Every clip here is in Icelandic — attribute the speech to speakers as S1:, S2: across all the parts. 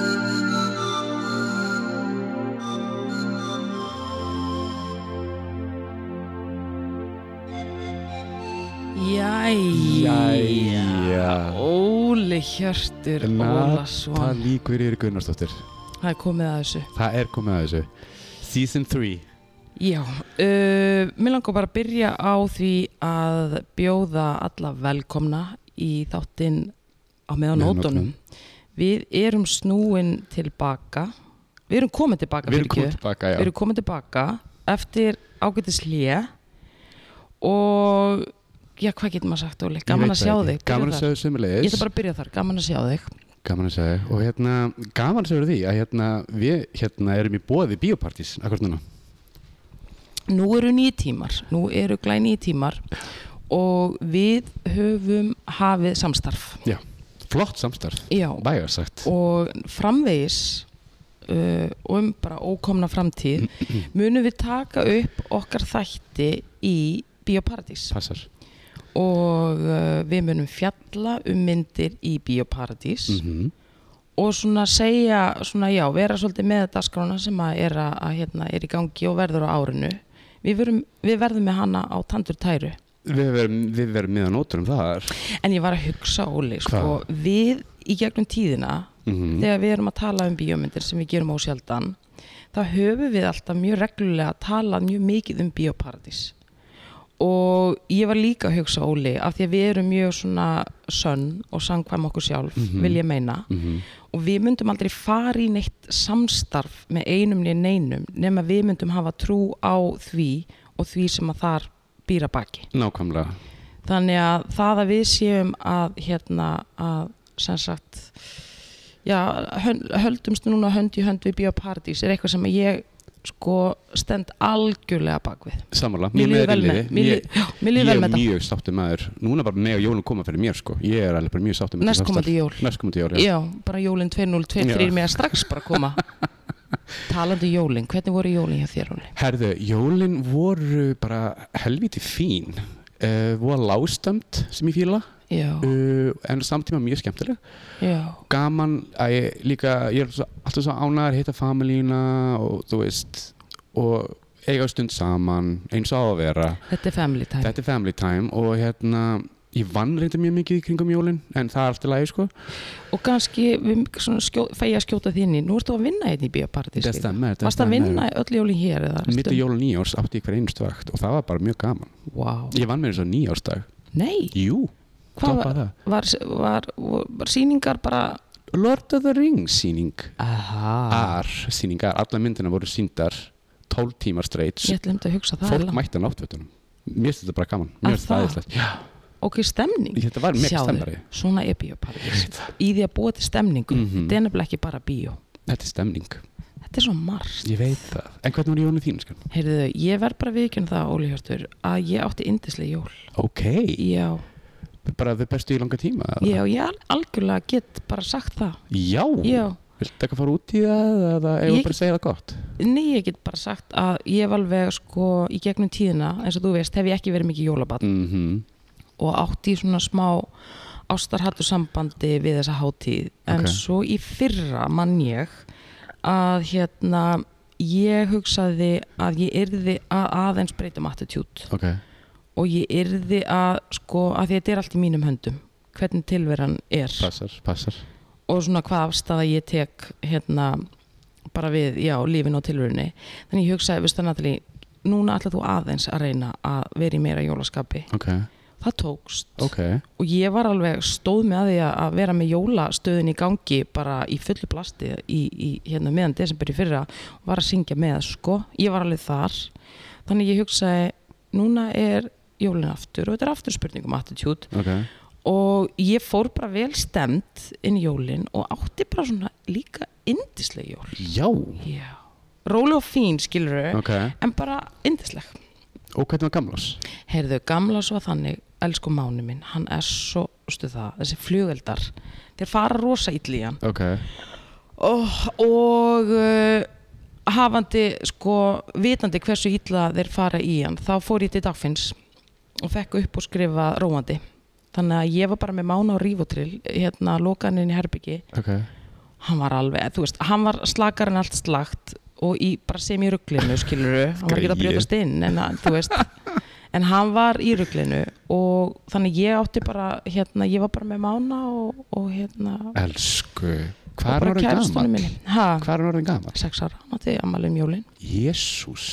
S1: Jæja.
S2: Jæja Óli Hjörtur Ólason
S1: Natalí Guðrýr Gunnarsdóttir
S2: Það er komið að þessu
S1: Það er komið að þessu Season 3
S2: Já, uh, mér langar bara að byrja á því að bjóða alla velkomna í þáttinn á meðan
S1: Meðan
S2: nótunum Við erum snúin tilbaka Við erum komin tilbaka
S1: Við erum
S2: fyrirgefðu.
S1: komið tilbaka,
S2: Við
S1: já
S2: erum komin tilbaka eftir ágætis hlje og já, hvað getur maður sagt, Óli? Gaman
S1: Ég veit
S2: að
S1: það
S2: sjá
S1: ekki.
S2: þig. Byrja
S1: Gaman að
S2: þar.
S1: sjá þig
S2: Ég
S1: sömulegis
S2: ætla bara að byrja þar, gaman að sjá þig.
S1: Gaman að sjá þig Og hérna, gaman að sjá því að hérna Við hérna erum í bóði bíópartís Akkur núna
S2: Nú eru nýjir tímar, nú eru glæ nýjir tímar og við höfum hafið samstarf.
S1: Já Flott samstarf
S2: Já,
S1: Vægar sagt
S2: og framvegis uh, og um bara ókomna framtíð munum við taka upp okkar þætti í Bíóparadís.
S1: Passar
S2: og uh, við munum fjalla um myndir í Bíóparadís
S1: Mhm.
S2: og svona segja, svona já, vera svolítið með dagskrána sem að er, að, að, hérna, er í gangi og verður á árinu við, verum, við verðum með hana á tandur tæru
S1: Við verum, við verum miðan ótur um þar
S2: en ég var að hugsa Óli sko,
S1: Hvað?
S2: við í gegnum tíðina
S1: Mhm.
S2: þegar við erum að tala um bíómyndir sem við gerum ósjaldan þá höfum við alltaf mjög reglulega talað mjög mikið um bíóparadís og ég var líka að hugsa Óli af því að við erum mjög svona sönn og sangkvæm okkur sjálf vil ég meina
S1: Mhm.
S2: og við myndum aldrei fara í neitt samstarf með einum niður neinum nema við myndum hafa trú á því og því sem að þar býra baki
S1: Nákvæmlega
S2: þannig að það að við séum að hérna að sem sagt já, hön- höldumst núna hönd í hönd við biopartís er eitthvað sem ég sko stend algjörlega bak við
S1: Sammála
S2: Mér líður vel með
S1: Ég-
S2: mér líður- já, mér líður
S1: Ég
S2: vel
S1: er
S2: með þetta
S1: mjög sáttum maður Núna bara með að jólun koma fyrir mér sko Ég er alveg bara mjög sáttum
S2: Næstkomandi jól.
S1: Næstkomandi jól, já
S2: Já, bara jólin 2023
S1: Já.
S2: með að strax bara koma Talandi jólin, hvernig voru jólin hjá þér Óli?
S1: Herðu, jólin voru bara helviti fín uh, Voru lástönd sem ég fíla
S2: Já,
S1: uh, En á samtíma mjög skemmtileg
S2: já,
S1: Gaman að ég líka Ég er svo, alltaf svo ánæður að hitta familíuna Og þú veist Og eiga stund saman Eins og á að vera
S2: þetta er family time
S1: Þetta er family time Og hérna Ég vann reynda mjög mikið í kringum jólin En það er allt í lagi sko
S2: Og kannski við svona skjó, fæ ég að skjóta þín í Nú ertu að vinna einn í biopartís
S1: Þess það með
S2: Varst að vinna öll jólin hér? eða
S1: Mitt
S2: stund-
S1: í jól og nýjárs átti ég hver einustu vakt Og það var bara mjög gaman
S2: Vá,
S1: Ég vann mér eins og nýjársdag
S2: nei
S1: Jú,
S2: Hvað
S1: toppaði það
S2: var, var, var, var síningar bara
S1: Lord of the Rings síning
S2: Aha.
S1: ar síningar, alla myndina voru síndar 12 tímar straight
S2: ég ætlum að hugsa það er
S1: fólk
S2: langt.
S1: mætti á náttfötunum mér finnst þetta bara gaman,
S2: Að
S1: mér finnst
S2: það?
S1: það aðeinslega Já,
S2: ok, stemning
S1: þetta var mjög stemmari
S2: svona er bíóparadís í því að búa til stemningu
S1: Mhm.
S2: þetta er nefnilega ekki bara bíó
S1: þetta er stemning,
S2: þetta er svo margt
S1: ég veit það en hvernig voru jónu þín, sko? skan?
S2: Heyrðu, ég verð bara viðkjörn það, Óli Hjörtur að ég átti indislega jól
S1: ok,
S2: já,
S1: bara þau bestu í langa tíma eða?
S2: já, ég al- algjörlega get bara sagt það
S1: já,
S2: já,
S1: viltu ekki fara út í það eða ef
S2: Ég-
S1: ég... bara segja það gott
S2: nei, ég get bara sagt að ég var alveg sko í gegnum tíðina eins og þú veist, hef ég ekki verið mikið jólabat
S1: mm
S2: og átti í svona smá ástarhattu sambandi við þessa hátíð en
S1: Ok.
S2: svo í fyrra mann ég að hérna ég hugsaði að ég yrði að aðeins breytum attitút
S1: ok,
S2: og ég yrði að sko að því þetta er allt í mínum höndum hvernig tilveran er
S1: passar, passar
S2: og svona hvað afstæða ég tek hérna bara við, já, lífin og tilverunni þannig ég hugsaði, veist það Natalie núna ætlar þú aðeins að reyna að vera í meira jólaskapi
S1: ok,
S2: það tókst
S1: ok,
S2: og ég var alveg stóð með að því að- að vera með jólastöðin í gangi bara í fullu plasti í, í hérna meðan desember í fyrra og var að syngja með sko, ég var alveg þar þannig ég hugsaði, núna er jólin aftur og þetta er aftur spurning um attitude
S1: ok
S2: og ég fór bara vel stemt inn í jólin og átti bara svona líka indisleg jól
S1: já,
S2: já, róli og fín skilur
S1: ok
S2: en bara indisleg
S1: og hvernig var gamlás?
S2: Heyrðu, gamla svo þannig, elsku mánu minn, hann er svo, veistu það, þessi flugeldar, þeir fara rosa illa í hann
S1: ok,
S2: oh, og uh, hafandi sko vitandi hversu illa þeir fara í hann þá fór ég til dagfinns og fekk upp og skrifa róandi þannig að ég var bara með mána og rífotrill hérna lokaninn í herbyggi
S1: ok,
S2: hann var alveg, þú veist, hann var slakar en allt slagt og í, bara sem í rugglinu skiluru, hann var ekki að
S1: Greyið.
S2: brjótast inn en að, þú veist en hann var í rugglinu og þannig ég átti bara hérna, ég var bara með mána og, og hérna
S1: elsku
S2: og
S1: hvað er
S2: bara
S1: orðin
S2: kærastunni
S1: gaman?
S2: minni. Ha,
S1: hvað er orðin gaman?
S2: sex ára, hann átti ammali um jólin
S1: Jésús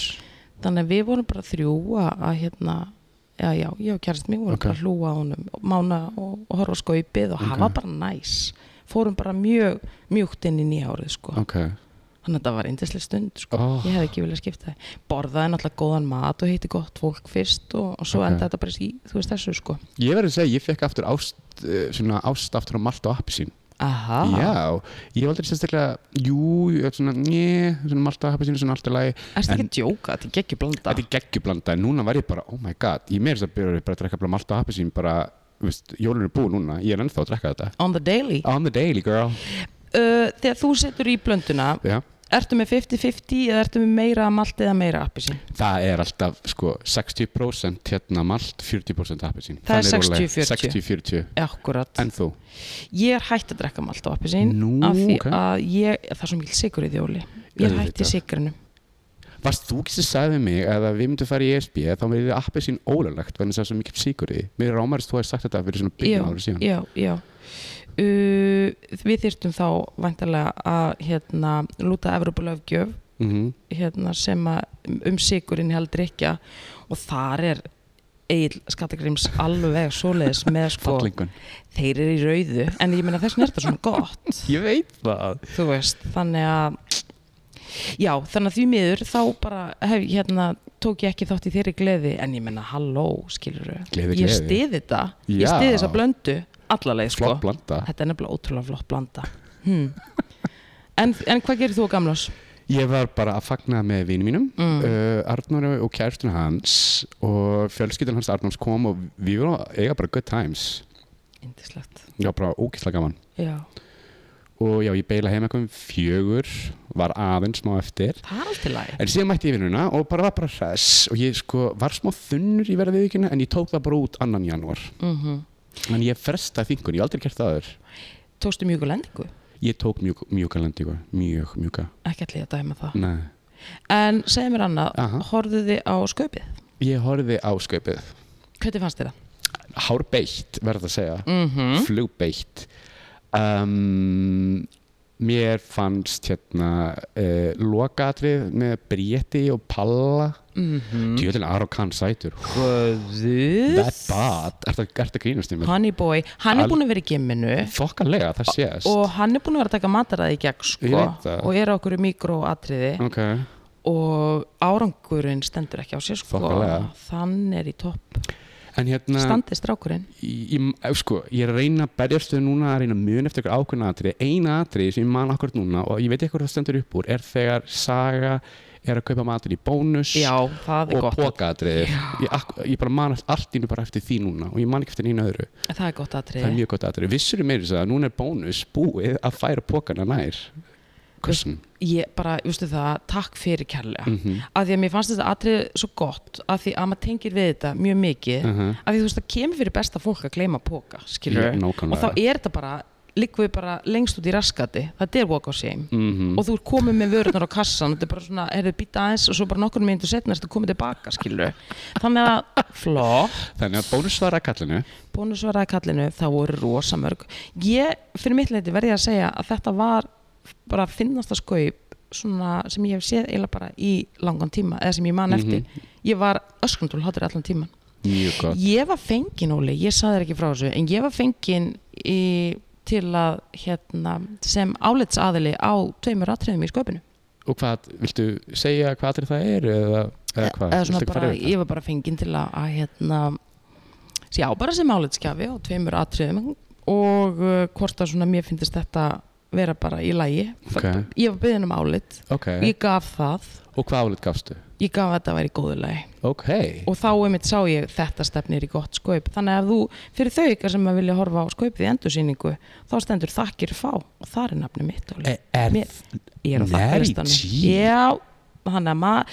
S2: þannig að við vorum bara þrjú að, að hérna, já já, ég og kærastin mér vorum
S1: Ok.
S2: bara að hlúa að honum og mána og, og horfa á skaupið og hafa bara næs fórum bara mjög mjúkt inn í nýjárið sko
S1: ok,
S2: þannig að þetta var indislega stund sko.
S1: Oh.
S2: ég hefði ekki viljað skipta það borðaði náttúrulega góðan mat og hitti gott fólk fyrst og, og svo
S1: Ok.
S2: endaði þetta bara í þú veist þessu sko
S1: ég verður að segja, ég fekk aftur ást eh, svona ást aftur á malt og appisín Ah.
S2: aha,
S1: já, ég var aldrei sérstaklega jú, ég var svona, njö, svona malt og appisín svona allt í lagi,
S2: erstu
S1: En-
S2: ekki að djóka, þetta er ekki ekki blanda
S1: þetta er geggjublanda en núna var ég bara, oh my god, ég meira þess að byrja bara að drekka bara malt og appisín bara, þú veist, jólun er búið núna, ég er ennþá að drekka þetta
S2: on the daily uh,
S1: on the daily girl
S2: þegar þú setur í blönduna
S1: já,
S2: ertu með 50-50 eða ertu með meira malt eða meira appisín
S1: það er alltaf sko 60% hérna malt 40% appisín
S2: Það er
S1: Þannig rólega.
S2: 60-40.
S1: 60-40
S2: akkurat,
S1: en þú,
S2: ég er hægt að drekka malt á appisín
S1: Nú,
S2: af því
S1: ok.
S2: að ég, það er svo mjög sigur í þjóli ég er hægt í
S1: Auðvitað.
S2: sigurinu
S1: varst þú ekki sem sagði við mig að ef við myndum fara í ESB þá verður appisín ólöglegt vegna þess að það er svo mikið sigur í mér er ámærist þú hefði sagt þetta fyrir svona byggjum ára síðan
S2: já, já. Uh, við þyrstum þá vantarlega að hérna, lúta Evropalöfgjöf
S1: mm -hmm.
S2: hérna, sem að um sigurinn held drikja og þar er Egil Skatagrims alveg svoleiðis með sko,
S1: fallingun,
S2: þeir eru í rauðu en ég meina þess nérta svona gott
S1: ég veit það
S2: þú veist, þannig að já, þannig að því miður þá bara hef, hérna, tók ég ekki þátt í þeirri gleði en ég meina halló, skilur
S1: Gleði,
S2: ég
S1: gleði.
S2: stiði þetta, ég
S1: Já.
S2: stiði þessa blöndu allaleg sko,
S1: flott blanda
S2: þetta er nefnilega ótrúlega flott blanda hmm. en, en hvað gerir þú Hmm. á gamlás?
S1: Ég var bara að fagna með vinum mínum, mm. uh, Arnór og kærtun hans og fjölskyldan hans Arnórs kom og við vorum að eiga bara good times. Eh.
S2: Indislegt,
S1: Já, bara ógæslega gaman.
S2: já,
S1: Og já, ég beila heim eitthvað um fjögur, var aðeins smá eftir.
S2: það er allt í lagi
S1: En síðan mætti ég vinnuna og bara var bara hress og ég sko var smá þunnur í verða viðvíkina en ég tók það bara út annan janúar.
S2: mm
S1: En ég frestaði þingun, ég hef aldrei gert það aður.
S2: tókstu mjög lendingu,
S1: Ég tók mjúk, mjúka lendingu, mjög mjúka.
S2: ekki allir að dæma það
S1: Nei,
S2: Mm. en segðu mér annað,
S1: Aha.
S2: horfðu þið á sköpið
S1: ég horfði á sköpið.
S2: hvernig fannst þið það?
S1: Hár beitt, verð að segja.
S2: Mm
S1: flugbeitt um, mér fannst hérna uh, lokatrið með Bríetti og Palla mm. djöðin Arokan sætur that bad, ertu ert að grínast í mér
S2: Honey boy, hann er
S1: Al-
S2: búin að vera í gimminu
S1: þokkalega, það sést
S2: og hann er búin að vera að taka mataræði í gegn
S1: Ég
S2: sko,
S1: veit það. Mm.
S2: og er á okkur mikroatriði
S1: ok,
S2: og árangurinn stendur ekki á sér sko.
S1: Þokkalega.
S2: þann er í topp
S1: en hérna
S2: standist rákurinn
S1: ég, ég- eh, sko, ég er að reyna að berjast við núna að reyna mjög eftir eitthvað ákveðna atrið eina atrið sem ég man akkurat núna og ég veit ekki hvað það stendur upp úr er þegar Saga er að kaupa matur í bónus
S2: já, það er
S1: og
S2: gott
S1: pókaatriðið ég, ak- ég bara man allt- allt í innu bara eftir því núna og ég man ekki eftir einu öðru
S2: það er gott atrið
S1: það er mjög gott atrið vissur meira þess að núna er bónus búið að færa pókana nær hversum
S2: ég bara, veistu það, takk fyrir kærlega
S1: mm -hmm.
S2: af því að mér fannst þetta atrið svo gott af því að maður tengir við þetta mjög mikið
S1: uh -huh.
S2: af því þú veist, það kemur fyrir besta fólk að gleyma póka skilur og þá
S1: nákvæmlega
S2: er þetta bara liggum við bara lengst út í raskati þetta er walk of shame
S1: Mhm.
S2: og þú er komið með vörunar á kassan þetta er bara svona, heyrðu, býta aðeins og svo bara nokkur myndu setna þetta komið tilbaka, skilur þannig að, flott
S1: þannig að bónus var að kallinu
S2: bónusvaraði kallinu, það voru rosa mörg ég, fyrir mitt leiti verði ég að segja að þetta var bara finnasta skaup svona sem ég hef séð eiginlega bara í langan tíma eða sem ég
S1: Mhm.
S2: man eftir, ég var öskrundul hátur allan tíman,
S1: mjög gott
S2: ég var fengin Óli, ég saði þér ekki frá þessu, en ég var fengin í, til að hérna, sem álitsaðili á tveimur atriðum í skaupinu
S1: og hvað, viltu segja hvað atrið það er eða, eða hvað,
S2: eða svona
S1: Viltu ekki fara
S2: bara,
S1: yfir það?
S2: ég var bara fenginn til að, að hérna, já, bara sem álitskjafi á tveimur atriðum og uh, hvort að svona mér finnist þetta vera bara í lægi
S1: Ok.
S2: ég var byggðin um álit
S1: ok,
S2: og ég gaf það
S1: og hvað álit gafstu?
S2: ég gaf að þetta væri í góðu lagi
S1: ok,
S2: og þá einmitt sá ég þetta stefnir í gott skaup þannig að þú, fyrir þau ykkar sem að vilja horfa á skaupið í endursýningu þá stendur þakkir fá og það er nafnið mitt Óli.
S1: er, er
S2: Mér- ég er á
S1: Eh, Nei,
S2: þakkaristanum
S1: gee.
S2: já, þannig að maður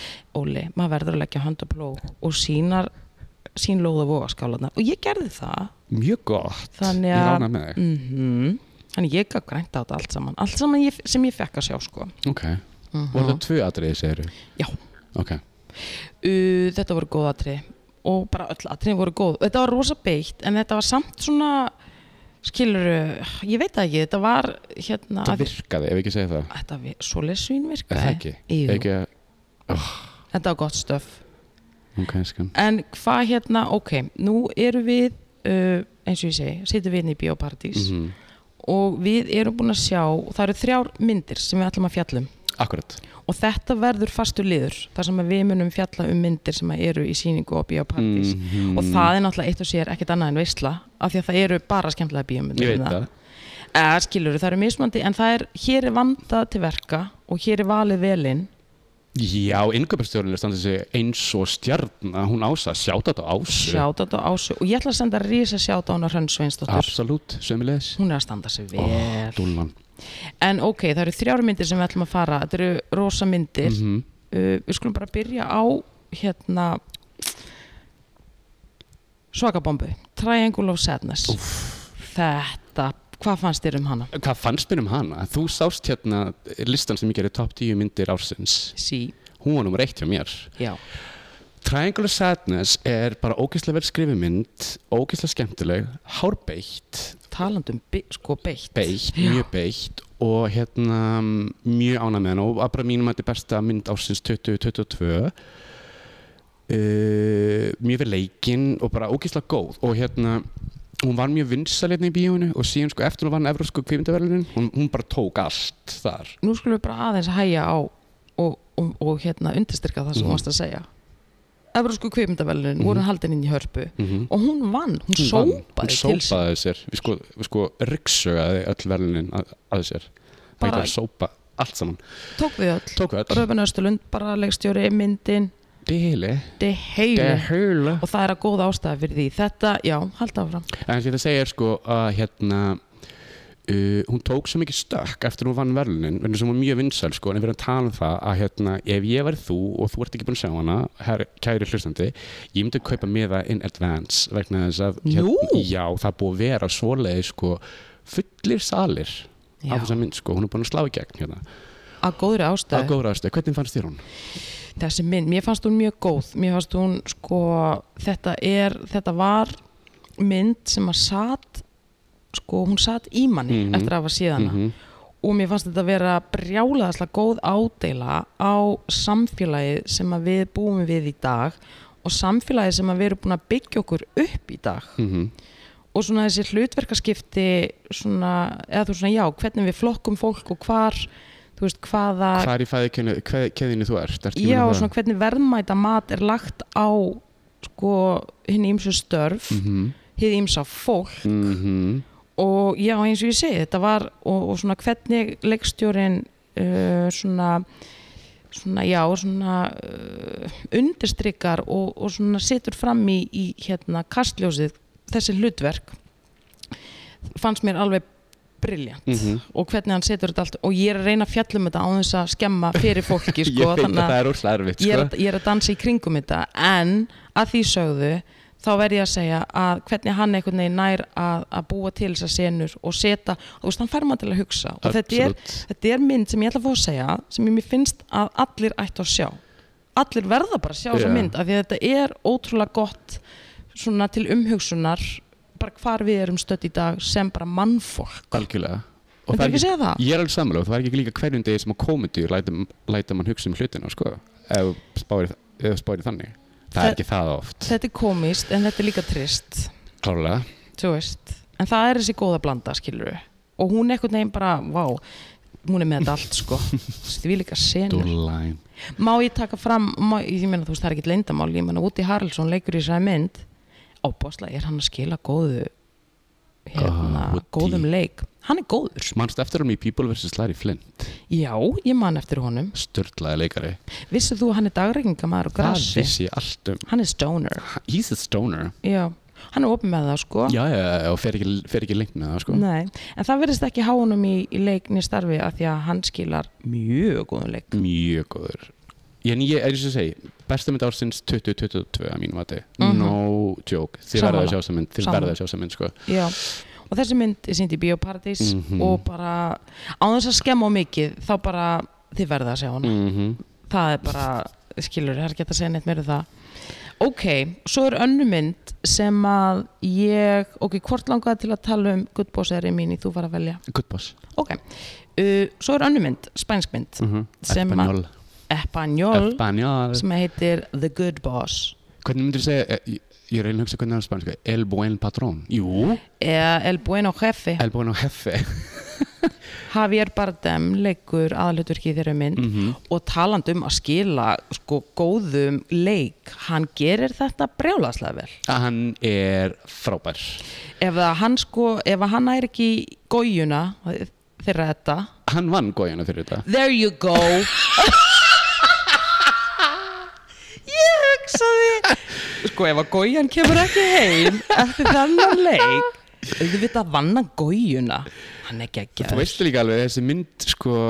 S2: Óli, maður verður að leggja hand á pló og sínar sín lóða vogaskálanar og ég gerði það
S1: mjög gott
S2: Þannig
S1: ég
S2: að-
S1: rána með þig
S2: mm þannig ég gaf grænt á þetta allt saman allt saman ég, sem ég fekk að sjá sko
S1: ok, Mhm. voru það tvö atriði segiru
S2: já,
S1: ok,
S2: uh, þetta voru góð atri og bara öll atriðin voru góð þetta var rosa beitt en þetta var samt svona skilur, ég veit það ekki þetta var hérna
S1: það virkaði ef ég ekki segja það
S2: þetta vi, svo lesvín
S1: er það
S2: virkaði
S1: ekki,
S2: Jú.
S1: ekki að-
S2: þetta var gott stöf
S1: ok, skan
S2: en hvað hérna, ok nú eru við uh, eins og ég segi, sittum við inn í Bíóparadís
S1: Mhm.
S2: og við erum búin að sjá það eru þrjár myndir sem við ætlum að fjallum
S1: akkurat,
S2: og þetta verður fastur liður þar sem að við munum fjalla um myndir sem að eru í síningu og bíópartís
S1: Mhm.
S2: og það er náttúrulega eitt og sér ekkert annað en veistla af því að það eru bara skemmtilega bíómyndir
S1: ég veit það
S2: eða skilur það eru mismandi en það er hér er vandað til verka og hér er valið velinn
S1: Já, innköpastjórnir standi sig eins og stjarn að hún ása, sjáta þetta ásu
S2: sjátt á ásu og ég ætla að senda rísa sjátt á Mm. hana Hrönn Sveinsdóttur
S1: Absolutt, sömulegis
S2: hún er að standa sig vel
S1: Dúllan
S2: en ok, það eru þrjár myndir sem við ætlum að fara þetta eru rosa myndir
S1: Mhm.
S2: uh, við skulum bara byrja á hérna svakabombu Triangle of Sadness þetta, hvað fannst þér um hana?
S1: Hvað fannst mér um hana? Þú sást hérna listan sem ég gerði top 10 myndir ársins
S2: Sí,
S1: Hún var nummer eitt hjá mér
S2: já
S1: Triangle of Sadness er bara ógeðslega vel skrifið mynd ógeðslega skemmtileg, hárbeitt
S2: talandum be sko beitt,
S1: beitt, mjög beitt og hérna mjög ánægð með hana og að bara mínum að þetta er besta mynd ársins 2022 uh, mjög vel leikinn og bara ógeðslega góð og hérna hún var mjög vinsal hérna í bíóinu og síðan sko eftir hún vann Evrósku kvikmyndaverlunin hún, hún bara tók allt þar
S2: nú skulum við bara aðeins hæja á og, og, og hérna undirstyrka það sem
S1: Mhm.
S2: þú varst að segja Evrósku kveimdavelunin voru haldin inn í hörpu
S1: Mhm.
S2: og hún vann, hún,
S1: Hún vann.
S2: sópaði til
S1: hún
S2: sín
S1: sópaði sér við sko, við sko ryggsögaði öll verlunin að, að sér
S2: Bara-
S1: bara að sópa allt saman
S2: tók við öll,
S1: tók öll,
S2: Röfun Östurlund bara leikstjóri, myndin,
S1: dili,
S2: de heili
S1: dehula
S2: og það er að góð ástæða fyrir því þetta, já, halda áfram
S1: En því það segir sko að hérna uh, hún tók svo mikið stökk eftir hún vann verðlunin, verður sem hún var mjög vinsæl sko, en við erum að tala um það að hérna ef ég væri þú og þú ert ekki búin að sjá hana her, kæri hlustandi, ég myndi að kaupa með það in advance vegna þess að hérna,
S2: Nú?
S1: já, það er búið að vera svoleiði sko fullir salir
S2: Já.
S1: af þessa mynd sko, hún er búin að slá í gegn hérna
S2: að góðri
S1: að
S2: ástæðu,
S1: góðraðastu, hvernig fannst þér hún?
S2: þessi mynd, mér fannst hún mjög góð mér fannst hún, sko, þetta er þetta var mynd sem að satt sko, hún satt í manni
S1: Mhm.
S2: eftir að hafa síðana
S1: Mhm.
S2: og mér fannst þetta vera brjálaðaslega góð ádeila á samfélagið sem að við búum við í dag og samfélagið sem að við erum búin að byggja okkur upp í dag
S1: Mhm.
S2: og svona þessi hlutverkaskipti svona, eða þú svona já, hvernig við flokkum fólk og hvar þú veist, hvaða,
S1: Hvað er í fæðikeðinu keðjunni þú ert? Ertu
S2: já,
S1: búin að-
S2: svona hvernig verðmæta mat er lagt á sko, hinn ímsu störf mm.
S1: Mhm.
S2: hinn ímsa fólk
S1: Mhm.
S2: og já, eins og ég segi, þetta var og, og svona hvernig leikstjórin uh, svona svona, já, svona uh, undirstrykar og, og svona situr fram í, í hérna kastljósið þessi hlutverk fannst mér alveg briljant
S1: Mhm.
S2: og hvernig hann setur þetta allt og ég er að reyna að fjalla um þetta á þess að skemma fyrir fólki
S1: Ég
S2: sko,
S1: veit að
S2: þannig að
S1: það er óslega erfitt
S2: ég er,
S1: sko.
S2: að, ég er að dansa í kringum þetta en að því sögðu þá verð ég að segja að hvernig hann einhvern veginn nær að, að búa til þessar senur og seta, þú veist, hann fær maður til að hugsa og þetta er,
S1: Absolutt.
S2: þetta er mynd sem ég ætla að fá að segja sem ég mér finnst að allir ættu að sjá allir verða bara að sjá þessa
S1: Já.
S2: mynd af því að þetta er ótrúlega gott svona til umhugsunar bara hvar við erum stödd í dag sem bara mannfólk
S1: Algjörlega
S2: Myndirðu
S1: Og það er
S2: ekki segja það?
S1: Ég er alveg sammála og það er ekki líka hverjum degi sem á komendur læta, læta mann hugsa um hlutina sko, ef spáir, ef spáir í þannig Það,
S2: Það-
S1: er ekki það oft
S2: þetta er komist en þetta er líka trist
S1: Klárlega
S2: þú veist, en það er þessi góða blanda skilur og hún einhvern veginn bara vá, hún er með þetta allt sko því við líka senur
S1: Dúrlæn
S2: má ég taka fram, má, ég meina þú veist það er ekkert leyndamál, ég meina Úti Haraldsson leikur í þessari mynd ábáslega er hann að skila góðu hérna,
S1: Ah, Woody.
S2: góðum leik hann er góður,
S1: Manst eftir hann í People vs. Larry Flint
S2: já, ég man eftir honum
S1: Sturlaði leikari
S2: vissið þú að hann er dagreikingamaður og
S1: Það
S2: grassi
S1: vissi ég allt um
S2: hann er stoner,
S1: He's a stoner
S2: já hann er opið með það sko
S1: Já, já, já, og fer ekki, fer ekki lengt með það sko
S2: Nei, en það verðist ekki há honum í, í leikni starfi að því að hann skilar mjög góðum leik
S1: Mjög góður En ég, eins og ég segi, besta mynd ársins 2022 að mínum vati
S2: Mhm.
S1: No joke, þið
S2: Sammála.
S1: verða að sjá þessa mynd Þið
S2: Sammála.
S1: verða að sjá þessa mynd sko
S2: Já, og þessi mynd er sýnd í Bíóparadís
S1: Mhm.
S2: og bara á þess að skemma of mikið þá bara þið verða að sjá hana
S1: mm
S2: það er bara, skilur, það er ekki hægt að segja neitt meira um það ok, svo er önnu mynd sem að ég, ok, hvort langaði til að tala um Good Boss er í mín í þú var að velja
S1: Good boss
S2: ok, uh, svo er önnu mynd, spænsk mynd
S1: mm -hmm.
S2: Sem að-
S1: Espanjol
S2: Espanjol,
S1: Espanjol
S2: sem heitir The Good Boss
S1: Hvernig myndir þú segja, ég, ég er einlega að hugsa hvernig það er á spænsku El buen patrón Jú,
S2: eða El Bueno Jefe
S1: el buen jefe
S2: Javier Bardem leikur aðalhutverki í þeirra mynd
S1: Mhm.
S2: og talandi um að skila sko góðum leik hann gerir þetta brjálaslega vel
S1: Hann er frábær
S2: ef að hann sko, ef að hann er ekki í gójuna þeirra þetta
S1: Hann vann góðina fyrir þetta
S2: there you go ég hugsaði sko ef að gójan kemur ekki heim eftir þannan leik auðvitað vann hann gójuna hann er ekki að
S1: Þú veist líka alveg þessi mynd sko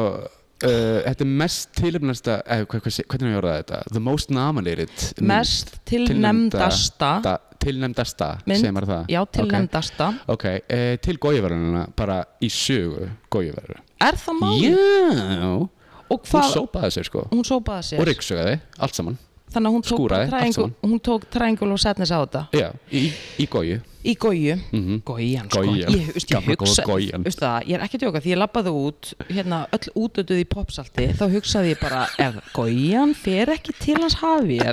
S1: Uh, þetta er mest tilöfnasta eh, hva, hva, hvernig við orðaði þetta? The most nominated mynd.
S2: mest
S1: Tilnefnda-
S2: tilnefndasta
S1: da, tilnefndasta,
S2: mynd,
S1: segir maður það
S2: já, tilnefndasta
S1: ok, okay. Uh, til góiðverðunina bara í sögu góiðverður
S2: er það máli?
S1: já,
S2: og
S1: hún
S2: hvað,
S1: sópaði sér sko
S2: hún sópaði
S1: og
S2: sér
S1: ryggsugaði, allt saman
S2: þannig að hún tók,
S1: skúraði,
S2: bara
S1: allt
S2: triangle,
S1: saman.
S2: hún tók triangle og setnis á þetta
S1: já, í, í góju
S2: í góju,
S1: Mhm.
S2: gójan sko
S1: Goyan.
S2: ég, veist, ég
S1: Gamla góða
S2: hugsa,
S1: Goyan.
S2: veist það, ég er ekki að tjóka því ég labbaði út, hérna öll útötuð í popsalti, þá hugsaði ég bara ef gójan fer ekki til hans hafir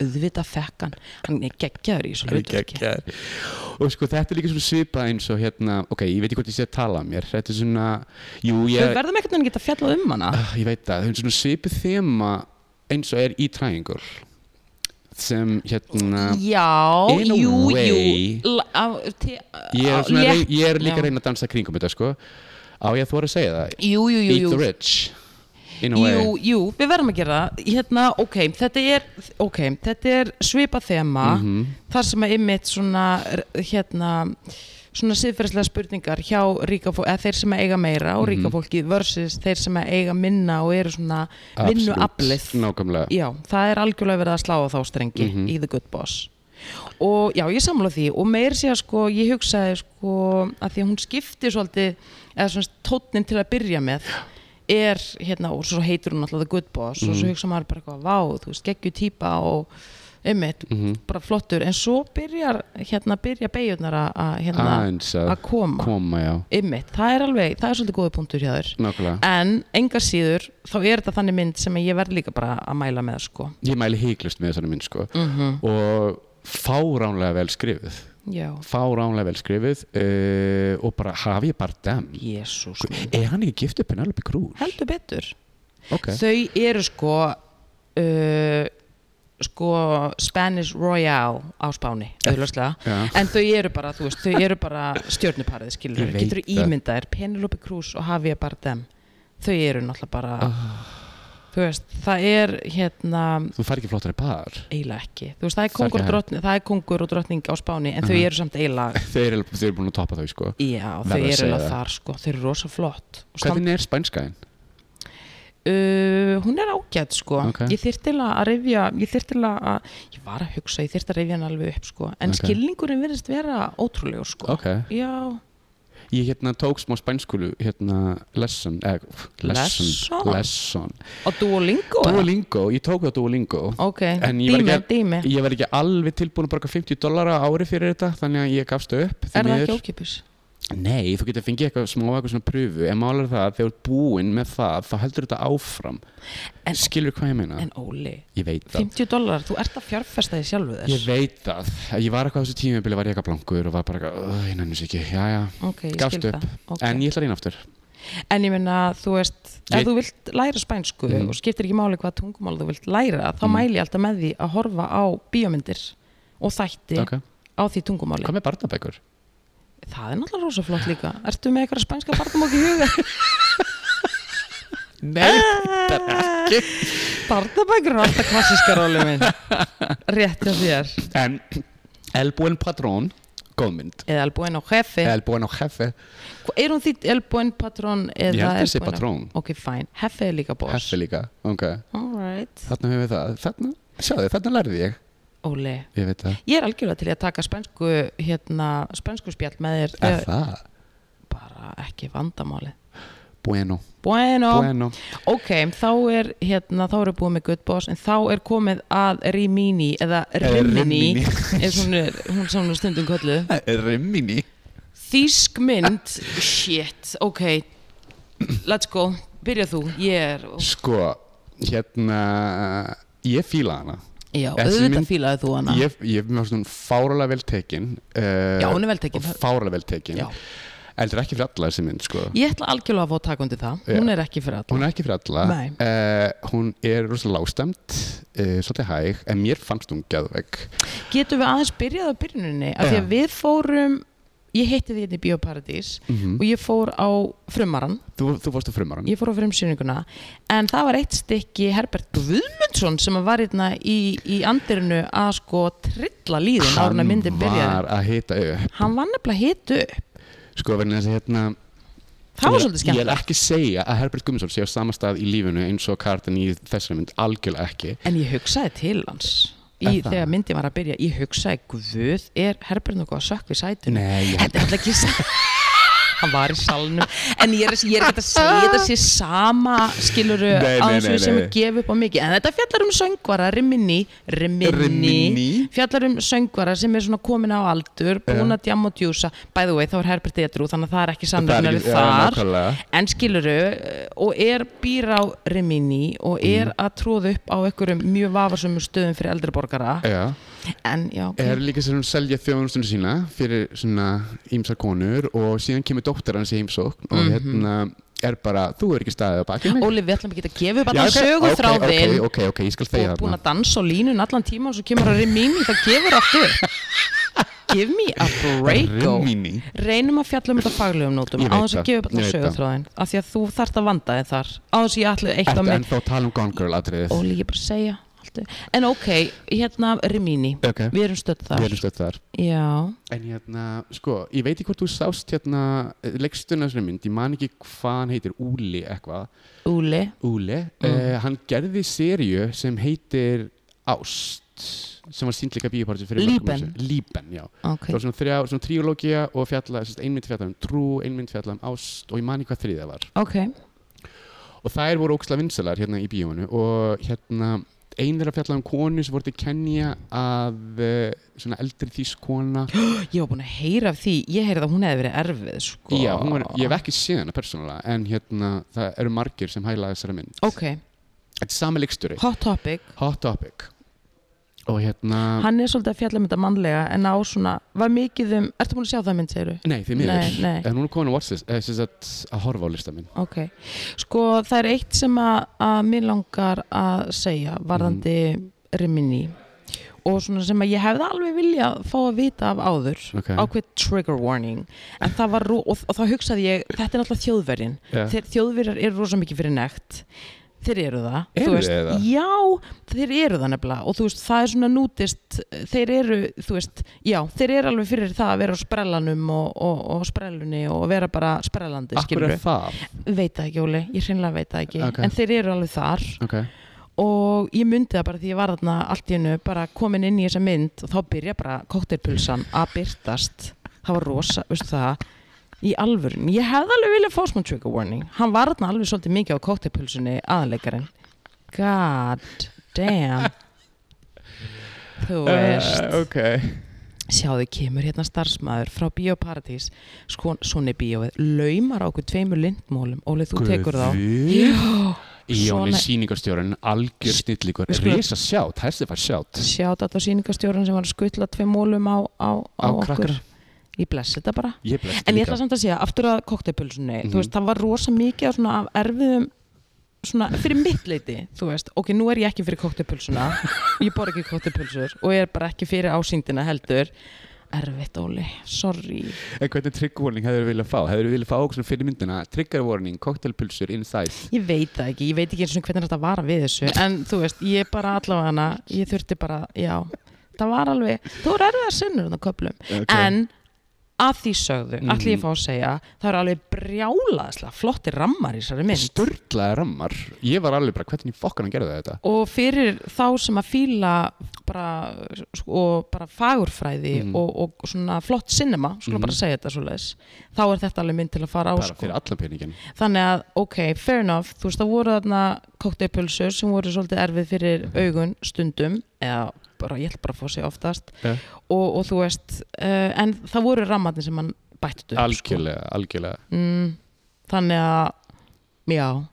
S2: auðvitað fekk hann hann er geggjaður í svo hlutverki
S1: og sko þetta er líka svona svipað eins og hérna ok, ég veit ekki hvort ég sé að tala um mér þetta er svona, jú,
S2: við
S1: ég,
S2: verðum ekkert að geta fjallað um hana
S1: Ah, ég veit það, það er svona svipið þema eins og er í triangle sem hérna
S2: já,
S1: In a
S2: jú,
S1: way.
S2: jú la- á- te- á-
S1: ég er, svona,
S2: létt-
S1: ég er líka
S2: já.
S1: að reyna að dansa kringum þetta sko á ég að þú að segja það
S2: Jú, jú, jú,
S1: Eat
S2: jú.
S1: the rich in a way
S2: Jú, jú, við verðum að gera það hérna, ok, þetta er, okay, þetta er svipa þema
S1: Mhm.
S2: þar sem að ymmit svona hérna, svona siðferðslega spurningar hjá ríka fólki, eða þeir sem að eiga meira og
S1: Mhm.
S2: ríka fólki versus þeir sem að eiga minna og eru svona vinnu aflið
S1: nákvæmlega
S2: Já, Mhm. það er algjörlega verið að slá á þá strengi í The Good Boss og já, ég samla því og meir sé að sko, ég hugsaði sko að því að hún skipti svolítið eða svona tótnin til að byrja með er hérna, og svo heitir hún alltaf The Good Boss og svo hugsa maður bara eitthvað, vá, þú veist, geggju típa og einmitt,
S1: Mhm.
S2: bara flottur en svo byrjar, hérna, byrja beigjurnar að- að, hérna,
S1: aðeins að
S2: að koma,
S1: koma já,
S2: einmitt, það er alveg það er svolítið góða punktur hjá þér
S1: nákvæmlega
S2: en enga síður þá er þetta þannig mynd sem ég verð líka bara að mæla með sko.
S1: ég mæli heiklust með þessari mynd sko og fáránlega vel skrifið
S2: já,
S1: fáránlega vel skrifið uh, og bara hafi ég bara dem
S2: jésús
S1: er hann ekki giftið Penelope Cruz?
S2: heldur betur
S1: Sko, ok,
S2: þau eru sko uh, sko Spanish Royale á Spáni auðvitað
S1: já.
S2: en þau eru bara, þú veist, þau eru bara stjörnuparið skilur,
S1: Ég veit
S2: getur
S1: það.
S2: ímyndað er Penelope Cruz og Javier Bardem þau eru náttúrulega bara
S1: Ah.
S2: þú veist, það er hérna
S1: þú fær ekki flottari par
S2: eiginlega ekki, þú veist, það er
S1: Það er
S2: kongur,
S1: ekki
S2: og drottning, það er kongur og drottning á Spáni en þau eru samt eiginlega
S1: þeir eru, þeir eru búin að toppa þau sko
S2: Já,
S1: Mhm. Verð
S2: þau
S1: að
S2: eru
S1: segja
S2: alveg
S1: það.
S2: þar sko, þau eru rosa flott Og stand,
S1: hvernig er spænskaðin?
S2: uh, Hún er ágætt sko
S1: Ok.
S2: Ég þyrfti til að rifja Ég þyrfti til að, ég var að hugsa Ég þyrfti að rifja hann alveg upp sko En
S1: Ok.
S2: skilningurinn virðist vera ótrúlegur sko
S1: ok,
S2: Já,
S1: ég hérna tók smá spænskulu hérna lesson eh, lesson,
S2: Lesson?
S1: lesson.
S2: og Duolingo eða?
S1: Duolingo, ég tók það Duolingo
S2: Ok,
S1: En ég var
S2: dými,
S1: ekki að-
S2: dými
S1: ég var ekki alveg tilbúin að borga 50 dollara á ári fyrir þetta þannig að ég gafst upp því
S2: Er það
S1: miður.
S2: ekki ókipis?
S1: Nei, þú getur fengið eitthvað smá eitthvað svona pröfu en málar það að þegar þú ert búinn með það þá heldur þetta áfram
S2: En-
S1: Skilur hvað ég meina?
S2: En Óli,
S1: ég veit það
S2: 50 dólarar, þú ert að fjárfesta því sjálfu
S1: Ég
S2: þess
S1: veit það Ég var eitthvað á þessu tímabili var ég eitthvað blankur og var bara eitthvað "Ugh, Ég nennis ekki, já já
S2: Ok, ég
S1: Gafst
S2: skil
S1: upp.
S2: það Ok.
S1: En ég ætla að reyna aftur
S2: En ég minna, þú veist,
S1: Ég-
S2: ef þú vilt læra spænsku
S1: Mhm.
S2: og skiptir ekki máli hvað tungumál þú vilt læra, þá mæli ég alltaf með því að horfa á bíómyndir og þætti
S1: okay.
S2: á því tungumáli.
S1: Hvað með barnabækur?
S2: það er náttúrulega rosa flott líka ertu með eitthvað spænska barnamók í huga
S1: Nei, þetta er ekki
S2: barnabækur eru alltaf klassískar róli minn rétt hjá þér
S1: En El Buen Patrón, góð mynd
S2: eða elbúin á jefi
S1: El Buen og Hefe,
S2: Hva- er hún þitt elbúin patrón
S1: Ég
S2: eða
S1: held þessi
S2: El Buen-
S1: patrón.
S2: ok fine, hefi er líka boss
S1: Hefe líka okay.
S2: alright,
S1: Þarna höfum við það, þarna, sjáðu, þarna lærði ég
S2: óli
S1: Ég veit það,
S2: ég er algjörlega til í að taka spænsku hérna, spænsku spjall með þér
S1: er
S2: Þau-
S1: það?
S2: bara ekki vandamáli
S1: Bueno,
S2: bueno,
S1: bueno
S2: ok, þá er hérna, þá eru búið með good boss en þá er komið að rimini eða rimini
S1: Eh, Rimini.
S2: eins og hún er, hún sem hún er stundum kölluð
S1: Rimini
S2: Þýsk mynd Shit, ok Let's go, byrja þú Ég er,
S1: Sko, hérna, ég fíla hana
S2: já,
S1: Þessi
S2: auðvitað
S1: mynd-
S2: fílaði þú hana
S1: Ég, ég mér fannst hún fáralega vel tekin uh,
S2: Já, hún er vel tekin.
S1: Fáralega vel tekin
S2: Já.
S1: En þetta er ekki fyrir alla þessi mynd, sko
S2: Ég ætla algjörlega að fá að taka undir það Hún
S1: Já.
S2: er ekki fyrir alla
S1: Hún er ekki fyrir alla
S2: Nei.
S1: Eh, Hún er rosalega lágstæmt uh, Svolítið hæg En mér fannst hún gæðvegg
S2: Getum við aðeins byrjað á byrjuninni Af því
S1: Já.
S2: að við fórum Ég heitti því hérna í Bíóparadís Og ég fór á frumaran
S1: Mm-hmm. Þú, þú fórst á frumaran
S2: Ég fór á frumsýninguna En það var eitt stykki Herbert Guðmundsson Sem var hérna í, í andirinu Að sko trilla líðin Árna myndin byrjaði
S1: var að hita upp
S2: Hann var nefnilega hitu upp
S1: Sko, vegna þess að hérna
S2: Það var
S1: ég-
S2: svolítið
S1: Ég er
S2: skemmtilegt
S1: ekki að segja að Herbert Gumminsson sé á sama stað í lífinu eins og kartan í þessari mynd Algjörlega ekki
S2: En ég hugsaði til hans í,
S1: Er það?
S2: þegar myndin var að byrja, ég hugsaði guð, er Herbert nokkuð að sökk við sætinu?
S1: Nei, ég-
S2: Þetta er alltaf ekki sætinu hann var í salnum en ég er, ég er ekki að segja þetta sé sama skiluru
S1: Nei, nei,
S2: aðeins
S1: nei,
S2: við sem
S1: nei.
S2: að gefa upp á mikið en þetta fjallar um söngvara, Rimini Rimini,
S1: Rimini.
S2: fjallar um söngvara sem er svona komin á aldur búin að djamma og djúsa, by the way þá er Herbert Edru þannig að það er ekki sannleikunari
S1: já,
S2: þar
S1: nákvæmlega.
S2: en skiluru eh, og er býr á Rimini og
S1: Mm.
S2: er að tróða upp á einhverjum mjög vafarsömu stöðum fyrir eldri borgara
S1: Já.
S2: en já, ok.
S1: er líka sem hún selja þjónustunum sína fyrir svona ímsar konur og síðan kemur dóttir hans í heimsókn og hérna er bara, þú er ekki staðið á baki mig
S2: Óli við ætlum ekki að gefa upp
S1: Já,
S2: allan
S1: ok,
S2: sögu
S1: ok,
S2: þráðinn
S1: ok, ok, ok, ég skal
S2: og
S1: þegja
S2: búin
S1: þarna
S2: að dansa á línun allan tíma og svo kemur að rimini það gefur aftur give me a break
S1: Rimini.
S2: go reynum að fjalla um þetta á faglegum nótum
S1: Ég
S2: á
S1: veit
S2: þess að
S1: það,
S2: gefa upp
S1: ég
S2: allan
S1: veit það.
S2: sögutráðin af því að þú þarft að vanda þig þar á þess að ég ætla eitt
S1: Ertu
S2: af mig
S1: ennþá að tala um Gone Girl atriðið?
S2: Óli ég bara segja allt er- en ok, hérna rimini
S1: Ok.
S2: við erum stödd þar
S1: Við erum stödd þar
S2: já,
S1: En hérna, sko, ég veit ekki hvort þú sást hérna leikstuna svona mynd, ég man ekki hvað hann heitir, Úli eitthvað
S2: Óli
S1: Úle, mm. hann gerði sériu sem heitir Ást sem var sínt líka bíópartur fyrir mörgum
S2: Líben.
S1: árum síðan. Líben, já
S2: ok,
S1: Það var svona, þrjá, svona tríológia og fjalla, sérst, ein mynd fjalla um trú, ein mynd fjalla um ást og ég mani hvað þriða var.
S2: ok
S1: Og þær voru óksla vinsalar hérna í bíóinu og hérna ein þeirra fjalla um konu sem voru til Kenya að eh, svona eldri þýsk kona.
S2: ég var búin að heyra af því, ég heyrði að hún hefði verið erfið sko.
S1: Já, hún var, ég hef ekki séð hana persónulega en hérna það eru margir sem hæla þessara mynd.
S2: ok,
S1: Þetta er sami leikstjóri.
S2: hot topic
S1: Hot Topic. Og hérna...
S2: hann er svolítið að fjalla um þetta mannlega en á svona, var mikið um ertu búin að sjá það mynd, segir
S1: Nei, því miður.
S2: Nei, nei.
S1: En hún er komin að watchlist, eða eh, sem sagt að horfa á lista minn.
S2: ok, sko það er eitt sem að, að mér langar að segja varðandi
S1: Mhm.
S2: Rimini og svona sem að ég hefði alveg vilja fá að vita af áður
S1: Ok.
S2: ákveð trigger warning en það var, ro- og, og þá hugsaði ég þetta er náttúrulega þjóðverjin
S1: Já.
S2: þeir, þjóðverjar eru rosa mikið fyrir nekt þeir eru það þú
S1: Eru
S2: veist,
S1: þeir það?
S2: já, þeir eru það nefnilega og þú veist, það er svona nútist þeir eru, þú veist, já, þeir eru alveg fyrir það að vera á sprellanum og, og, og sprellunni og vera bara sprellandi
S1: Akkur
S2: skilurðu.
S1: er það?
S2: veit það ekki Óli, ég hreinlega veit það ekki
S1: Ok.
S2: en þeir eru alveg þar
S1: Ok.
S2: og ég myndi það bara því ég var þarna allt í hennu bara komin inn í þessa mynd og þá byrja bara kóttirpulsan að byrtast það var rosa, veistu það í alvörun, ég hefði alveg viljað fá smá trigger warning hann var þarna alveg svolítið mikið á kóttirpulsunni aðleikarinn god damn þú veist
S1: Eh, ok.
S2: sjáðu kemur hérna starfsmæður frá Bíóparadís, sko, svona bíóið laumar á okkur tveimur lindmólum Óli, þú tekur þá Já,
S1: Jóni
S2: svona-
S1: síningarstjórun, algjör snillíkur,
S2: Við skulum-
S1: risa sjátt, hæstir fær sjátt.
S2: sjátt á sýningastjóran sem var að skutla tveim mólum á, á, á,
S1: Á
S2: okkur
S1: krakkana.
S2: ég blessi þetta Mhm. bara
S1: Ég blest
S2: en ég ætla samt að segja, aftur að koktepulsunni þú veist, það var rosa mikið af svona af erfiðum svona, fyrir mitt leiti þú veist, ok, nú er ég ekki fyrir koktepulsuna ég bor ekki koktepulsur og ég er bara ekki fyrir ásýndina heldur erfitt Óli, sorry
S1: En hvernig trigger warning hefur þið viljað fá? Hefur þið viljað fá okkur svona fyrir myndina trigger warning, cocktailpulsur, inside
S2: ég veit það ekki, ég veit ekki eins og hvernig þetta var við þessu, en þú veist, ég bara allavega hana, ég þurfti bara, já það var alveg, þú eru erfið að sinnur þannig köplum, en að því sögðu, mm. allir ég fá að segja það eru alveg brjálaðislega flotti rammar í þessari mynd
S1: Sturlaði rammar Ég var alveg bara, hvernig fokkan hann gerði þetta?
S2: og fyrir þá sem að fíla bara, sko, bara fagurfræði
S1: Mhm.
S2: og, og svona flott sinema, skulum bara segja þetta svoleiðis, þá er þetta alveg mynd til að fara á
S1: Bara
S2: sko.
S1: fyrir allan peningin
S2: þannig að, ok, fair enough þú veist, það voru þarna kókteipulsur sem voru svolítið erfið fyrir
S1: Mhm.
S2: augun stundum, eða bara, ég ætla bara að fá sig oftast
S1: Ja.
S2: og, og þú veist, uh, en það voru rammarnir sem hann
S1: sko.
S2: bættu upp, sko.
S1: Algjörlega, algjörlega
S2: mm, þannig að, já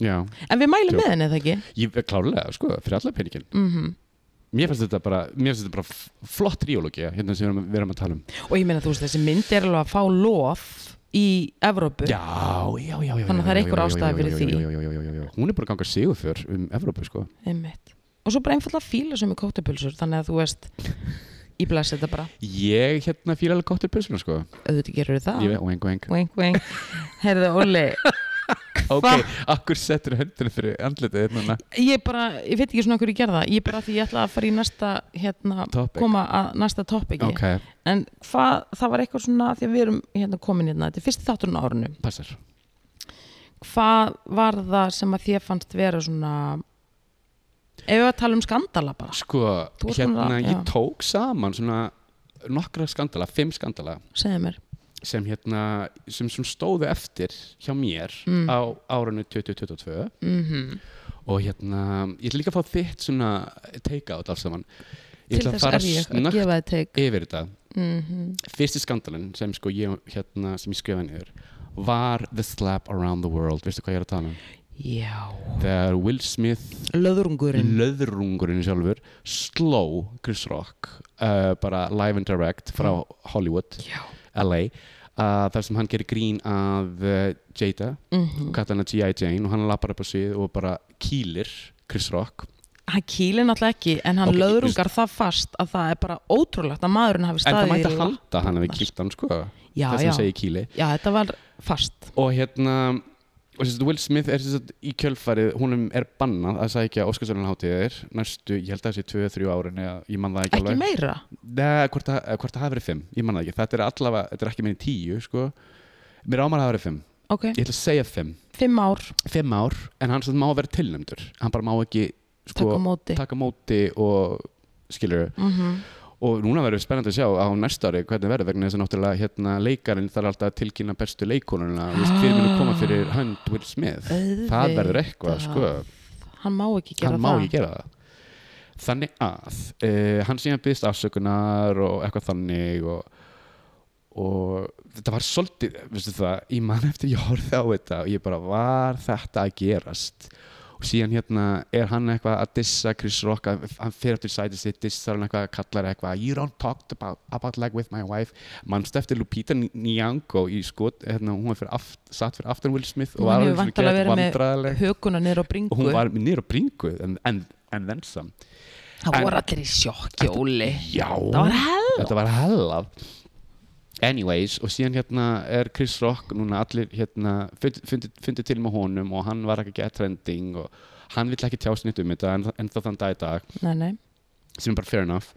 S1: Já,
S2: en við mælum
S1: Jú.
S2: með henni, eða ekki?
S1: ég klárlega, sko, fyrir allan peningin
S2: Mm
S1: Mér finnst þetta bara, mér finnst þetta bara f- flott tríológía hérna sem við erum- við erum að tala um
S2: og ég meina, þú veist, þessi mynd er alveg að fá lof í Evrópu
S1: Já, já, já, já
S2: Þannig að það er einhver ástæða fyrir því.
S1: því Hún er bara að ganga sigur fyrr um Evrópu, sko
S2: einmitt. og svo bara einfallega fíla sem í kókteipulsur þannig að þú veist, ég bless þetta bara
S1: Ég hérna fíla alveg gott til pilsuna, sko
S2: auðvitað gerur það
S1: Ég veit, oeng, oeng
S2: Wink, wink. Herðu, Óli,
S1: Ok, akkur settur höndinu fyrir andlitið hérna
S2: ég bara, ég veit ekki svona hverju ég gerða það, ég bara því ég ætla að fara í næsta hérna,
S1: Topic.
S2: koma að næsta topic
S1: Ok,
S2: en hvað, það var eitthvað svona því að við erum hérna komin hérna, þetta er fyrsti þátturinn á árinu
S1: passar
S2: hvað var það sem að þér fannst vera svona ef við að tala um skandala bara
S1: Sko,
S2: Þú ert búin að-
S1: hérna, ég
S2: já.
S1: tók saman svona nokkra skandala, fimm skandala
S2: segðu mér,
S1: sem hérna, sem, sem stóðu eftir hjá mér
S2: Mm.
S1: á árunni 2022
S2: Mhm.
S1: og hérna, ég ætla líka að fá þitt svona take out af saman Ég
S2: til
S1: ætla að
S2: þess
S1: fara
S2: er ég að
S1: snöggt
S2: gefa þið teik
S1: yfir þetta
S2: mm
S1: fyrsti skandalinn sem sko ég hérna, sem ég skrifaði niður var The Slap Around the World, veistu hvað ég er að tala um
S2: já,
S1: þegar Will Smith
S2: löðrungurinn
S1: löðrungurinn sjálfur sló Chris Rock uh, bara live and direct frá
S2: Mm.
S1: Hollywood,
S2: já,
S1: LA uh, þar sem hann gerir grín af uh, Jada,
S2: mm
S1: kallar hana G.I. Jane og hann lappar upp á svið og bara kýlir Chris Rock
S2: hann kýlir náttúrulega ekki en hann
S1: Ok,
S2: löðrungar það fast að það er bara ótrúlegt að maðurinn hafi
S1: en
S2: staðið
S1: það mætti
S2: í
S1: að halda hann að við
S2: lappirnar.
S1: kýlt hann sko
S2: já, já,
S1: það sem segir kýli
S2: já, þetta var fast
S1: og hérna og sérst, Will Smith er sérst, í kjölfarið húnum er bannað að sækja Óskarsvælunháttiðir næstu, ég held að það sé 2-3 árin eða ég man það ekki
S2: ekki
S1: alveg
S2: meira
S1: Nei, hvort það eh, hvort það hafi verið 5, ég man það ekki þetta er allavega, þetta er ekki minni 10 sko. mér ámar að hafa verið 5,
S2: ok,
S1: ég Sko, ætla að segja 5
S2: fimm ár
S1: 5 ár, en hann sérst, má vera tilnæmdur hann bara má ekki
S2: takk
S1: sko,
S2: á móti
S1: taka móti og skilur
S2: mm
S1: og núna verður spennandi að sjá á næsta ári hvernig verður vegna þess að náttúrulega hérna, leikarinn þarf alltaf að tilkynna bestu leikonuna ah. fyrir minn að koma fyrir hönd Will Smith það verður eitthvað sko.
S2: hann má ekki gera
S1: hann má
S2: það
S1: ekki gera það þannig að uh, hann síðan byggðist afsökunar og eitthvað þannig og, og þetta var svolítið veistu það, ég man eftir ég horfði á þetta og ég bara var þetta að gerast og síðan hérna er hann eitthvað að dissa Chris Rock að- hann fer eftir sætið sitt dissar hann eitthvað kallar eitthvað you don't talk about, about like with my wife mannst eftir Lupita Nyong'o í skot, hérna hún var fyrir aft, satt fyrir aftan Will Smith og
S2: Hún
S1: var
S2: hefur
S1: alveg svona
S2: væntanlega
S1: geðveikt
S2: verið með
S1: vandræðaleg
S2: höguna niður á bringu
S1: og hún var nýra á bringu en, en, en þensam
S2: það
S1: en-
S2: voru allir í sjokki Óli
S1: já,
S2: það var hell
S1: þetta var hella anyways, og síðan hérna er Chris Rock núna allir hérna fundið fundi til með honum og hann var ekki að trending og hann vill ekki tjást nýtt um þetta en, en þá þann dag í dag
S2: nei, nei.
S1: sem er bara fair enough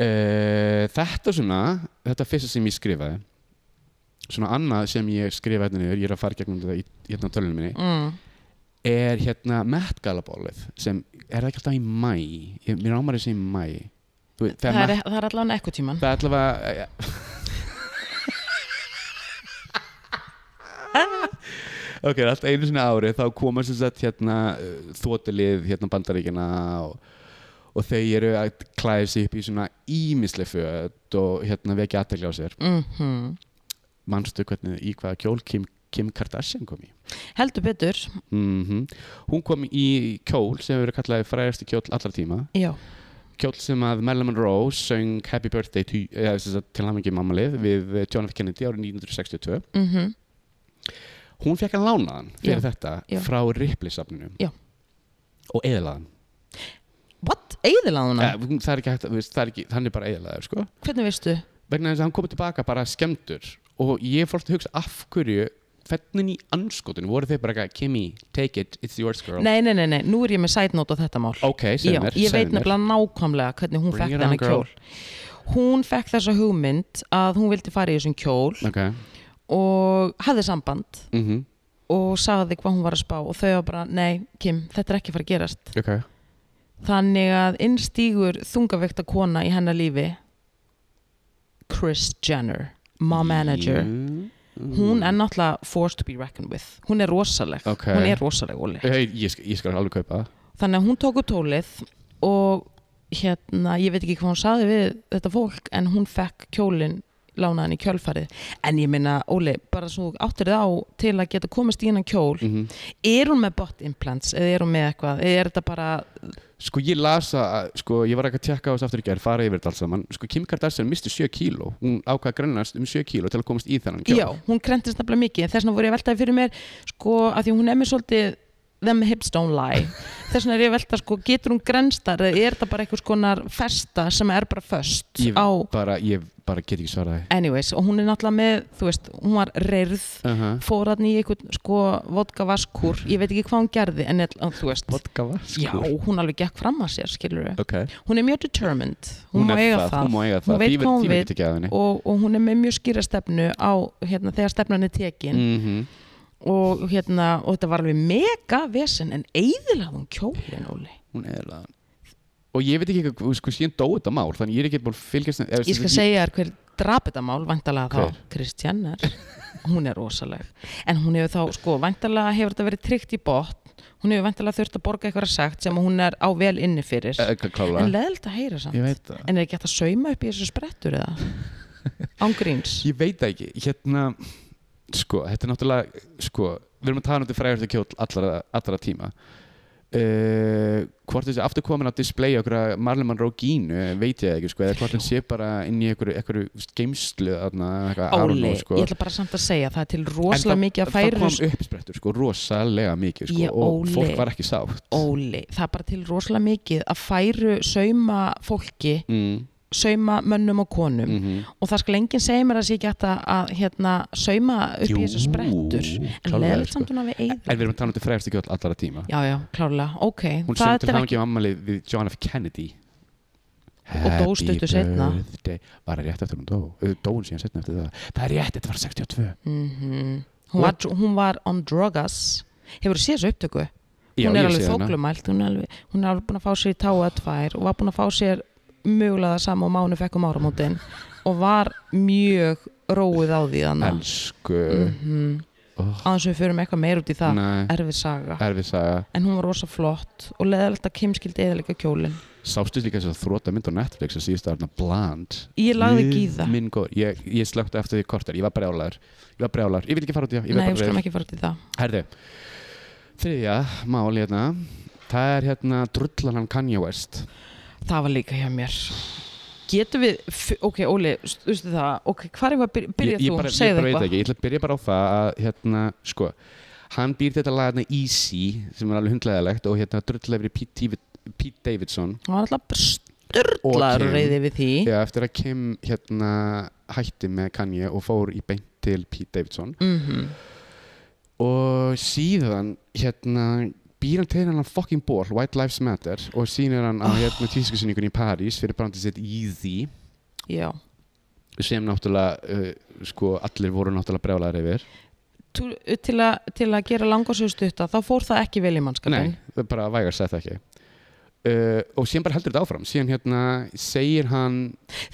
S1: uh, þetta svona þetta fyrsta sem ég skrifaði svona annað sem ég skrifaði hérna niður ég er að fara í gegnum þetta í hérna á tölunum minni
S2: Mm.
S1: er hérna Met Gala bólið sem er það ekki alltaf í mæ ég, mér ámar þessi í mæ Þú veit,
S2: það
S1: þegar
S2: er, e-
S1: Met-
S2: það er allan ekkotíman
S1: það er allavega eh, ok, alltaf einu sinni á ári þá koma sem sagt hérna þótilið hérna bandaríkina og, og þau eru að klæða sig upp í svona ímisleg föt og hérna vekja aðtekla á sér
S2: mm
S1: manstu hvernig í hvaða kjól Kim, Kim Kardashian kom í
S2: heldur betur
S1: Mhm. Hún kom í kjól sem hefur verið kallaði fræðasti kjól allra tíma
S2: já,
S1: kjól sem að Marilyn Monroe söng Happy Birthday to, eða, sem sagt, til hamingi mammalið við eh, John F. Kennedy árið 1962
S2: mm
S1: hún fekk hann lánaðan fyrir
S2: Já,
S1: þetta
S2: já.
S1: frá Ripley-safninu
S2: Já.
S1: og eðlaðan
S2: what, eigðilega hana?
S1: Eh, hún- það er ekki hægt, að- þú veist, það er ekki, hann er bara eiginlega sko.
S2: Hvernig veistu?
S1: vegna þess að hann kom tilbaka bara skemmtur og ég fór alltaf að hugsa af hverju hvernig í anskotinu voru þeir bara eitthvað Kimi, take it, it's yours girl
S2: Nei, nei, nei, nei, nú er ég með sætnót á þetta mál.
S1: ok, segðu
S2: Já,
S1: mér,
S2: ég veit
S1: segðu mér.
S2: nefnilega nákvæmlega hvernig hún
S1: Bring
S2: fekk
S1: it on,
S2: þennan
S1: girl.
S2: kjól. Hún fekk þessa hugmynd að hún vildi fara í þessum kjól
S1: ok,
S2: og hafði samband
S1: mm
S2: og sagði hvað hún var að spá og þau var bara, nei, Kim, þetta er ekki að fara að gerast.
S1: ok
S2: Þannig að innstígur þungavekta kona í hennar lífi, Kris Jenner, mom manager.
S1: Mm.
S2: Hún er náttúrulega forced to be reckoned with. Hún er rosaleg.
S1: Ok.
S2: Hún er rosaleg, Óli.
S1: Eh, Hey, ég, sk- ég skal alveg kaupa það
S2: þannig að hún tók úr tólið og hérna, ég veit ekki hvað hún saði við þetta fólk en hún fekk kjólinn lánaðan í kjölfarið en ég meina, Óli, bara svo þú áttir þá til að geta komist í hennan kjól
S1: mm
S2: er hún með bot implants eða er hún með eitthvað, eða er þetta bara
S1: Sko ég lasa, að- sko ég var ekki að tjekka á þessu aftur í gær, fara yfir þetta alls saman Sko Kim Kardashian misti 7 kíló, hún ákvað að grannast um 7 kíló til að komast í þennan kjól
S2: já, hún krentist nefnilega mikið, þess vegna voru ég að veltaði fyrir mér sko, að því hún er með svolítið them hips don't lie þess vegna er ég að velta, sko, getur hún grenstar eða er þetta bara eitthvað skonar festa sem er bara föst
S1: Ég
S2: á,
S1: bara, ég bara get ekki svarað því
S2: anyways og hún er náttúrulega með, þú veist, hún var reyrð
S1: uh -huh.
S2: fór hann í einhvern sko vodka vaskur, ég veit ekki hvað hún gerði en all, þú veist,
S1: Vodka sko. vaskur
S2: já, hún alveg gekk fram að sér, skilur við,
S1: Ok,
S2: hún er mjög determined hún, má eiga það,
S1: hún má eiga það
S2: Hún veit
S1: Því
S2: hvað hún
S1: því
S2: vill.
S1: ekki að henni
S2: Og, og hún er með mjög skýra stefnu á, hérna, þegar stefnan er tekin
S1: Mhm.
S2: og hérna, og þetta var alveg mega vesen en eiðilega hún kjólin, Óli
S1: Hún er það Og ég veit ekki, eitthvað, sko síðan dóið þetta mál Þannig ég er ekki búin að fylgjast eða,
S2: ég skal segja þér hver drap þetta mál vantalega
S1: Hver?
S2: þá Kristjannar hún er rosaleg en hún hefur þá sko vantalega hefur þetta verið tryggt í botn hún hefur vantalega þurft að borga eitthvað sagt sem hún er á vel inni fyrir
S1: Eh, hvað klála
S2: en leðilt að heyra samt
S1: Ég veit það
S2: en er ekki hægt að sauma upp í þessu sprettur eða ángríns
S1: Ég veit það ekki, hérna sko, þetta er náttúrulega sko, við erum að tala um þetta frægur kjóll allra, allra tíma uh, hvort þessi aftur komin á display okkur að Marlon Monroe gínu veit ég ekki, sko, eða hvort hann sé bara inn í einhverju, einhverju geimslu þarna, eitthvað, I don't
S2: Áli,
S1: know, sko.
S2: ég ætla bara samt að segja það er til
S1: En
S2: rosalega
S1: það-
S2: mikið að
S1: það
S2: færu
S1: kom uppsprettur, sko, rosalega mikið sko,
S2: Ég
S1: og
S2: óli.
S1: fólk var ekki sátt
S2: Óli, það er bara til rosalega mikið að færu sauma fólki
S1: mm,
S2: sauma mönnum og konum
S1: mm
S2: og það skal enginn segja mér að það sé ekki hægt að, að hérna, sauma upp
S1: Jú,
S2: í þessu sprettur en
S1: klárlega,
S2: leðilegt
S1: sko.
S2: samt hún hafi
S1: en
S2: eigið
S1: við erum að tala um þetta frægur kjóll allra tíma
S2: já, já, klárlega, ok
S1: Hún
S2: það
S1: söndi
S2: þetta er ekki,
S1: hamingjum ammalið við John F. Kennedy
S2: Og dó stuttu seinna.
S1: birthday. Var það rétt eftir hún dó? Eh, Dó hún síðan setna eftir það Það er rétt, þetta var 62
S2: mm hún, var, hún var on drugas hefur séð þessu upptöku
S1: Já,
S2: hún er
S1: ég
S2: alveg
S1: sé hana.
S2: þoklumælt hún er alveg, hún er alveg búin að fá sér í táa tvær og var búin að fá sér mögulega það sama og mánu fekk um áramótin og var mjög róið á því þannig
S1: Elsku
S2: mm -hmm.
S1: Oh.
S2: aðeins við fyrir með eitthvað meir út í það
S1: Nei,
S2: erfið saga
S1: erfið saga
S2: en hún var rosa flott og leðalegt að Kim skildi eðalega kjólinn
S1: Sástu líka þess að þróta mynd á Netflix að síðust aðarna bland
S2: Ég lagði ekki í það.
S1: Minn góður, ég, ég slökti eftir því korter, ég var brjálar Ég var brjálar, ég vil ekki fara út í það ég
S2: Nei,
S1: var
S2: við
S1: bara
S2: skulum
S1: reiður.
S2: ekki fara til það.
S1: Herðu, þriðja mál hérna Það er hérna drullan hann Kanye West
S2: Það var líka hjá mér. Getum við, f- ok, Óli, s- þú veistu það, ok, hvað er maður, byrja
S1: ég, ég
S2: þú,
S1: bara, ég
S2: segðu
S1: bara veit
S2: eitthvað.
S1: ekki, ég ætla að byrja bara á það að hérna, sko, hann býr til þetta lag hérna Easy, sem er alveg hundlegaðilegt og hérna drull yfir í Pete, David, Pete Davidson
S2: Það var alltaf styrlaður
S1: Ok.
S2: okay. reyði við því.
S1: þegar eftir að Kim hérna hætti með Kanye og fór í beint til Pete Davidson
S2: Mhm.
S1: og síðan hérna býr hann til hennan fucking ból, White Lives Matter og sýnir hann
S2: Oh.
S1: á hérna tískusynningun í París fyrir brandið sitt Easy
S2: Já.
S1: sem náttúrulega, uh, sko, allir voru náttúrulega brjálæðar yfir
S2: Tú, til, a, til að gera langarsöðu stutta, þá fór það ekki vel í mannskapin.
S1: Nei, það er bara vægar sett ekki uh, og síðan bara heldur þetta áfram síðan hérna segir hann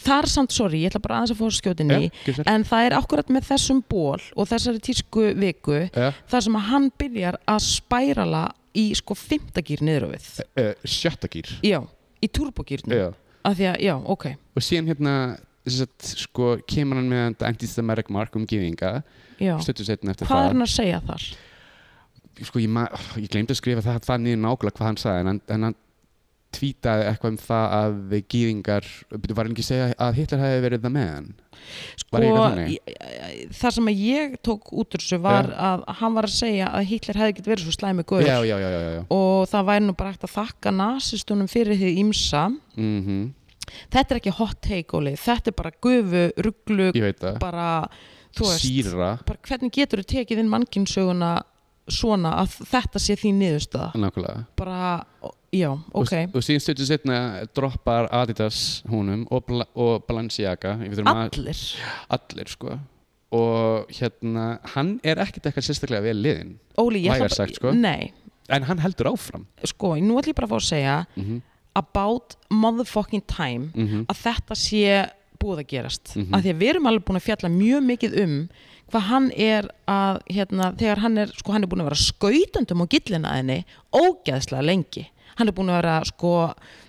S2: Þar samt, sorry, ég ætla bara aðeins að fóra skjótinni,
S1: Ja, gjörðu svo vel.
S2: en það er akkurat með þessum ból og þessari tísku viku,
S1: Ja.
S2: þar sem að hann byrjar að spærala í sko fymtagýr niður á við.
S1: uh, sjötta gýr
S2: Já, í turbogýrnum.
S1: Já.
S2: Af því að, já, ok.
S1: og síðan hérna sem sagt, sko, kemur hann með þetta antistameric mark um gýðinga
S2: Já.
S1: stöttu setna eftir
S2: Hvað er
S1: það
S2: hann að segja þar?
S1: oh, sko, ég, ma- ég glemdi að skrifa það, það niður nákvæmlega hvað hann sagði en hann, en hann tvítaði eitthvað um það að gýðingar, byrju, var hann ekki að segja að Hitler hefði verið það með hann
S2: sko,
S1: Var ég eitthvað þannig?
S2: ég- ég- það sem að ég tók út úr þessu var
S1: Já.
S2: að hann var að segja að Hitler hefði ekki verið svo slæmi guður
S1: já, já, já, já, já.
S2: og það væri nú bara hægt að þakka nasistunum fyrir því ímsa
S1: Mm
S2: þetta er ekki hot take Óli, þetta er bara gufu, rugglu
S1: ég veit það
S2: bara, þú veist
S1: síra,
S2: bara, hvernig getur þú tekið inn mannkinsöguna svona að þetta sé þín niðurstaða
S1: nákvæmlega
S2: bara, já, ok
S1: og, og síðan stötu setna droppar Adidas húnum og, Bla og Balenciaga ég veit um að
S2: allir
S1: allir sko og hérna, hann er ekkert eitthvað sérstaklega vel liðin,
S2: Óli, ég ætla
S1: Vægast sagt, sko.
S2: nei,
S1: en hann heldur áfram
S2: sko, nú ætlum ég bara að fá að segja
S1: mm -hmm.
S2: about motherfucking time að þetta sé búið að gerast
S1: Mhm.
S2: af því að við erum alveg búin að fjalla mjög mikið um hvað hann er að hérna, þegar hann er, sko, hann er búin að vera skautundum á gillina henni ógeðslega lengi hann er búin að vera sko,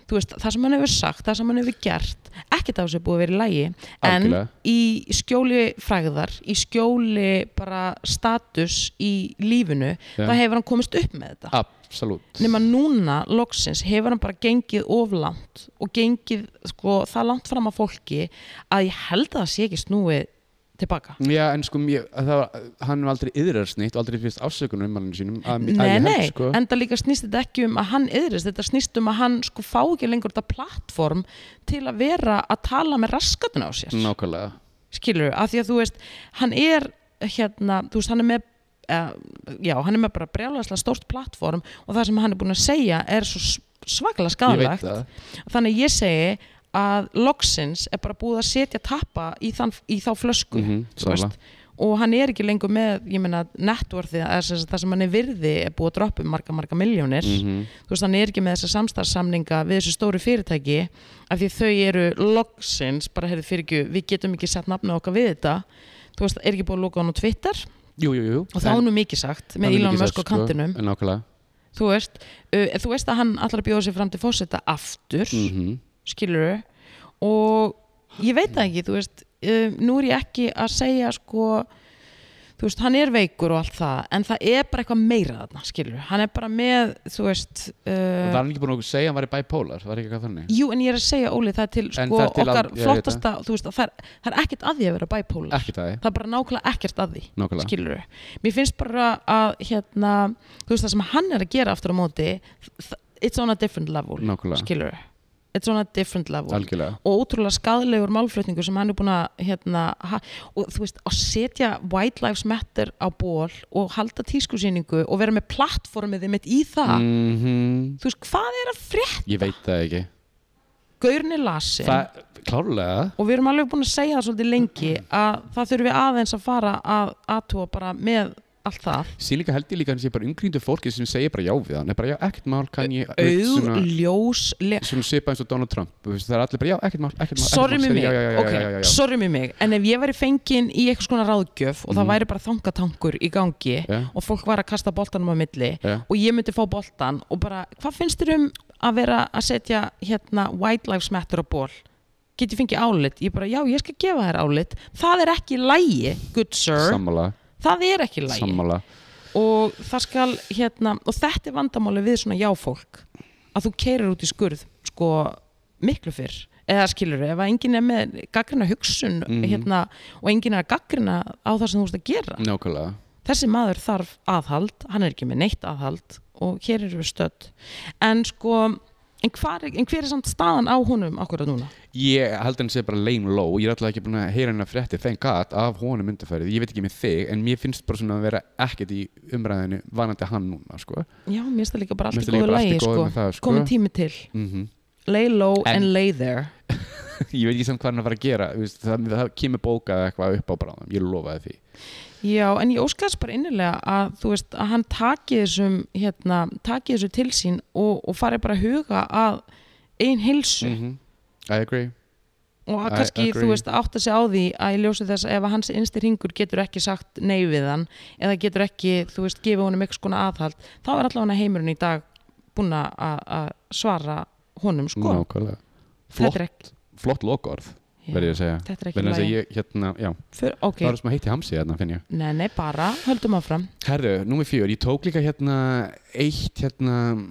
S2: þú veist, það sem hann hefur sagt það sem hann hefur gert, ekkert af þessu er búið að vera í lægi en
S1: Algjörlega.
S2: í skjóli fræðar í skjóli bara status í lífinu
S1: Já.
S2: það hefur hann komist upp með þetta
S1: absolutt
S2: nema núna loksins hefur hann bara gengið oflant og gengið sko, það langt fram að fólki að ég held að það sé ekki snúið tilbaka
S1: Já, en sko, mér, það var, hann var aldrei yðrarsnýtt og aldrei fyrst afsökunum um hann sínum að, að
S2: Nei,
S1: ég held,
S2: nei,
S1: sko.
S2: en það líka snýst þetta ekki um að hann yðrist, þetta snýst um að hann sko fá ekki lengur þetta plattform til að vera að tala með raskatuna á sér
S1: Nákvæmlega
S2: skilur, af því að þú veist hann er hérna, þú veist hann er með uh, já, hann er með bara brjálæslega stórt plattform og það sem hann er búin að segja er svo svaklega
S1: Ég veit
S2: skadalagt
S1: það.
S2: þannig að ég segi að loksins er bara búið að setja tappa í, þann, í þá flösku
S1: Mhm,
S2: þú
S1: sammála.
S2: veist. og hann er ekki lengur með ég meina networthi, það sem hann er virði er búið að droppa um marga marga miljónir
S1: Mhm.
S2: þú veist hann er ekki með þessa samstarfsamninga við þessu stóru fyrirtæki af því þau eru loksins bara heyrðu fyrir ekki, við getum ekki sett nafna okkar við þetta þú veist, er ekki búið að loka hann á Twitter
S1: Jú, jú, jú
S2: og þá er nú mikið sagt sko. með Elon Musk á kantinum
S1: Nákvæmlega
S2: þú veist, uh, þú veist að hann allar að bjóða sér fram til fósetta aftur
S1: mm
S2: skilur og ég veit það ekki, þú veist um, nú er ég ekki að segja sko þú veist, hann er veikur og allt það en það er bara eitthvað meira þarna, skilur hann er bara með, þú veist uh,
S1: Var hann ekki búin að segja að hann væri bipolar? Var ekki eitthvað þannig?
S2: Jú, en ég er að segja, Óli, það er til,
S1: En
S2: sko,
S1: það er til
S2: okkar
S1: að- ég veit
S2: flottasta, þú veist, það er, það er ekkert að því að vera bæpólar.
S1: Ekki það, eh?
S2: Það er bara nákvæmlega ekkert að því,
S1: nákvæmlega
S2: skilur við. Mér finnst bara að, hérna, þú veist, það sem hann er að gera aftur á móti, þ- it's on a different level,
S1: Nákvæmlega,
S2: skilur við. It's on a different level.
S1: algjörlega
S2: Og ótrúlega skadlegur málflutningur sem hann er búin að, hérna, ha, og þú veist, að setja White Lives Matter á ból og halda tískusýningu og vera með plattformið þið mitt í það.
S1: Mhm,
S2: Þú veist, hvað er að frétt?
S1: Ég veit það ekki
S2: Gaurni lasin.
S1: Það, Mm. klárlega
S2: og við erum alveg búin að segja það svolítið lengi að það þurfum við aðeins að fara að aðtúa bara með allt það
S1: Síðan líka held ég líka að hann sé bara umgríndu fólki sem segir bara já við hann Er bara já, ekkert mál kann ég þú veist,
S2: auð,
S1: svona-
S2: ljós, le...
S1: Svona svipa eins og Donald Trump þú veist, Það er allir bara já, ekkert mál, ekkert mál ekkert
S2: sorry
S1: mál,
S2: með
S1: segir
S2: mig
S1: já, já, já, já,
S2: ok,
S1: já, já, já.
S2: sorry með mig en ef ég væri fengin í eitthvað svona ráðgjöf og það væri bara þangatangur í gangi
S1: Mm. Já.
S2: og fólk var að kasta boltanum á milli
S1: Já.
S2: og ég myndi fá boltan og bara, hvað finnst þér um að vera að setja hérna White Lives Matter á ból get ég fengið álit, ég bara, já, ég skal gefa þér álit það er ekki lægi, good sir
S1: Sammála,
S2: það er ekki lægi
S1: sammála
S2: og það skal hérna og þetta er vandamáli við svona jáfólk að þú keirir út í skurð sko miklu fyrr eða skilur ef að enginn er með gaggrina hugsun
S1: Mhm.
S2: hérna, og enginn er að gaggrina á það sem þú veist að gera
S1: Nákvæmlega
S2: þessi maður þarf aðhald hann er ekki með neitt aðhald og hér eru við stödd en sko en, hvar, en hver er samt staðan á honum akkurat núna
S1: Ég held hann sé bara lame low Ég er alltaf ekki búin að heyra hennar frétti Thank God af honum undarfærið Ég veit ekki með þig En mér finnst bara svona að vera ekkert í umræðinu Vanandi hann núna sko
S2: já, mér finnst það líka bara allt
S1: Mér
S2: í
S1: finnst líka
S2: góðu
S1: bara allt í
S2: lægi
S1: góðu
S2: sko.
S1: með það, sko.
S2: komið tími til
S1: mm
S2: lay low
S1: En-
S2: and lay there
S1: Ég veit ekki samt hvað hann er að fara að gera þú veist, Það, það kemur bókað eitthvað upp á bráðum Ég lofaði því
S2: Já, en ég óskaðis bara innilega að þú veist að hann taki þessum hérna, taki þessu til sín og, og fari bara að huga að ein heilsu
S1: -hmm. I agree
S2: og að
S1: I
S2: kannski,
S1: agree.
S2: þú veist, átta sig á því að ég ljósi þess að ef hans innsti ringur getur ekki sagt nei við hann eða getur ekki, þú veist, gefið honum eitthvað skona aðhald, þá er allavega heimurinn í dag búin að- að svara honum, sko,
S1: Nákvæmlega
S2: þetta
S1: Flott,
S2: er ekki
S1: flott lokorð verði
S2: já,
S1: ég að segja
S2: þetta er ekki
S1: Verði að
S2: lægi,
S1: ég, hérna, já
S2: För- ok,
S1: Það var sem að heiti hamsi hérna, finn ég
S2: nei, nei, bara höldum áfram
S1: Herðu, númer fjör, ég tók líka hérna eitt hérna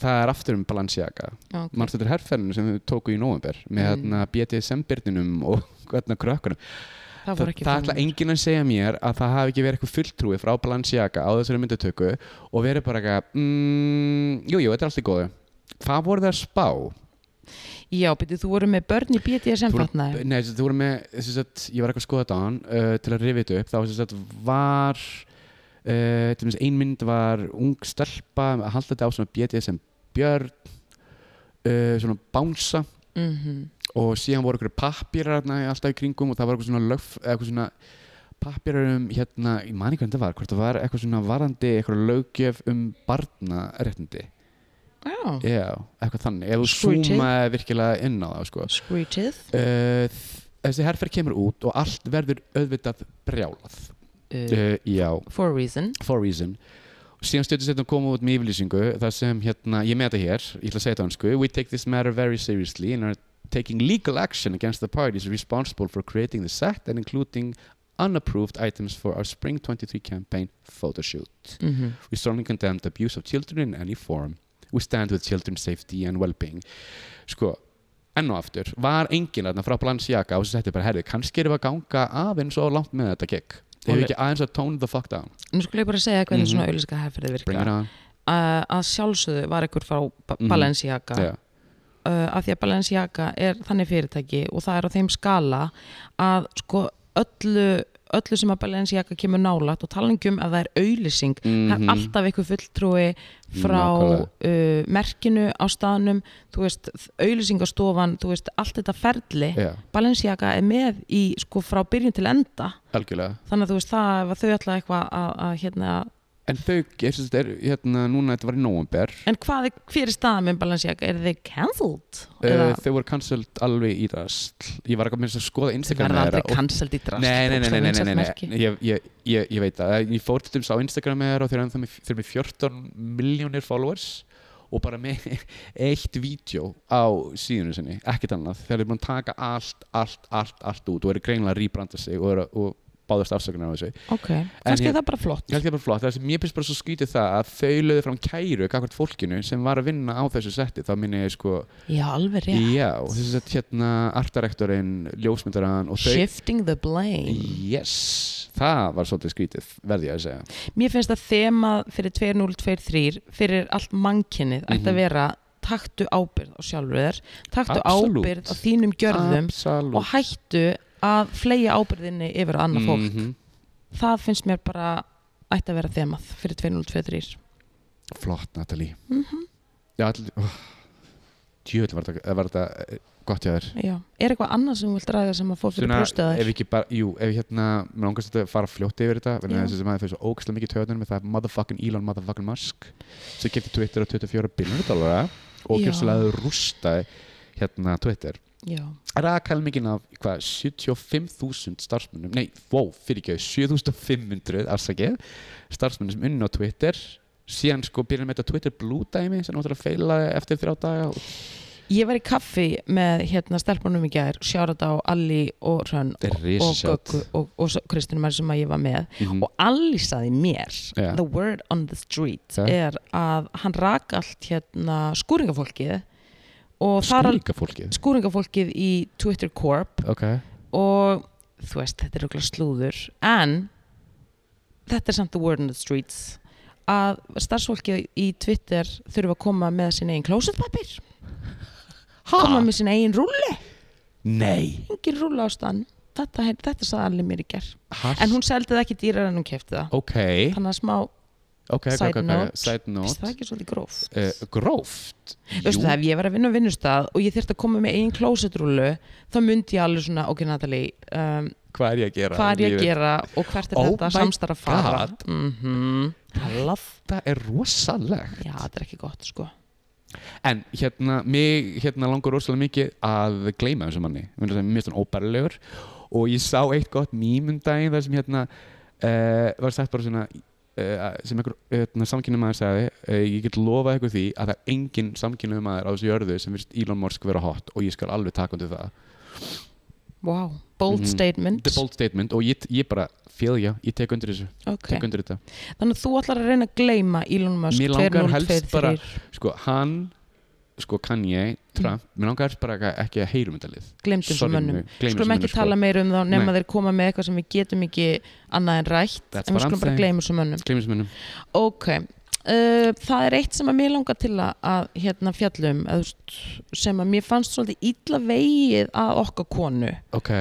S1: það er aftur um Balenciaga
S2: Já, ok.
S1: mannstu þetta herrferðinu sem þau tóku í nóvember með
S2: Mm.
S1: hérna BDSM-byrninum og hérna krökkunum
S2: það
S1: það,
S2: voru ekki
S1: það ætla
S2: feminine.
S1: enginn að segja mér að það hafi ekki verið eitthvað fulltrúi frá Balenciaga á þessari myndatöku og verið bara eitthvað mm, jú, jú, þetta er allt í góðu hvað voru það að spá?
S2: Já, byrju, þú voru með börn í BDSM
S1: Þú voru-
S2: fatnaði
S1: Nei, þú voru með, sem sagt, ég var eitthvað að skoða þetta á hann uh, til að rifið þetta upp, þá sem sagt, var uh, til dæmis ein mynd var ung stelpa að halda þetta á svona BDSM björn uh, svona bánsa
S2: mm
S1: og síðan voru einhverju pappýrar alltaf í kringum og það var eitthvað svona löf, eða eitthvað svona pappýrar um hérna, ég man ekki hvernig það var hvort það var eitthvað svona varandi eitthvað löggjöf um barnaréttindi
S2: Já,
S1: já, eitthvað þannig, ef þú
S2: Screeching.
S1: súmaði virkilega inn á það sko.
S2: screechið
S1: uh, þ- þessi herrferð kemur út og allt verður auðvitað brjálað
S2: uh,
S1: uh, já,
S2: For a reason
S1: for a reason og síðan stjórnum setjum komum út með yfirlýsingu þar sem hérna, ég er með þetta hér, ég ætla að segja þetta á hansku we take this matter very seriously and are taking legal action against the parties responsible for creating the set and including unapproved items for our spring 23 campaign photoshoot
S2: mm
S1: We strongly condemn the abuse of children in any form. We stand with children's safety and well-being. Sko, enn og aftur, var enginn þarna frá Balenciaga og sem þetta bara, herðu, kannski erum við að ganga aðeins og langt með þetta gig. Ef við
S2: Óli.
S1: ekki aðeins að tone the fuck down.
S2: Nú skulle ég bara segja hvernig
S1: Mhm.
S2: svona auðlýska herrferði virka
S1: Bring it on.
S2: uh, að sjálfsögðu var ykkur frá ba
S1: Mhm.
S2: Balenciaga
S1: Yeah.
S2: uh, af því að Balenciaga er þannig fyrirtæki og það er á þeim skala að sko öllu öllu sem að Balenciaga kemur nálat og talningum að það er auðlýsing
S1: Mhm.
S2: það er alltaf einhver fulltrúi frá uh, merkinu á staðnum þú veist, auðlýsingastofan þú veist, allt þetta ferli
S1: Já,
S2: Balenciaga er með í sko frá byrjun til enda
S1: algjörlega.
S2: þannig að þú veist það ef að þau ætla eitthvað að, að hérna
S1: En þau, ég syns þetta er, hérna, núna þetta var í november.
S2: En hvað er, hver er staðan með Balenciaga? Er þið cancelled?
S1: Uh, þau voru cancelled alveg í rast. Ég var ekki að minna að skoða
S2: þið
S1: Instagram
S2: verða
S1: þeirra
S2: aldrei cancelled í drast?
S1: Nei, nei, nei, nei, nei, nei, nei,
S2: bókstaflega
S1: nei. Ég, ég, ég, ég veit það Eh, Ég fór til dæmis á Instagram með þér og þeir eru ennþá með- þeir eru með 14 miljónir followers og bara með eitt vídeo á síðunum sinni, ekkert annað þeir eru búin að taka allt, allt, allt, allt út og eru greinlega að rýbranda sig og, eru, og báðast afsökunar á þessu
S2: marki. Ok, kannski
S1: ég-
S2: er það bara flott.
S1: Ég held ég bara flott, það sem ég finnst bara svo skrítið það að þau lögðu fram kæru kakvart fólkinu sem var að vinna á þessu setti, þá minni ég sko
S2: Já, alveg rétt.
S1: Já, þess að hérna artarektorinn, ljósmyndarann og þau
S2: Shifting the blame.
S1: Yes, það var svolítið skrítið verði ég að segja
S2: Mér finnst að þema fyrir 2023 fyrir allt mannkynnið ætti
S1: Mhm.
S2: að vera taktu ábyrgð á sjálfur þér, taktu
S1: Absolút.
S2: ábyrgð á þínum gjörðum
S1: Absolutt
S2: og hættu að fleja ábyrðinni yfir á annað
S1: Mhm.
S2: fólk. Það finnst mér bara ætti að vera þemað fyrir 2023.
S1: Flott Natalie
S2: Mhm.
S1: Já, allir oh. Djöfull var þetta- var þetta eh, gott hjá þér
S2: Já, er eitthvað annað sem þú vilt ræða sem að fór fyrir brjóstið á
S1: ef
S2: þér?
S1: ekki bara, jú, ef hérna mér langast að fara fljótt yfir þetta vegna
S2: Já.
S1: þess að maður fyrir svo ógæslega mikið töðunum með það er motherfucking Elon motherfucking Musk sem getur Twitter á 24 biljónu dólara og
S2: Já.
S1: gjörslega rústa hérna Twitter
S2: Já,
S1: rakal mikinn af hvað, 75.000 starfsmunum, nei, wow, fyrir ekki 7500 afsakið starfsmunum sem unni á Twitter síðan sko byrjum með þetta Twitter Blue dæmi sem náttúrulega feilaði eftir þrjá daga og
S2: ég var í kaffi með hérna stelpunum í gær, Sjárat á Alli og Hrönn
S1: þetta er
S2: og
S1: risasjátt
S2: Göggu og, og Kristinn Mær sem að ég var með
S1: Mhm.
S2: og Alli saði mér
S1: Já.
S2: the word on the street
S1: Já.
S2: er að hann rak allt hérna skúringafólkið og þar al-
S1: skúlíka fólkið
S2: skúringafólkið í Twitter Corp
S1: ok,
S2: og þú veist, þetta er okkur slúður en þetta er samt the word on the streets að starfsfólkið í Twitter þurfa að koma með sin eigin klósetpapir koma með sin eigin rúll
S1: nei
S2: engin rúla ástæðan þetta, þetta sagði allir mér í ger
S1: Hart.
S2: en hún seldi það ekki dýrar en hún kefti það
S1: ok,
S2: þannig að smá,
S1: ok, ok,
S2: Side
S1: ok, ok
S2: note.
S1: side
S2: veist það
S1: note
S2: ekki svolítið gróft
S1: Uh, gróft
S2: veistu það, ef ég var að vinna á vinnustað og ég þyrfti að koma með eigin klósetrúlu þá myndi ég alveg svona, ok Natalie um,
S1: hvað er ég að gera
S2: hvað er ég að
S1: Lífið-
S2: gera og hvert er
S1: Oh
S2: þetta
S1: my
S2: samstarf að fara
S1: God.
S2: mm talað,
S1: þetta er rosalegt
S2: já þetta er ekki gott sko
S1: En hérna, mig hérna langar rosalega mikið að gleyma þessum manni Mér finnst hann- mér finnst hann óbærilegur og ég sá eitt gott mýmundaginn þar sem hérna uh, var sagt bara svona uh, sem einhver hérna, samkynum maður sagði uh, ég get lofað ykkur því að það er engin samkynum maður á þessu jörðu sem finnst Elon Musk vera hot og ég skal alveg taka undir það
S2: wow. bold
S1: Mhm.
S2: statement
S1: Þetta er bold statement og ég, ég bara fjöl já, ég tek undir þessu,
S2: Ok.
S1: tek undir þetta
S2: þannig að þú ætlar að reyna að gleyma Elon Musk
S1: Mér langar
S2: 2023.
S1: helst bara- sko hann, sko Kanye Trump,
S2: Mm.
S1: mér langar bara ekki að heyrum þetta lið
S2: glemdum svo
S1: Sorry,
S2: mönnum
S1: nei, gleymum
S2: skulum
S1: þessum
S2: ekki
S1: mönnum,
S2: tala
S1: sko.
S2: meira um þá nema
S1: Nei.
S2: þeir koma með eitthvað sem við getum ekki annað en rætt
S1: That's
S2: en við
S1: what I'm
S2: skulum bara
S1: saying.
S2: gleyma svo mönnum
S1: Gleimum sem hennum
S2: ok, uh, það er eitt sem að mér langar til að, að hérna fjallum eða, þú veist, sem að mér fannst svolítið illa vegið að okkar konu
S1: Ok,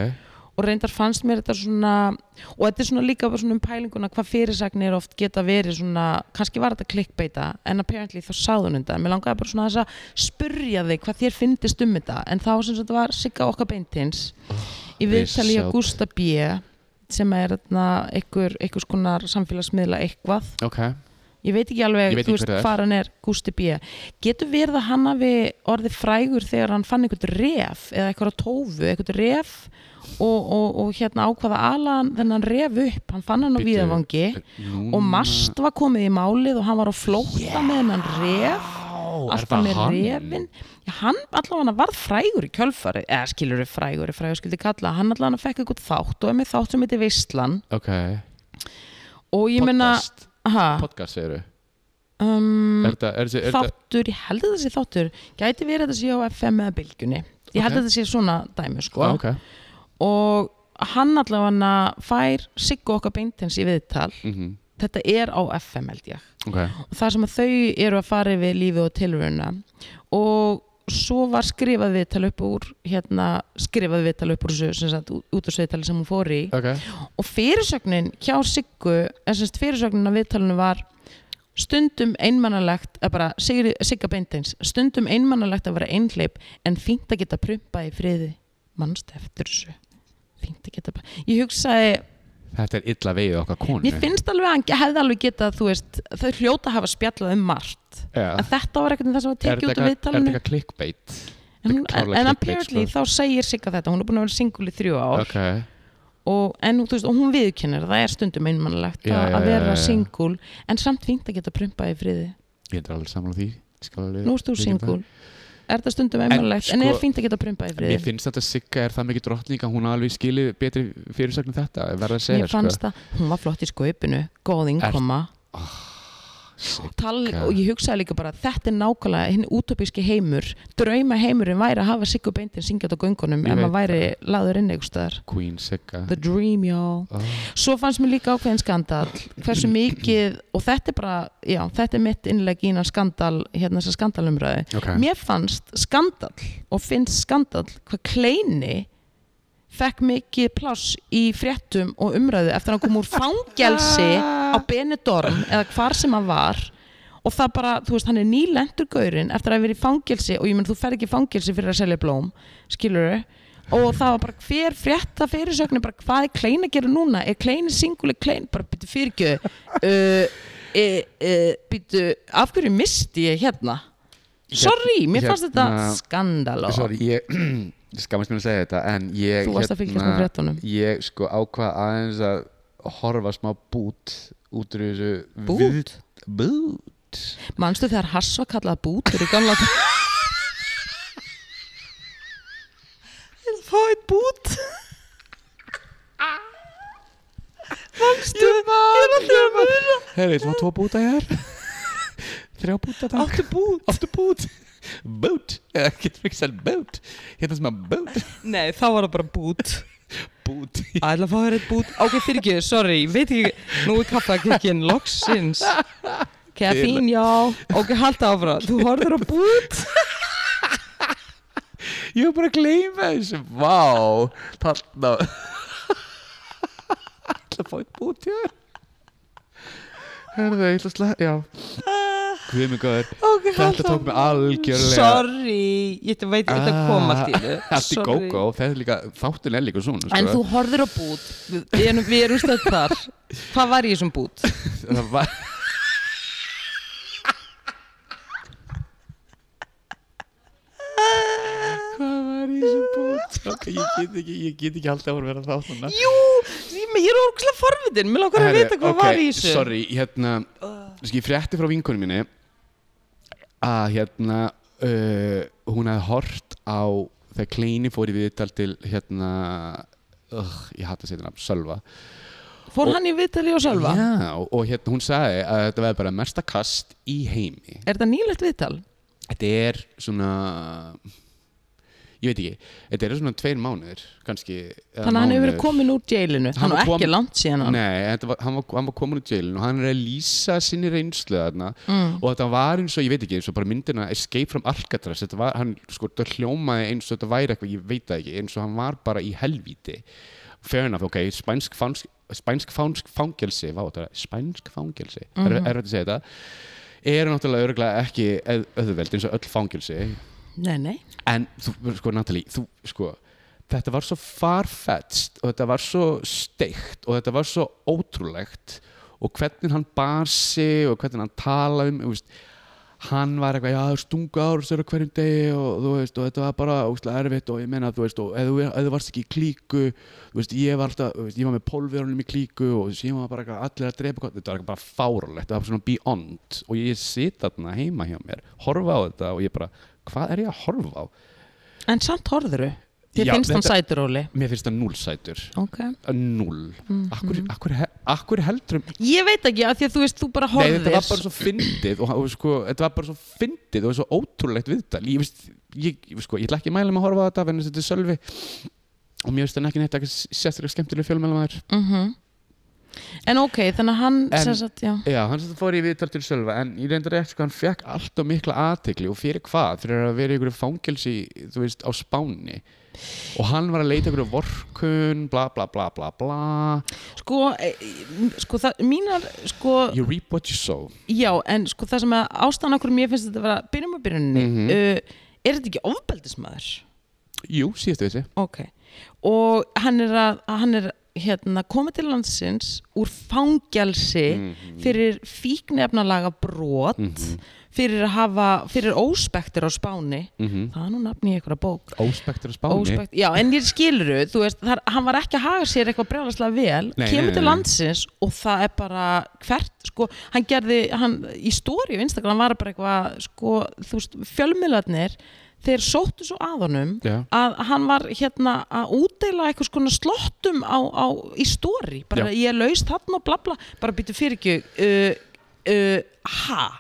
S2: og reyndar fannst mér þetta svona og þetta er svona líka bara svona um pælinguna hvað fyrirsagnir oft geta verið svona kannski var þetta klikkbeita en apparently þá sáðun þetta, en mér langaði bara svona þess að spurja þig hvað þér fyndist um þetta en þá sem þetta var Sigga okkar beintins í viðtali hjá
S1: shout.
S2: Gústa B sem er þarna einhver, einhvers konar samfélagsmiðla eitthvað
S1: ok
S2: ég veit ekki alveg,
S1: Ég veit
S2: þú
S1: ekki hver
S2: veist,
S1: það er.
S2: hvað hann er Gústi B. Getur verið að hann hafi orðið frægur þegar hann fann einhvern ref eða eitthvað tófu, einhvern ref og, og, og hérna ákvaða alan þennan ref upp, hann fann hann á
S1: Bíddu,
S2: viðavangi
S1: Núna-
S2: og mast var komið í málið og hann var á flóta með hennan ref
S1: Ó, er
S2: alltaf
S1: það
S2: með
S1: hann?
S2: refin Já, hann allavega varð frægur í kjölfari eða skilur við frægur, frægur skildi kalla hann allavega fekk eitthvað þátt og er með þátt sem heitir Veistlan
S1: Ok,
S2: og ég meina Ah.
S1: podcast,
S2: ha,
S1: podcast segirðu
S2: um,
S1: Er þetta, er þetta, er þetta
S2: þáttur, ég held að það sé þáttur gæti verið að það sé á FM eða bylgjunni ég held
S1: Ok.
S2: að það sé svona dæmi sko
S1: Ah, ok
S2: og hann allavega fær Siggu okkar beintins í viðtal
S1: Mhm.
S2: þetta er á FM held ég
S1: Ok,
S2: og það sem að þau eru að fara yfir lífið og tilvöruna og svo var skrifað viðtal upp úr hérna, skrifað viðtal upp úr þessu sem sagt, út af sveitali sem hún fór í
S1: ok
S2: og fyrirsögnin hjá Siggu en semst fyrirsögnin af viðtalinu var stundum einmannalegt að bara Sigri, Sigga Beintins stundum einmannalegt að vera einhleip en fínt að geta prumpað í friði mannst eftir þessu fínt að geta ég hugsaði,
S1: Þetta er illa vegið okkar konu
S2: mér finnst alveg að hann hefði alveg getað, þú veist, þau hljóta að hafa spjallað um margt
S1: ja.
S2: en þetta var ekkert um það sem var tekið út úr
S1: Ah. Er
S2: viðtalinu
S1: þetta eitthvað clickbait?
S2: en, hún-
S1: klárlega sko?
S2: en
S1: clickbait,
S2: apparently þá segir Sigga þetta, hún er búin að vera single í þrjú ár
S1: Ok,
S2: og, en, þú veist, og hún viðkennir það er stundum einmannlegt
S1: Já,
S2: að
S1: já,
S2: að
S1: já,
S2: vera
S1: já, já.
S2: singul en samt fínt að geta prumpað í friði
S1: ég er alveg samlega því Skal alveg-
S2: nú erst þú
S1: við getum
S2: singul er það stundum
S1: En
S2: einmannlegt en,
S1: sko-
S2: er fínt að geta prumpað í
S1: það. Mér
S2: friði
S1: finnst þetta Sigga er það mikið drottning að hún hafi alveg skilið betri fyrirsögn en þetta ég verð að segja
S2: mér fannst það, hún var flott í skaupinu góð inkoma
S1: sko.
S2: Tal, og ég hugsaði líka bara þetta er nákvæmlega hinn útopíski heimur drauma heimurinn væri að hafa Siggu Beintin syngjað á göngunum
S1: Ég
S2: ef maður
S1: veit
S2: væri laður inn einhvers staðar
S1: Queen Sigga
S2: the dream y'all
S1: Ah,
S2: Svo fannst mér líka ákveðin skandal hversu mikið, og þetta er bara já, þetta er mitt innleg í innan skandal hérna þessa skandalumræði
S1: Ok,
S2: Mér fannst skandal og finnst skandal hvað Kleini fekk mikið pláss í fréttum og umræðu eftir að hann kom úr fangelsi á Benidorm eða hvar sem hann var og það bara, þú veist, hann er nýlendur gaurinn eftir að hafa verið í fangelsi og ég menn þú fer ekki í fangelsi fyrir að selja blóm, skilur og það var bara hver frétta fyrirsögnin bara hvað er Klein að gera núna er Klein singul, er Klein, bara byttu fyrirgjöð uh, e, e, byttu af hverju misti ég hérna sorry, mér fannst þetta
S1: Hérna-
S2: skandal og
S1: Sorry, ég skammast mér að segja þetta en ég hérna,
S2: Þú varst að fylgjast með fréttunum.
S1: Ég sko ákvað aðeins að horfa smá bút út úr þessu
S2: Bút?
S1: við- Bút
S2: manstu þegar Hass var kallað bútur í gamla daga? Ég vil fá eitt bút manstu ég er alltaf að vera
S1: Herri, það var tvo búta hér Þrjá búta takk
S2: Áttu bút?
S1: Áttu bút Bút Eða Getur við ekki sæl bút Hérna sem að bút
S2: nei, þá var það bara bút
S1: Bút
S2: að ætla að fá þér eitt bút ok, fyrir ekki, sorry, ég veit ekki nú er kaffakikkin loksins Kathín, já ok, halda áfram, þú horfður á bút
S1: Ég var bara að gleyma þessu Vá Þarna Ætla að fá eitt bút hér Herðu, ég ætla að slæ Já Guð mig góður
S2: ok,
S1: Þetta tók mig algjörlega Ah,
S2: Sorry, ég veit ekki þetta kom allt í einu.
S1: Allt í
S2: Sorry.
S1: gógó Þetta er líka Þáttin er líka svona
S2: En þú
S1: sko.
S2: horfður á bút Við, við erum, við erum stödd þar Hvað var ég sem bút?
S1: Það var Hvað var í þessu bút? Strákar, Ég get ekki, ég get ekki haldið að voru vera þátt núna
S2: Jú, ég, ég er orðslega forvitin Mér langar að
S1: Herri,
S2: vita hvað
S1: ok,
S2: var í þessu
S1: Sorry, hérna, uh. ég frétti frá vinkunum minni að hérna uh, hún hefði hort á þegar Kleini fór í viðtal til hérna uh, ég hatt að setja nafn, Sölva
S2: Fór
S1: Og-
S2: hann í viðtali og sölva?
S1: Já, og, og hérna hún sagði að þetta verði bara mesta kast í heimi
S2: Er þetta nýlegt viðtal?
S1: Þetta er svona ég veit ekki, þetta er svona tveir mánuðir kannski
S2: Þannig að
S1: eða
S2: hann hefur
S1: mánuður.
S2: verið komin úr jailinu
S1: Hann
S2: Hann var
S1: kom-
S2: ekki langt síðan hann
S1: Nei, þetta var, hann, var, hann var komin úr jailin og hann er að lýsa sinni reynslu þarna
S2: Mm.
S1: og þetta var eins og, ég veit ekki, eins og bara myndina Escape from Alcatraz, þetta var, hann sko, þetta hljómaði eins og þetta væri eitthvað, ég veit það ekki eins og hann var bara í helvíti fair enough, ok, spænsk fánsk spænsk fánsk fangelsi, vá, þetta er spænsk fangelsi, mm -hmm. er, er þetta að segja þetta eru náttúrulega örgulega ekki eð- auðveld eins og öll fangelsi
S2: Nei, nei
S1: en þú, sko Natalie þú, sko, þetta var svo farfetched og þetta var svo steikt og þetta var svo ótrúlegt og hvernig hann bar sig og hvernig hann talaði um þú veist, hann var eitthvað, já, stunga árusur á hverjum degi og þú veist, og þetta var bara óslega erfitt og ég meina, þú veist, og ef þú, ef þú varst ekki í klíku, þú veist, ég var alltaf þú veist, ég var með pólverunum í klíku og síðan var bara eitthvað, allir að drepa, hvort- þetta var eitthvað bara fárulegt þetta var svona beyond og ég sit þarna heima hjá mér, horfa á þetta og ég bara, hvað er ég að horfa á?
S2: En samt horðuru Þér
S1: Já,
S2: finnst hann
S1: þetta-
S2: sæturóli
S1: Mér finnst það núlsætur
S2: Ok mm,
S1: Núl Akkur, akkur, he- akkur heldur um
S2: Ég veit ekki að því að þú veist þú bara
S1: Nei,
S2: horðir
S1: þetta var bara svo fyndið og, og sko, þetta var bara svo fyndið og svo ótrúlegt viðtal ég, veist, ég, ég, sko, ég ætla ekki að mæla með að horfa á þetta en þetta er sölvi og mér finnst hann ekki neitt ekki sérstaklega skemmtileg fjölmælamæður
S2: Mhm. En ok, þannig að hann
S1: En-
S2: sem sagt, já
S1: Já, hann sem þetta fór í viðtal til sölva en ég reyndar ekki, sko, hann fekk alltaf mikla aðtekli og fyrir hvað, fyrir að vera í ykkur fangelsi, þú veist, á Spáni og hann var að leita ykkur vorkun, bla bla bla bla bla
S2: Sko, e, e, sko það, mínar, sko
S1: You reap what you sow
S2: Já, en sko það sem að ástæðan okkur mér finnst þetta að vera byrjum að byrjunni
S1: Mhm.
S2: uh, Er þetta ekki ofbeldismæður?
S1: Jú, síðast við þessi
S2: Ok, og hann er að hann er hérna komið til landsins úr fangelsi
S1: Mhm.
S2: fyrir fíknefnalaga brot fyrir að hafa, fyrir óspektir á Spáni það er nú nafni í einhverja bók
S1: Óspektur að Mhm. spáni
S2: Mhm. Óspekt, já, en ég skiluru, þú veist, þar, hann var ekki að haga sér eitthvað brjálaslega vel,
S1: Nei, nei,
S2: kemur
S1: nei,
S2: til
S1: nei.
S2: landsins og það er bara hvert, sko, hann gerði, hann, í stóri á Instagram var bara eitthvað, sko, þú veist, fjölmiðlarnir, þeir sóttu svo að honum
S1: Já.
S2: að hann var hérna að útdeila eitthvað skona slottum á, á, í stóri, bara
S1: Já.
S2: ég laust þarna og bla bla, bara býtu fyrir ekki, uh, uh, ha?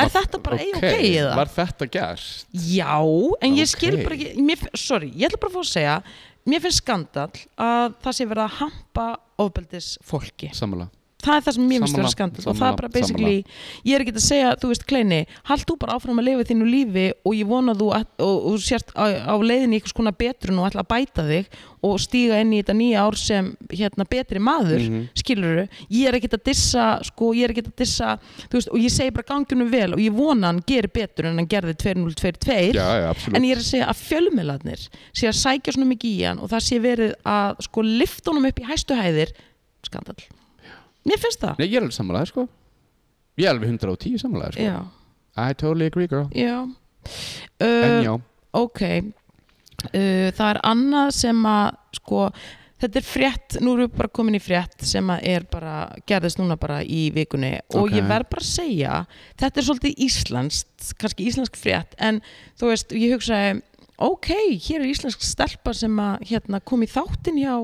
S2: Er þetta bara okay.
S1: Ok,
S2: A-OK eða?
S1: Var þetta gert?
S2: Já, en ég skil
S1: Ókei.
S2: bara ekki mér, fin- Sorry, ég ætla bara að fá að segja Mér finnst skandall að það sé verið að hampa ofbeldis fólki
S1: Sammála
S2: Það er það sem mér finnst
S1: Sammála,
S2: verið skandall og það er bara
S1: sammála,
S2: basically Ég er ekki að segja, þú veist, Kleini Hald þú bara áfram að lifa þínu lífi og ég vona að þú að, og, og sért á, á leiðinni í einhvers konar betrun og ætla að bæta þig og stíga inn í þetta nýja ár sem hérna betri maður, mm
S1: Mhm.
S2: Ég er ekki að dissa, sko, ég er ekki að dissa þú veist, og ég segi bara gangjunum vel og ég vona að hann gerir betur en hann gerði 2022
S1: Já, já, absolutt
S2: en ég er að segja að fjölmiðlarnir sé að sækja svona mikið í hann og það sé verið að sko lifta honum upp í hæstu hæðir skandal mér finnst það
S1: Nei, ég er alveg sammála, sko Ég er alveg 110 sammála, sko
S2: já,
S1: I totally agree, girl
S2: já
S1: En
S2: uh,
S1: já,
S2: ok uh, það er annað sem að sko þetta er frétt, nú erum við bara komin í frétt sem að er bara, gerðist núna bara í vikunni og
S1: Ok.
S2: ég verð bara að segja þetta er svolítið íslenskt kannski íslensk frétt, en þú veist ég hugsaði, ok, hér er íslensk stelpa sem að hérna kom í þáttin hjá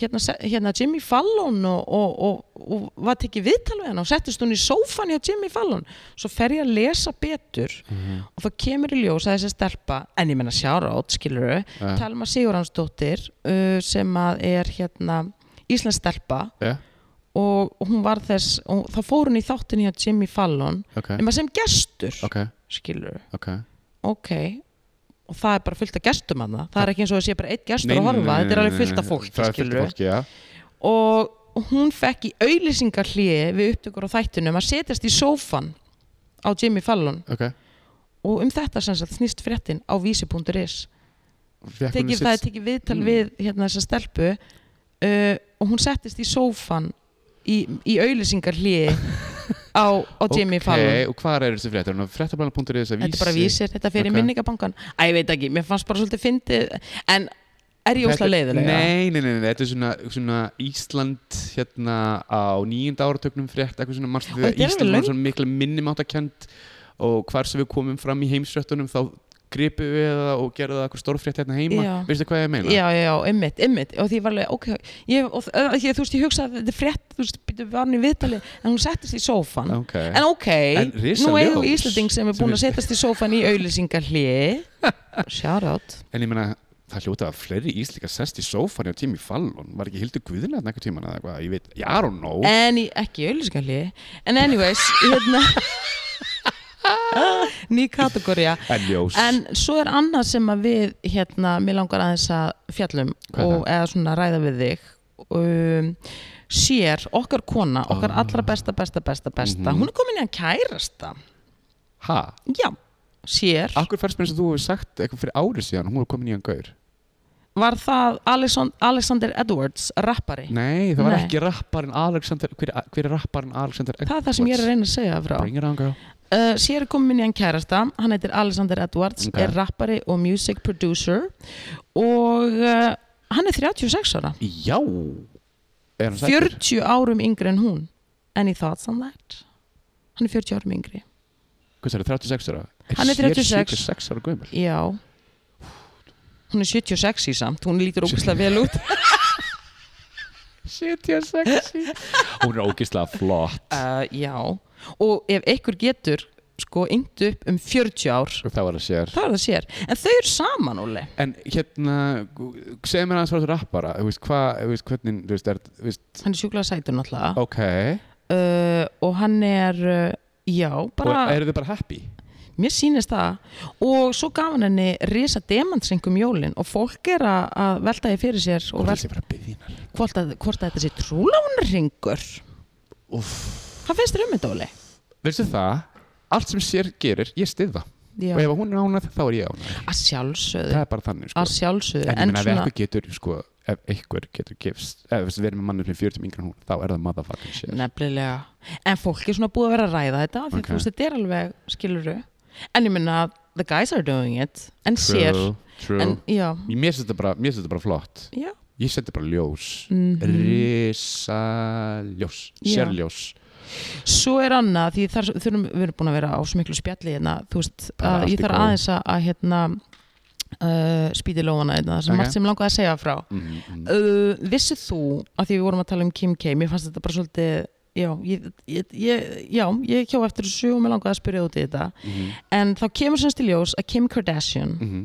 S2: hérna, se- hérna Jimmy Fallon og, og, og, og var tekið viðtal við hann og settist hún í sófan hjá Jimmy Fallon svo fer ég að lesa betur og þá kemur í ljós að þessi stelpa en ég menna sjára átt, skilur
S1: Ja.
S2: Telma Sigurhansdóttir uh, sem að er hérna Íslands stelpa
S1: já,
S2: og hún var þess, og þá fór hún í þáttin hjá Jimmy Fallon,
S1: ok
S2: nema sem gestur
S1: Ok,
S2: skilur,
S1: ok
S2: ok og það er bara fullt af gestum hann það er ekki eins og það sé bara eitt gestur
S1: Nei,
S2: að
S1: nei,
S2: horfa
S1: nei, nei,
S2: þetta er
S1: nei,
S2: alveg
S1: nei,
S2: fullt
S1: nei.
S2: af fólki,
S1: Það er fullt af
S2: skilurðu.
S1: fólki, já
S2: og hún fekk í auðlýsingarhliði við upptökur á þættunum að setjast í sófan á Jimmy Fallon
S1: Ok
S2: og um þetta sem sagt snýst fréttin á vísi.is
S1: Fékk hún
S2: tekið,
S1: sitt-
S2: það er tekið viðtal
S1: Mm.
S2: við hérna þessa stelpu uh, og hún settist í sófan í, í auðlýsingarhliði á, á Jimmy Fallon
S1: Ok, og hvað er þessi fréttur? Fréttablanar.is
S2: þetta er bara vísir, þetta fer
S1: Ok.
S2: í minningabankan að ég veit ekki, mér fannst bara svolítið fyndið en er ég óslega leiðilega
S1: Nei, nei, nei, nei, þetta er svona, svona Ísland hérna á nýjunda áratögnum frétt, eitthvað svona marstu
S2: Og þetta er
S1: þegar
S2: alveg
S1: Ísland var
S2: löng-
S1: svona mikla minnumáttakend og hvar sem við komum fram í heimsröttunum þá gripu við það og gerðu það eitthvað stórfrétt hérna heima
S2: Já.
S1: veistu hvað ég meina?
S2: já, já, já, einmitt, einmitt og því ég var alveg, ok, ég, og, uh, ég, þú veist, ég hugsaði að þetta er frétt, þú veist, býttu var hann í viðtali en hún settist í sófan
S1: Ok.
S2: en ok,
S1: En risa
S2: nú eigum við
S1: ljós.
S2: Íslanding sem er
S1: Sem
S2: búin
S1: við-
S2: að setjast í sófan í auðlýsingarhli shout out
S1: En ég meina, það hljóta að fleiri íslika sest í sófan hjá tími Fallon, var ekki Hildur Guðina eitthvað tíman eða eitthvað, ég veit, já, I don't know
S2: en í, ekki í auðlýsingarhli en anyways, hérna ný kategória
S1: En ljós,
S2: En svo er annað sem að við hérna, mér langar aðeins að fjallum
S1: Hvað er
S2: og eða svona ræða við þig um, sér, okkar kona
S1: Ah.
S2: okkar allra besta, besta, besta, besta
S1: Mhm.
S2: hún er komin í að kærasta
S1: ha?
S2: já, sér
S1: Akkur færst mér eins og þú hefur sagt eitthvað fyrir ári síðan, hún er komin í hann gaur
S2: var það Alexon- Alexander Edwards rappari,
S1: Nei, það var
S2: Nei.
S1: ekki rapparinn Alexander, hver, hver er rapparinn Alexander
S2: það er það sem ég er að reyna að segja frá
S1: Bring it on girl
S2: Uh, sér er komin í hann kærasta, hann heitir Alexander Edwards,
S1: Ok.
S2: er rappari og music producer og uh, hann er 36 ára
S1: Já Er hann sætur?
S2: 40 árum yngri en hún Any thoughts on that? Hann er 40 árum yngri
S1: Hvað er það, 36 ára?
S2: Hann er 36.
S1: 36 ára gömul
S2: Já Hún er 76 í samt, hún lítur ógustlega vel út
S1: 76 Hún er ógislega flott
S2: uh, Já, og ef einhver getur sko yngt upp um 40 ár
S1: Og það var að sér
S2: þá er það sér, en þau eru saman Óli
S1: En hérna, segðu mér aðeins frá þessu rappara Þú veist, hvað, þú veist, hvernig, þú veist, er, þú veist
S2: Hann er sjúklega sætur náttúrulega
S1: Ok
S2: uh, og hann er uh, Já, bara,
S1: Og eru þið bara happy?
S2: mér sýnist það og svo gaf hann henni risa demantsengum jólin og fólk er að, að velta því fyrir sér og
S1: Hvort
S2: velta
S1: þessi bara byðinar
S2: hvort að, hvort að þetta sé trúlánringur Hvað finnst þér um þetta, Óli?
S1: Veistu það, allt sem sér gerir, ég stið það
S2: Já.
S1: Og ef hún er ánæð, þá er ég ánæð
S2: Að sjálfsögðu
S1: Það er bara þannig, sko
S2: Að sjálfsögðu,
S1: En
S2: en,
S1: ég meina, ef
S2: svona
S1: eitthvað getur, sko, ef eitthvað getur gifst Ef við verðum með mannum fyrir 40 yngri en hún Þá er það motherfucking shit
S2: Nefnilega En fólk er svona búið að vera að ræða þetta Því
S1: Ok.
S2: þú veist, þetta er alveg, skiluru En ég minna, the guys are doing it En sér
S1: True
S2: En, já,
S1: Ég- Mér finnst þetta bara, mér finnst þetta bara flott
S2: já,
S1: Ég seti bara ljós
S2: mhm.
S1: Risa ljós
S2: Já.
S1: Sérljós
S2: Svo er annað, því þar þurfum við erum búin að vera á svo miklu spjalli hérna, þú veist,
S1: Bara
S2: að
S1: allt
S2: ég
S1: í
S2: þarf
S1: góðu.
S2: aðeins að, að hérna uh, spýti lófana hérna, það sem
S1: Ok.
S2: margt sem langaði að segja frá
S1: Mhm, mhm.
S2: uh, Vissið þú, að því við vorum að tala um Kim K mér fannst þetta bara svolítið já, ég, ég, ég, já, ég hjá eftir þessu og mér langaði að spyrja út í þetta
S1: Mhm,
S2: en þá kemur semst í ljós að Kim Kardashian
S1: mhm.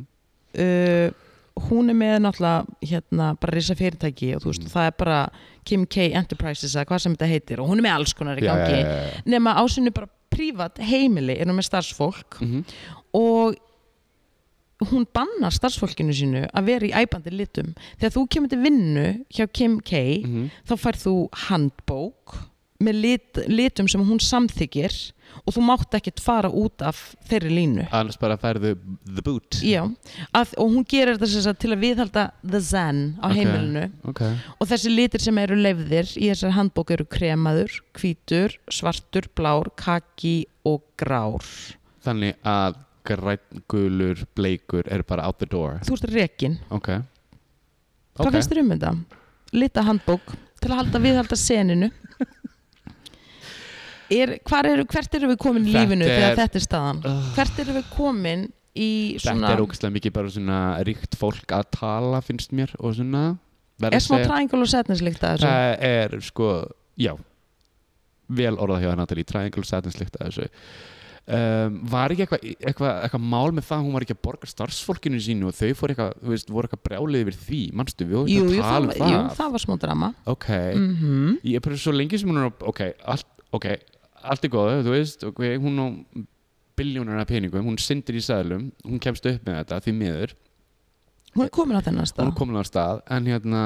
S2: uh, hún er með náttúrulega hérna, bara risa fyrirtæki og þú
S1: Mhm.
S2: veist, það er bara Kim K Enterprises eða hvað sem þetta heitir og hún er með alls konar í
S1: Já,
S2: gangi
S1: já, já, já.
S2: nema á sinni bara prívat heimili er hún með starfsfólk
S1: Mhm.
S2: og hún bannar starfsfólkinu sínu að vera í æbandi litum þegar þú kemur til vinnu hjá Kim K
S1: Mhm.
S2: þá fær þú handbók með lit, litum sem hún samþykir og þú mátt ekkert fara út af þeirri línu
S1: Annars bara færðu the boot
S2: Já, að, og hún gerir þetta sem sagt til að viðhalda the zen á
S1: Ok.
S2: heimilinu
S1: Ok
S2: og þessi litir sem eru lefðir í þessar handbók eru kremaður, hvítur, svartur, blár, kaki og grár.
S1: Þannig að grænn, gulur, bleikur er bara out the door
S2: Þú ert rekin.
S1: Ok
S2: Hvað finnst þér um þetta? Lita handbók til að halda viðhalda seninu. Er, hvar eru, hvert eru við komin í
S1: Þetta
S2: lífinu
S1: er-
S2: þegar þetta er staðan?
S1: Ugh.
S2: Hvert eru við komin í
S1: Þetta
S2: svona...
S1: er ógæslega mikið bara svona ríkt fólk að tala finnst mér og svona verð
S2: Er
S1: að
S2: smá
S1: segja-
S2: triangle og setninslikta þessu?
S1: Það er sko, já vel orðað hjá Natalie Triangle sætinslikt að þessu um, var ekki eitthvað eitthva, eitthva mál með það að hún var ekki að borga starfsfólkinu sínu og þau fór eitthvað, þú veist, voru eitthvað brjálið yfir því, manstu, við vorum
S2: jú,
S1: ekki
S2: jú,
S1: að tala
S2: það,
S1: um
S2: var-
S1: það
S2: jú, það var smá drama.
S1: ok,
S2: Mm
S1: ég er bara svo lengi sem hún er á- ok, allt, ok, allt er góð þú veist, ok, hún á biljónar af peningum, hún syndir í sæðlum hún kemst upp með þetta, því miður
S2: Hún er komin á þennan
S1: hún
S2: stað.
S1: er komin á stað en hérna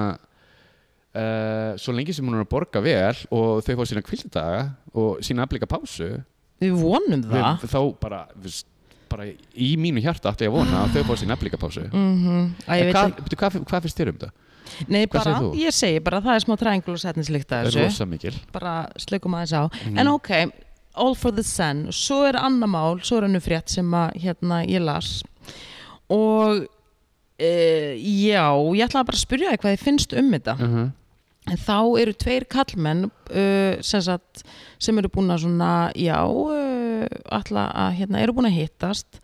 S1: uh, svo lengi sem hún er að borga vel og þau fá sína kvildaga og sína aflika pásu
S2: Við vonum það.
S1: við, þá bara, við, bara í mínu hjarta ætti ég að vona að þau fá sína aflika pásu
S2: Mm Æ, ég
S1: en
S2: veit
S1: hvað, veitu, hvað, hvað finnst þér um þetta?
S2: Nei,
S1: Hvað
S2: bara,
S1: segir þú?
S2: ég segi bara að það er smá triangle og setninslikt að
S1: Það er Mhm.
S2: þessu
S1: rosa mikil
S2: bara slökum aðeins á en ok, all for the sun svo er annar mál, svo er hannu frétt sem að hérna ég las og e, já, ég ætlaði bara að spyrja þig hvað þið finnst um þetta
S1: uh -huh.
S2: en þá eru tveir kallmenn uh, sem, sagt, sem eru búin að svona, já uh, ætla að, hérna, eru búin að hittast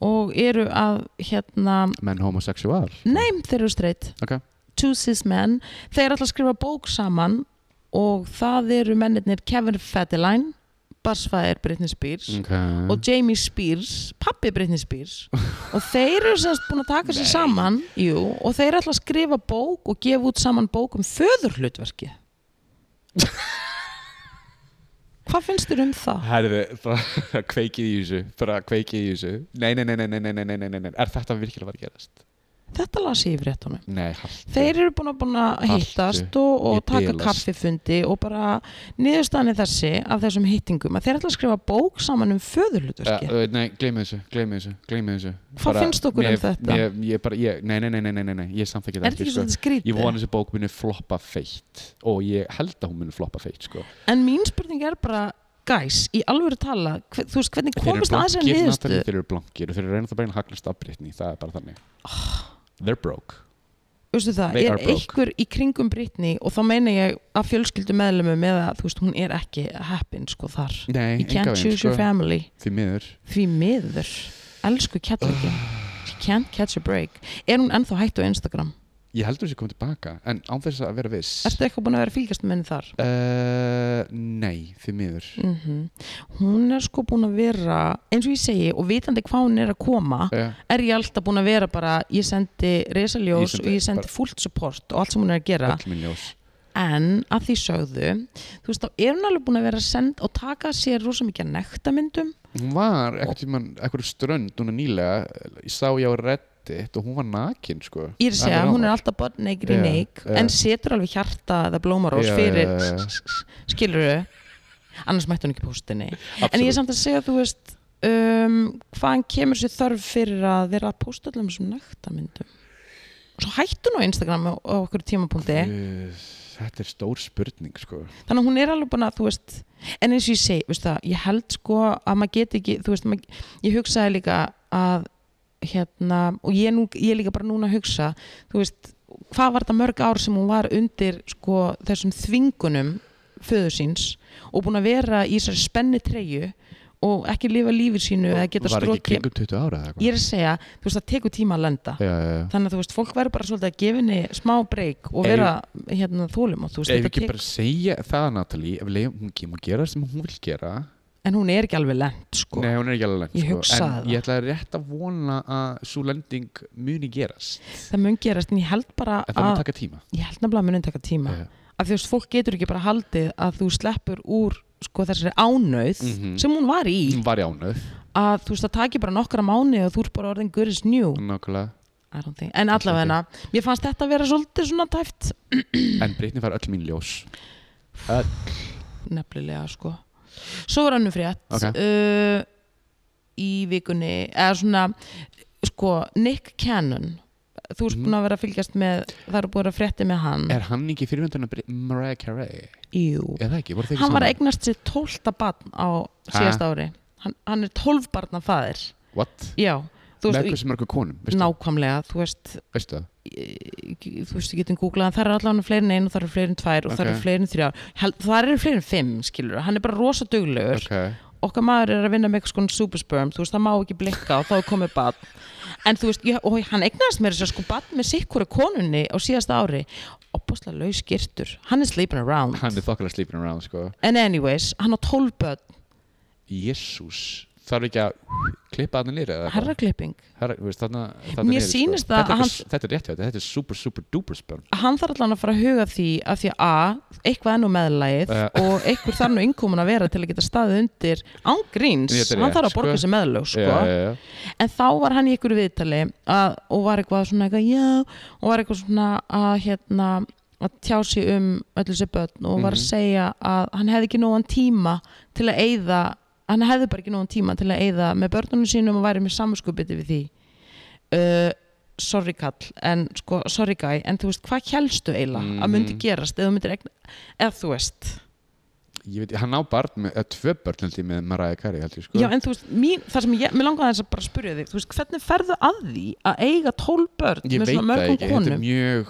S2: og eru að hérna,
S1: menn homosexual
S2: nei, þeir eru streitt
S1: ok,
S2: two cis men, þeir ætla að skrifa bók saman og það eru mennirnir Kevin Federline barsfæðir Britney Spears
S1: Mhm. okay.
S2: og Jamie Spears, pappi Britney Spears og þeir eru semst búin að taka sér saman jú, og þeir ætla að skrifa bók og gefa út saman bók um föðurhlutverki Hvað finnst þér um það?
S1: Herðu, bara kveikið í þessu bara kveikið í þessu nei, nei, nei, nei, nei, nei, nei, nei, nei, nei. er þetta virkilega að vera að gerast?
S2: Þetta las ég í fréttunum
S1: Nei, haltu
S2: Þeir eru búin að, búin að
S1: Haltu.
S2: hittast og, og
S1: eh, Ég
S2: taka
S1: bilast.
S2: kaffifundi og bara niðurstaðan er þessi af þessum hittingum að þeir ætla að skrifa bók saman um föðurhlutverki
S1: Uh, nei, gleymið þessu, gleymið þessu, gleymið þessu
S2: Hvað finnst okkur um
S1: mér,
S2: þetta?
S1: Mér, ég bara, ég, nei, nei, nei, nei, nei, nei, nei, ég samþekki
S2: Er þetta ekki svolítið
S1: sko. Ég
S2: skrítið?
S1: vona þessi bók muni floppa feitt og ég held að hún muni floppa feitt sko.
S2: En mín spurning er bara Guys, í alvöru tala, hve, þú veist hvernig
S1: Þeir eru
S2: komast aðeins að
S1: blankir,
S2: niðurstu
S1: Natalie, þeir eru blankir og þeir eru reynið að beina haglast af Britney, það er bara þannig
S2: Ah.
S1: They're broke
S2: Veistu það,
S1: They
S2: er
S1: are broke.
S2: einhver í kringum Britney og þá meina ég að fjölskyldu meðlumum eða þú veist, hún er ekki happin sko þar
S1: Nei,
S2: You can't
S1: engan veginn, sko.
S2: choose your family
S1: Því miður
S2: Því miður, elsku kjallurki She can't catch a break Er hún ennþá hætt á Instagram?
S1: Ég heldur þessi komið tilbaka, en án þess að vera viss
S2: Ertu eitthvað búin að vera að fylgjast með henni þar?
S1: Uh, nei, því miður
S2: Mm Hún er sko búin að vera eins og ég segi og vitandi hvað hún er að koma
S1: uh,
S2: er ég alltaf búin að vera bara ég sendi
S1: Ég
S2: resaljós
S1: sendi
S2: og ég sendi
S1: bara-
S2: fullt support og allt sem hún er að gera
S1: Öll minn ljós
S2: en að því sögðu þú veist þá er hún alveg búin að vera send og taka sér rosa mikið að nektamyndum
S1: Hún var eitthvað tímann, eitthvað strönd núna nýlega, ég sá ég á Reddit og hún var nakin sko
S2: ég er að segja,
S1: Alveg
S2: hún er
S1: nákvæm.
S2: alltaf bara neikri
S1: Já,
S2: neik
S1: já.
S2: en setur alveg hjarta eða blómarós
S1: Já,
S2: fyrir
S1: já, já.
S2: skilur þau annars mætti hún ekki postinni en ég
S1: Absolutt.
S2: er samt að segja, þú veist um, hvaðan kemur sér þörf fyrir að vera að posta allir þessum nektamyndum svo hættu hún á Instagram á, á okkur tímapunkti
S1: Guð, Þetta er stór spurning sko
S2: þannig að hún er alveg búin að, þú veist en eins og ég segi, veist það, ég held sko að maður geti ekki, þú veist, mað, ég hugsaði líka að hérna, og ég, er nú, ég er líka bara núna að hugsa þú veist, hvað var þetta mörg ár sem hún var undir sko þessum þvingunum föður síns og búin að vera í þessari spenni treyju og ekki lifa lífið sínu eða geta
S1: Var ekki
S2: stróki
S1: kringum 20 ára eða
S2: ég er að segja, þú veist, það tekur tíma að lenda
S1: Já, já, já
S2: þannig að þú veist, fólk verður bara svolítið að gefa henni smá breyk og
S1: Ef-
S2: vera hérna þólum og þú veist,
S1: Ef
S2: þetta
S1: ekki
S2: tekur
S1: bara segja það Natalie ef leið, hún kemur að gera það sem hún vil gera
S2: en hún er ekki alveg lent sko.
S1: Nei, hún er ekki alveg lent
S2: Ég
S1: sko.
S2: hugsaði
S1: En
S2: það.
S1: ég ætla rétt að vona að svo lending muni gerast
S2: það mun gerast en ég held bara
S1: En það mun
S2: að
S1: taka tíma Eh,
S2: ég held nefnilega að munin taka tíma
S1: Já, já.
S2: af því að fólk getur ekki bara haldið að þú sleppur úr sko þessari ánauð
S1: Mhm.
S2: sem hún var í
S1: Hún var í ánöð
S2: að þú veist það taki bara nokkra mánu og þú ert bara orðin gurins njú
S1: Mm. Nákvæmlega
S2: en allavega, mér fannst þetta vera svolítið svona tæft
S1: En Britni fær öll mín ljós
S2: nefnilega sko svo var annu frétt
S1: Ok.
S2: uh, í vikunni eða svona sko Nick Cannon þú ert
S1: Mhm.
S2: búin að vera að fylgjast með það eru búin að vera frétti með hann
S1: Er hann ekki fyrirvendurinn að Mariah Carey?
S2: Jú.
S1: Eða ekki, voru þeir ekki
S2: hann var að
S1: saman?
S2: eignast sér tólta barn á síðasta ári hann, hann er tólf barna þaðir
S1: What?
S2: já, þú
S1: Með
S2: veist,
S1: hversu mörgu konum,
S2: í-
S1: veistu,
S2: nákvæmlega þú veist,
S1: veistu það?
S2: í- í- þú veist, ég getum googlað en það eru allavega fleiri en ein og það eru fleiri en tvær og það
S1: Ok.
S2: eru fleiri en þrjár Held- það eru fleiri en fimm, skilur hann er bara rosa duglegur
S1: Ok,
S2: okkar maður er að vinna með eitthvað svona supersperm þú veist, það má ekki blikka og þá er komið barn en þú veist, ég, og hann eignast mér þess að segja, sko barn með sikkura konunni á síðasta ári og bústlega laus girtur hann er sleeping around
S1: hann er þokkalega sleeping around, sko
S2: en anyways, hann á tólf börn
S1: Jésús, þarf ekki að klippa hann nýri eða eitthvað?
S2: herraklipping
S1: Herra, þú veist, þarna, þarna
S2: Mér
S1: niður,
S2: sýnist
S1: sko.
S2: það
S1: þetta,
S2: að
S1: er ekki- þetta er rétt hjá þetta, þetta er super, super duper sperm
S2: hann þarf allan að fara að huga að því að því að A, eitthvað er nú meðlægið
S1: Ja.
S2: og einhver þarf nú innkomin að vera til að geta staðið undir ángríns,
S1: Þetta er
S2: hann þarf að
S1: rétt,
S2: borga
S1: sko.
S2: sér meðlög sko.
S1: Já, já, já.
S2: en þá var hann í einhverju viðtali að, og var eitthvað svona eitthvað já og var eitthvað svona að hérna að tjá sig um öllu sér börn og var að segja að hann hefði ekki nógan tíma til að eyða hann hefði bara ekki nógan tíma til að eyða með börnunum sínum og væri með samskupið við því uh, sorry kall en sko sorry guy en þú veist hvað kjælstu eila að myndi
S1: Mhm.
S2: gerast eða, myndi regna, eða þú veist
S1: Ég veit, hann á barn með, eða tvö börn held ég með Mariah Carey, held ég, sko
S2: Já, en þú veist, mín, það sem ég, mér langaði þess að bara spyrja þig, þú veist, hvernig ferðu að því að eiga tólf börn
S1: Ég
S2: með
S1: veit
S2: svona
S1: það
S2: mörgum
S1: ekki, þetta er
S2: konum?
S1: mjög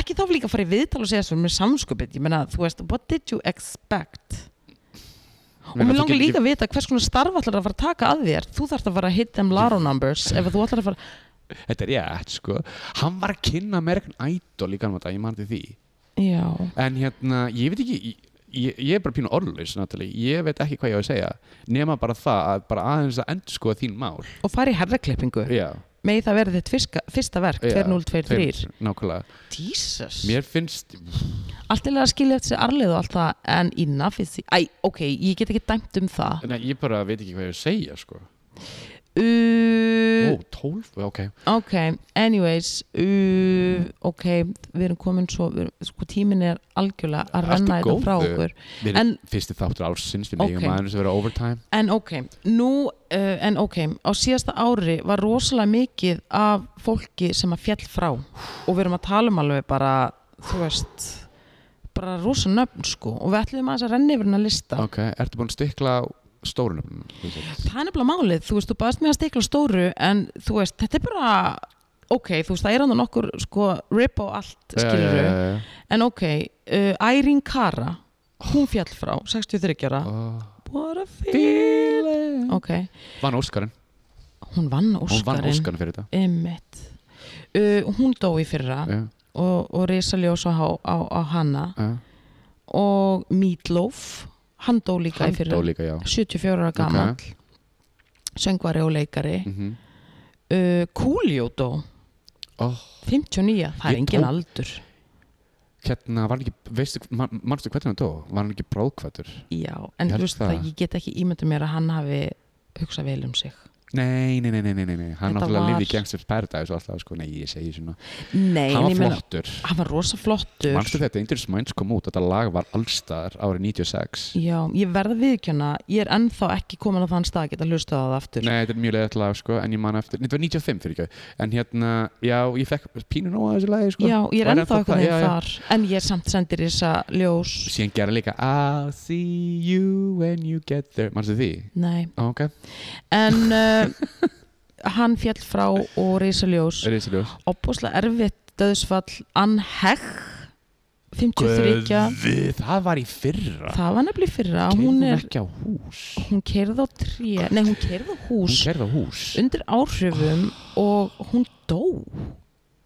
S2: Ekki þá líka að fara í viðtal og segja svona með samskupið, ég meina, þú veist, what did you expect? og mér langar líka að vita hvers konar starf ætlar að fara að taka að þér þú þarf að fara að hit them Laro numbers ef þú ætlar að fara
S1: Þetta er rétt sko Hann var að kynna American Idol í gamla dag, ég mann til því
S2: já,
S1: En hérna, ég veit ekki Ég, ég er bara pínu orðlaus náttúrulega Ég veit ekki hvað ég á að segja Nema bara það að bara aðeins að endur sko þín mál
S2: og fara í herraklippingu
S1: Já,
S2: megi það verði þitt fyrsta, fyrsta verk
S1: já
S2: 2023
S1: tveir- Nákvæmlega
S2: Jesus
S1: Mér finnst,
S2: allt er að skilja eftir sér arlið og allt það en enough is æ, ok, ég get ekki dæmt um það
S1: nei, ég bara veit ekki hvað ég á að segja sko
S2: uh,
S1: Ó, tólf, ok
S2: ok, anyways uh, ok, við erum komin svo við erum, sko tíminn er algjörlega að
S1: Allt í
S2: renna þetta frá
S1: góðu.
S2: okkur
S1: Við
S2: En-
S1: erum fyrsti þáttur ársins Við
S2: Ok.
S1: megum aðeins að vera overtime
S2: En ok, nú, uh, en ok, á síðasta ári var rosalega mikið af fólki sem að fjall frá og við erum að tala um alveg bara, þú veist, bara rosa nöfn sko og við ætlum aðeins að renna yfir hennar lista.
S1: Ok, ertu búin að stikla á stórunum? Þetta
S2: Það er nefnilega málið, þú veist, þú baðast mig að stikla á stóru en þú veist, þetta er bara, ok, þú veist, það er hann nokkur sko rip og allt, skilur við. En ok, uh, Ærin Kara, hún fjall frá, 63 ára, what a feel.
S1: Fílin
S2: Ok,
S1: Vann Óskarinn
S2: hún vann
S1: Hún vann
S2: Óskarinn.
S1: Óskarinn fyrir þetta
S2: Einmitt. Uh, hún dó í fyrra
S1: Já,
S2: og, og Risa Ljósa á, á, á hana
S1: já.
S2: og Meatloaf, hann dó líka
S1: Hann
S2: í fyrra,
S1: dó líka, já
S2: 74 ára gammal, söngvari og leikari.
S1: Mhm.
S2: Uh, Kúljó dó,
S1: Ó,
S2: 59, það er
S1: Ég
S2: engin
S1: tók-
S2: aldur.
S1: Hérna var hann ekki, veistu, man- manstu hvernig hann dó? Var hann ekki bróðkvættur?
S2: Já, en
S1: Ég
S2: þú
S1: held
S2: veist það,
S1: það.
S2: ég get ekki ímynda mér að hann hafi hugsað vel um sig.
S1: Nei, nei, nei, nei, nei, nei, nei. Hann
S2: Þetta
S1: náttúrulega
S2: var-
S1: lifði í Gangsters Paradise og alltaf, sko, nei, ég segi svona
S2: Nei,
S1: Hann
S2: en ég
S1: var
S2: meina,
S1: flottur
S2: hann var rosa flottur.
S1: Manstu þetta, Indris Minds kom út, þetta lag var allstaðar árið 96
S2: Já, ég verð að viðkjöna, ég er ennþá ekki komin á þann stað að geta hlustað á það aftur.
S1: Nei, þetta er mjög leiðilegt lag sko, en ég man eftir, nei, þetta var 95 fyrir ekki, en hérna, já, ég fekk pínu nóg að þessu lagi sko.
S2: Já, ég er
S1: Var
S2: ennþá eitthvað
S1: já,
S2: þegar
S1: já.
S2: þar En ég samt sendir þessa ljós
S1: Síðan gera líka I'll see you when you get there, mannstu því?
S2: Nei,
S1: Á, Ok,
S2: en uh, hann fjall frá og reysa ljós
S1: er þessi ljós?
S2: Opposlega erfitt döðsfall Ann Hegg 53
S1: Guði, það var í fyrra.
S2: Það var nefnilega í fyrra
S1: Keyrði
S2: Hún, er,
S1: ekki á hús.
S2: hún kerði á tré Nei, hún kerði á
S1: Hún Ah.
S2: hús
S1: kerði á hús.
S2: undir áhrifum og hún dó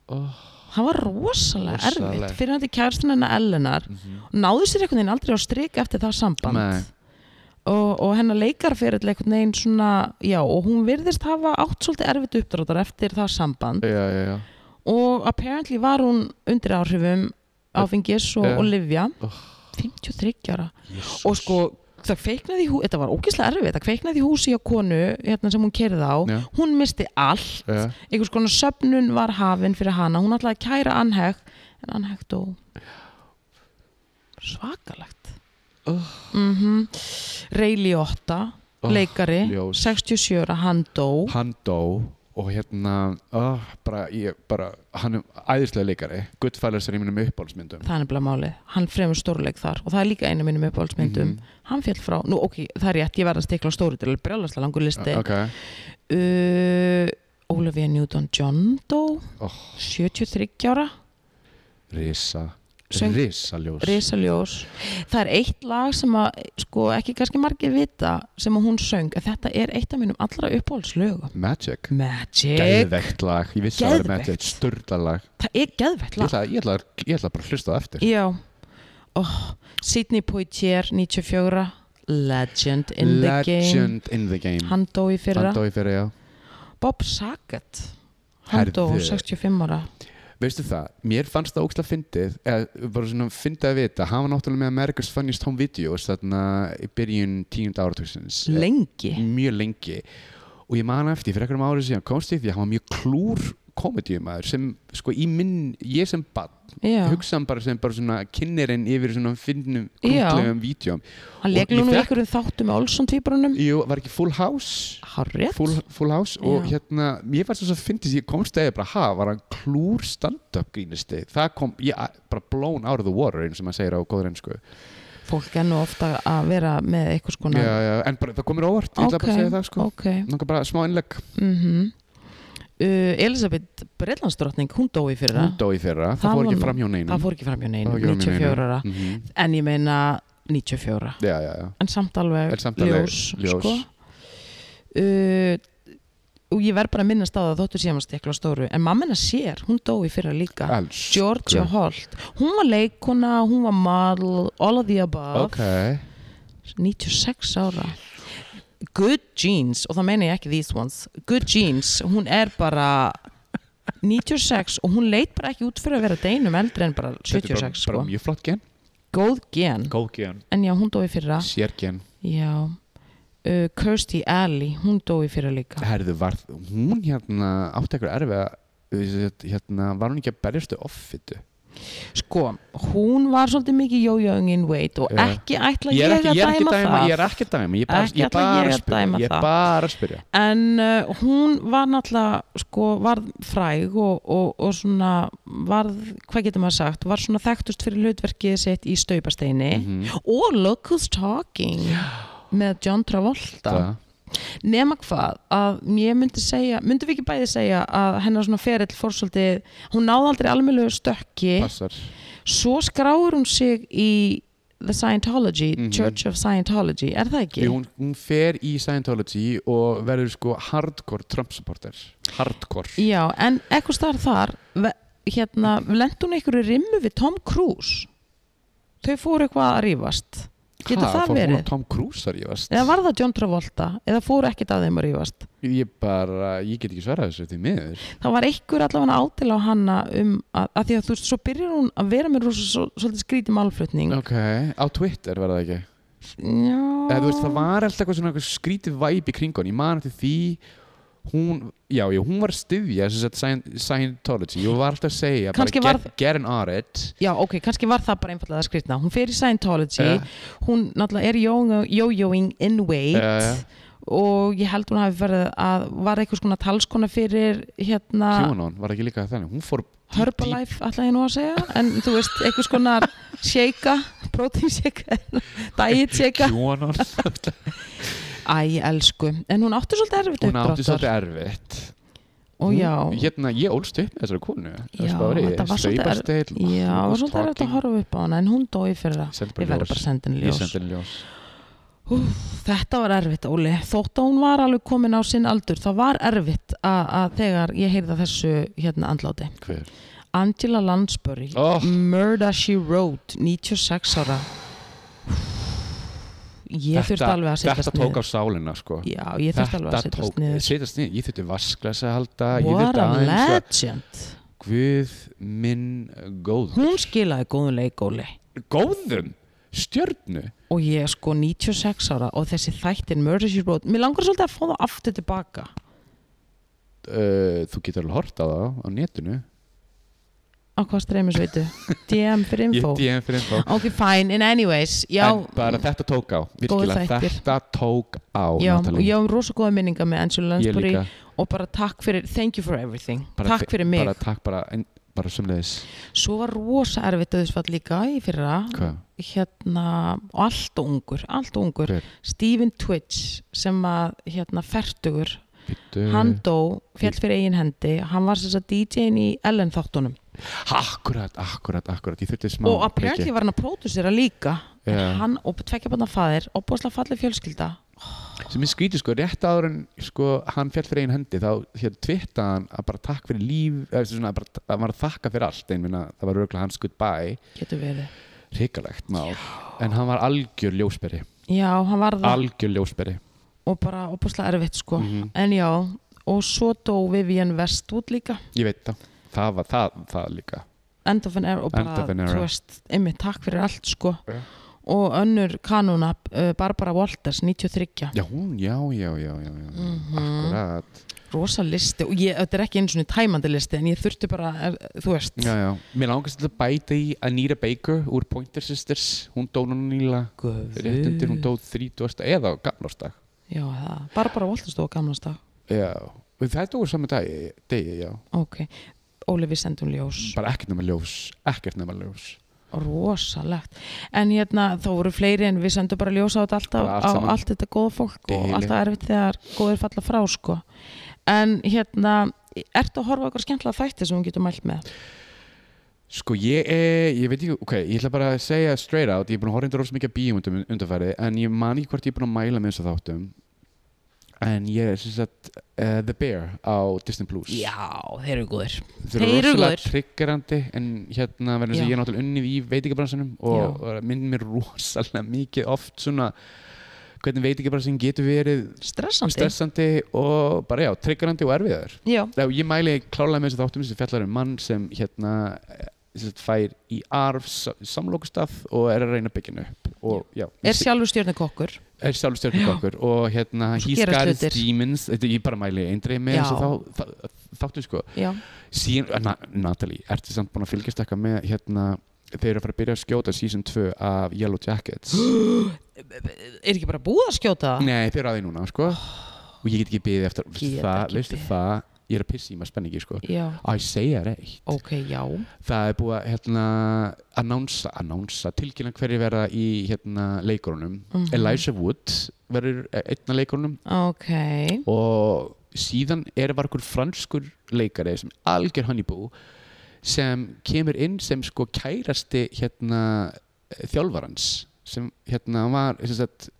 S1: Oh.
S2: Það var rosalega
S1: Rosalega. Mhm.
S2: erfitt fyrir hann til kærstin hennar Ellenar náðu sér einhvern veginn aldrei á strik eftir það samband
S1: Nei.
S2: og, og hennar leikarferill einhvern veginn svona já, og hún virðist hafa átt svolítið erfitt uppdráttar eftir það samband
S1: Já, já, já.
S2: og apparently var hún undir áhrifum áfengis og,
S1: Já.
S2: og livja
S1: Eh, Oh.
S2: 53 ára
S1: Jesus.
S2: og sko það kveiknaði í hú, þetta var ógeðslega erfitt það kveiknaði í húsi á konu hérna sem hún kerði á
S1: Já. Eh.
S2: hún misti allt
S1: Já.
S2: einhvers konar söfnun var hafin fyrir hana hún ætlaði að kæra anheg en anheg dó svakalegt
S1: Oh.
S2: mm Reyli 8
S1: Oh,
S2: leikari,
S1: ljós.
S2: 67 ára hann dó
S1: Hann dó og hérna, oh, bara, ég, bara, hann er æðislega leikari. Goodfellas er í mínum uppáhaldsmyndum.
S2: það er nefnilega málið, hann fremur stórleik þar og það er líka einu mínum uppáhaldsmyndum
S1: Mhm.
S2: hann féll frá, nú ok, það er rétt, ég verð að stikla á stóri til brjálaslega langur listi
S1: Ah, Ok,
S2: uh, Olivia Newton-John dó
S1: Oh.
S2: 73 ára
S1: risa.
S2: Söng-
S1: Risa ljós.
S2: risaljós það er eitt lag sem að sko, ekki kannski margir vita sem að hún söng að þetta er eitt af mínum allra uppáhaldslögum
S1: Magic.
S2: Magic,
S1: Geðvegt lag, ég vissi að það var
S2: Geðveikt.
S1: Magic, störla lag.
S2: það er geðveitt
S1: Ég
S2: lag
S1: ætla, ég, ætla, ég ætla bara að hlusta það eftir
S2: já oh, Sidney Poitier 94 Legend in the
S1: Legend in the game
S2: game hann dó í fyrra
S1: Hann dói fyrir, já
S2: Bob Saget hann dó
S1: Herðu.
S2: 65 ára
S1: Veistu það, mér fannst það ógstlega fyndið eða bara svona fyndið að vita hann var náttúrulega með America's Funniest Home Videos þarna í byrjun tíund áratugsins
S2: lengi
S1: mjög lengi og ég man eftir fyrir einhverjum árið síðan komst ég að því að hann var mjög klúr komedíumæður sem sko í minn, ég sem bann
S2: já.
S1: hugsaðan bara sem bara svona kynnerinn yfir svona fyndnum
S2: Já.
S1: krútlegum vídjum
S2: hann
S1: og
S2: leikla
S1: ég
S2: nú
S1: fekk-
S2: ykkur um þáttu með Olsson tvíbrunum
S1: Jú, var ekki Full House?
S2: Harriet
S1: full, full House og
S2: Já.
S1: hérna ég var svo að fyndist, ég komst eða bara ha, var hann klúr stand-up grínisti það kom, ég bara blown out of the water eins og maður segir á góður ennsku
S2: fólk er nú ofta að vera með eitthvað
S1: já,
S2: skona
S1: já, en bara, það komur óvart, ég ætla bara að segja það sko
S2: ok
S1: Nóka bara smá innlegg,
S2: mm uh, Elisabeth Breitlandsdrottning, hún dói fyrir
S1: hún
S2: það
S1: dói fyrra,
S2: Það
S1: það fór
S2: var nú-
S1: ekki fram hjá
S2: það
S1: neinum
S2: fór ekki fram hjá
S1: Það
S2: neinu,
S1: fór ekki fram hjá
S2: 94
S1: neinum.
S2: ára
S1: Mhm.
S2: en ég meina 94
S1: já, já, já
S2: en samt alveg,
S1: En samt alveg
S2: ljós,
S1: ljós.
S2: Sko. Uh, og ég verð bara að minnast á það þóttu síðan var stekla á stóru en mammina sér, hún dó í fyrra líka
S1: Elsku.
S2: Georgia Holt hún var leikona, hún var model all of the above
S1: Ok,
S2: 96 ára Good Jeans, og það meina ég ekki these ones Good Jeans, hún er bara 96 og hún leit bara ekki út fyrir að vera deinum eldri en bara
S1: þetta
S2: 76
S1: er bara,
S2: sko.
S1: bara mjög flott gen
S2: góð gen,
S1: Góð gen
S2: en já hún dói fyrra
S1: Sér gen
S2: já uh, Kirsty Alley, hún dói fyrra líka
S1: Herðu, var hún hérna átti eitthvað erfiða uh, hérna, var hún ekki að berjastu offitu
S2: sko, hún var svolítið mikið jójóingin weight og
S1: Já.
S2: ekki ætla ég
S1: ég er ekki,
S2: að
S1: ég er ekki
S2: dæma
S1: dæma,
S2: það
S1: ég er ekki að dæma ég er bara,
S2: Ekki
S1: ég er
S2: ætla ég að
S1: bara að spyrja
S2: dæma
S1: ég er
S2: það.
S1: bara að spyrja
S2: en uh, hún var náttúrulega sko, varð fræg og, og, og svona varð, hvað getur maður sagt var svona þekktust fyrir hlutverkið sitt í staupasteini
S1: Mhm.
S2: og Look Who's Talking með John Travolta
S1: það,
S2: nema hvað að ég myndi segja myndum við ekki bæði segja að hennar svona ferill fór svolítið, hún náði aldrei almennilegu stökki
S1: passar
S2: svo skráur hún sig í The Scientology,
S1: Mhm.
S2: Church of Scientology er það ekki?
S1: Jú, hún, hún fer í Scientology og verður sko hardcore Trump supporter hardcore
S2: Já, en eitthvað starf þar ve- hérna, lendi hún einhverju rimmu við Tom Cruise þau fóru eitthvað að rífast getur
S1: Ha,
S2: það
S1: fór hún
S2: verið?
S1: á Tom Cruise þar ég varst
S2: eða var það John Travolta eða fóru ekkert að þeim að rífast
S1: ég bara, ég get ekki svarað þessu til miður
S2: það var einhver allavega ádil á hanna um að, að því að þú veist, svo byrjar hún að vera með rosa, svo, svolítið skrítið málflutning
S1: ok, á Twitter var það ekki
S2: Já,
S1: eða þú veist, það var alltaf eitthvað svona eitthvað skrítið væp í kringun, ég man eftir því hún, já, já, hún var að styðja sem sagt, Scient- Scientology og var alltaf að segja
S2: Kannski
S1: bara,
S2: var-
S1: get, get an audit
S2: Já, ok, kannski var það bara einfallega að skrýtna. Hún fer í Scientology,
S1: Ja.
S2: hún náttúrulega er jó- jójóing in weight
S1: Ja, ja.
S2: og ég held hún hafi verið að var eitthvað skona talskona fyrir hérna
S1: QAnon var ekki líka þannig, hún fór
S2: Herbalife, ætla ég nú að segja, en þú veist, eitthvað skona shake, protein shake, diet shake.
S1: QAnon,
S2: Æ, elsku, en hún átti svolítið erfitt
S1: hún
S2: uppdráttar.
S1: átti svolítið erfitt
S2: Og
S1: Hún-
S2: já,
S1: hérna, ég ólst upp með þessari konu
S2: Já, þetta var svolítið erf- já, var svolítið erfitt að horfa upp á hana, en hún dói fyrir það. Ég verður bara að senda henni
S1: ég
S2: ljós.
S1: sendi henni ljós
S2: Þetta var erfitt, Óli. Þótt að hún var alveg komin á sinn aldur, þá var erfitt að, að þegar ég heyrði af þessu hérna andláti.
S1: hver?
S2: Angela Lansbury,
S1: Oh.
S2: Murder She Wrote, 96 ára. Ég þurfti alveg að
S1: þetta
S2: setjast
S1: tók á sálina sko
S2: Já, ég þurfti alveg að
S1: Þetta
S2: setjast
S1: tók-
S2: niður.
S1: setjast niður, ég þurfti vasklasa að halda ég
S2: What
S1: þurfti
S2: a
S1: aðeins að
S2: legend.
S1: Guð minn góð
S2: Hún skilaði góðum leik, Óli.
S1: góðum, stjörnu
S2: Og ég sko 96 ára og þessi þættin Murder She Wrote, mér langar svolítið að fá það aftur tilbaka.
S1: uh, þú getur alveg hort á það á netinu
S2: Á hvað streymið sveitu? DM fyrir
S1: ég
S2: info.
S1: DM fyrir info
S2: Ok, fine, in anyways Já,
S1: en bara þetta tók á, virkilega
S2: þættir.
S1: þetta tók á
S2: já,
S1: Natalie.
S2: já rosa góða minninga með Angela
S1: ég
S2: Lansbury
S1: líka
S2: og bara takk fyrir, thank you for everything
S1: Bara
S2: takk fyrir mig,
S1: bara takk bara, en, bara sumleðis
S2: svo var rosa erfitt auðvitað líka í fyrra
S1: hvað?
S2: hérna, og allt og ungur allt og ungur,
S1: Hver?
S2: Stephen Twitch sem að, hérna, fertugur
S1: Bittu.
S2: hann dó, fjall fyrir eigin hendi hann var þess að DJ-in í Ellen þáttunum
S1: akkurat, akkurat, akkurat ég þurfti smá
S2: og apparently var hann að pródusera líka
S1: Já.
S2: yeah. hann og tvekja banna fæðir og búinlega fallið fjölskylda
S1: sem ég skríti sko, rétt áður en sko, hann fjall fyrir einn hendi þá hérna tvitta hann að bara takk fyrir líf eða svona að, bara, að maður þakka fyrir allt einminna, það var rauglega hans goodbye
S2: getur verið
S1: hrikalegt mál, en hann var algjör ljósberi,
S2: já, hann var það
S1: algjör ljósberi
S2: og bara opaslega erfitt sko
S1: Mhm.
S2: en já, og svo dó Vivian Westwood líka
S1: ég veit það, það var það, það líka
S2: end of an era og
S1: End
S2: bara,
S1: of an era.
S2: þú veist, einmitt takk fyrir allt sko
S1: Já.
S2: og önnur kanuna uh, Barbara Walters, 93
S1: já, hún, já, já, já, já, já. akkurat,
S2: rosa listi og ég, þetta er ekki einu svona tæmandi listi en ég þurfti bara, er, þú veist
S1: já, já mér langast til að bæta í Anita Baker úr Pointer Sisters, hún dó núna nýla rétt undir, hún
S2: Guð,
S1: dó 30 eða á gamlástak
S2: já, það, Barbara Walters dó á gamlasta,
S1: Já, og það er dóið saman degi, degi, já
S2: ok Óli við sendum ljós,
S1: bara ekkert nema ljós, ekkert nema ljós
S2: rosalegt en hérna þá voru fleiri en við sendum bara ljós á þetta alltaf,
S1: Bara allt
S2: á
S1: saman.
S2: allt þetta góða fólk og
S1: Deili.
S2: alltaf erfitt þegar góðir falla frá sko. en hérna ertu að horfa á eitthvað skemmtilega þætti sem hún getur mælt með
S1: Sko ég, eh, ég veit ekki, ok, ég ætla bara að segja straight out, ég er búin að horfa yndur rosa mikið að bíumundum undanfærið, en ég man ekki hvort ég er búin að mæla með þess að þáttum, en ég er sem sagt uh, The Bear á Disney Plus.
S2: Já, þeir eru góðir
S1: Þeir
S2: Þeir eru
S1: eru rosalega
S2: góðir.
S1: triggerandi, en hérna verður þess
S2: Já.
S1: að ég er náttúrulega unnið í veitingabransanum og
S2: Já.
S1: og minn mér rosalega mikið oft svona hvernig veitingabransin getur verið
S2: Stressandi
S1: stressandi og bara já, triggerandi og erfiðar.
S2: Já,
S1: Já, ég mæli klálega með þessu þáttum sem fjallar um mann sem hérna eh, sem sagt fær í arf samlokustaf og er að reyna að byggja hann upp og já,
S2: er sjálfur stjórnukokkur
S1: er sjálfur stjórnukokkur og hérna
S2: Og svo
S1: He's
S2: gerast
S1: Got His
S2: hlutir.
S1: Demons þetta ég bara mæli eindreið með
S2: Já.
S1: þessu þá, þá, þáttum sko
S2: Já,
S1: síðan, na, Natalie, ertu samt búin að fylgjast eitthvað með hérna þeir eru að fara að byrja að skjóta season 2 af Yellow Jackets
S2: er ekki bara búið að skjóta það?
S1: Nei, þeir eru að því núna sko og ég get ekki byðið eftir
S2: Get
S1: það,
S2: ekki
S1: veistu
S2: beðið.
S1: það ég er að pissi í maður spenningi sko
S2: Já,
S1: að ég segja reitt
S2: ok, já
S1: það er búið að hérna, annánsa, annánsa tilkynna hverju verða í hérna, leikurunum
S2: Mhm.
S1: Elijah Wood verður e- einn af leikurunum
S2: Ok,
S1: og síðan er bara einhver franskur leikari sem algjör honeybú sem kemur inn sem sko kærasti hérna þjálfarans sem hérna var sem sagt,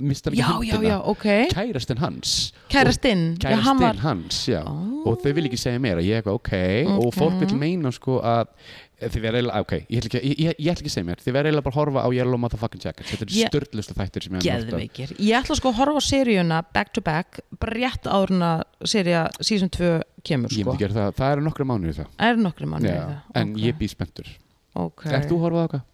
S1: mistan
S2: já, já, já, ok
S1: kærastin hans
S2: Kærastinn, já, hann
S1: kærastinn
S2: var
S1: hans já
S2: Ó.
S1: og þau vil ekki segja meira, ég er eitthvað ok, og
S2: Ok.
S1: fólk vil meina sko að þið verða eiginlega, ok, ég ætla ekki, ég, ég, ég ætla ekki að segja mér, þið verða eiginlega bara að horfa á Yellow Motherfucking Jackets, þetta er
S2: Ég-
S1: yeah. störtlustu þættir sem ég hef horft á.
S2: Geðveikir. Ég ætla sko að horfa á seríuna back to back, bara rétt áður en að seríja season 2 kemur
S1: ég
S2: sko.
S1: myndi gera það, það eru nokkra mánuði það
S2: Er nokkri manni
S1: Já, en ég býð spenntur
S2: okay.
S1: Ert þú horfað á eitthvað?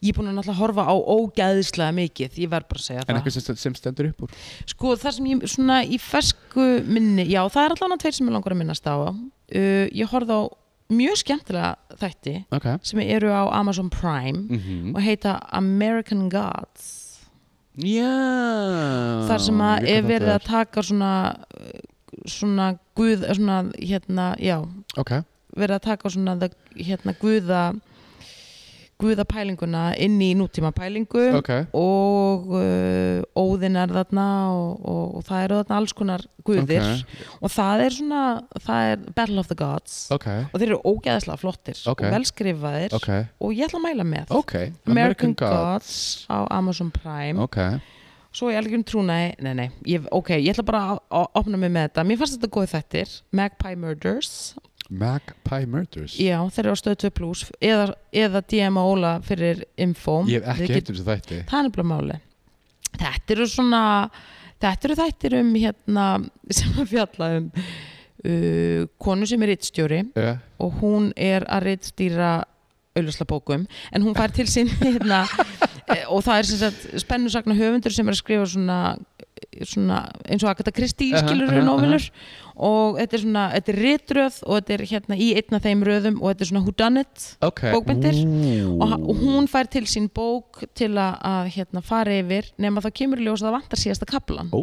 S2: Ég er búin að náttúrulega horfa á ógæðislega mikið, ég verð bara að segja
S1: En
S2: það.
S1: eitthvað sem, sem stendur upp úr?
S2: Sko það sem ég svona í fersku minni, já það er allavega tveir sem ég langar að minnast á. Uh, ég horfði á mjög skemmtilega þætti
S1: Ok
S2: sem eru á Amazon Prime
S1: mm
S2: og heita American Gods.
S1: Já
S2: þar sem að
S1: ég
S2: er
S1: veit hvað
S2: verið
S1: þetta
S2: að taka svona, uh, svona guð, svona hérna, já,
S1: er. Ok,
S2: verið að taka svona the- hérna guða guða pælinguna inn í nútíma pælingu
S1: ok
S2: og uh, óðinn er þarna og, og, og það eru þarna alls konar guðir og það er svona það er Battle of the Gods
S1: Ok,
S2: og þeir eru ógeðslega flottir
S1: Ok.
S2: og velskrifaðir
S1: ok,
S2: og ég ætla að mæla með
S1: ok
S2: American,
S1: God.
S2: Gods á Amazon Prime
S1: Ok,
S2: svo ég algjörn trúnaði, nei nei ég, ok, ég ætla bara að- að opna mig með þetta mér fannst þetta góð þettir, Magpie Murders
S1: Magpie Murders
S2: já, þeir eru á stöð 2 plus eða, eða DM og Óla fyrir info
S1: Ég hef
S2: Þeir
S1: ekki um
S2: geta-
S1: heitum sem þætti
S2: það er nefnilega máli þetta eru svona þetta eru þættir um hérna sem að fjalla um uh, konu sem er rittstjóri
S1: Já,
S2: og hún er að rittstýra auðvitað bókum en hún fær til sín hérna, eh, og það er sem sagt spennusagna höfundur sem er að skrifa svona, svona eins og Agatha Christie
S1: Aha,
S2: skilur
S1: aha,
S2: uh og þetta er svona, þetta er rittröð og þetta er hérna í einna þeim röðum og þetta er svona whodunit
S1: Ok
S2: Bókmyndir.
S1: Ú.
S2: og, ha- og hún fær til sín bók til að, að hérna, fara yfir nema þá kemur í ljós að það vantar síðasta kaplan
S1: Ó,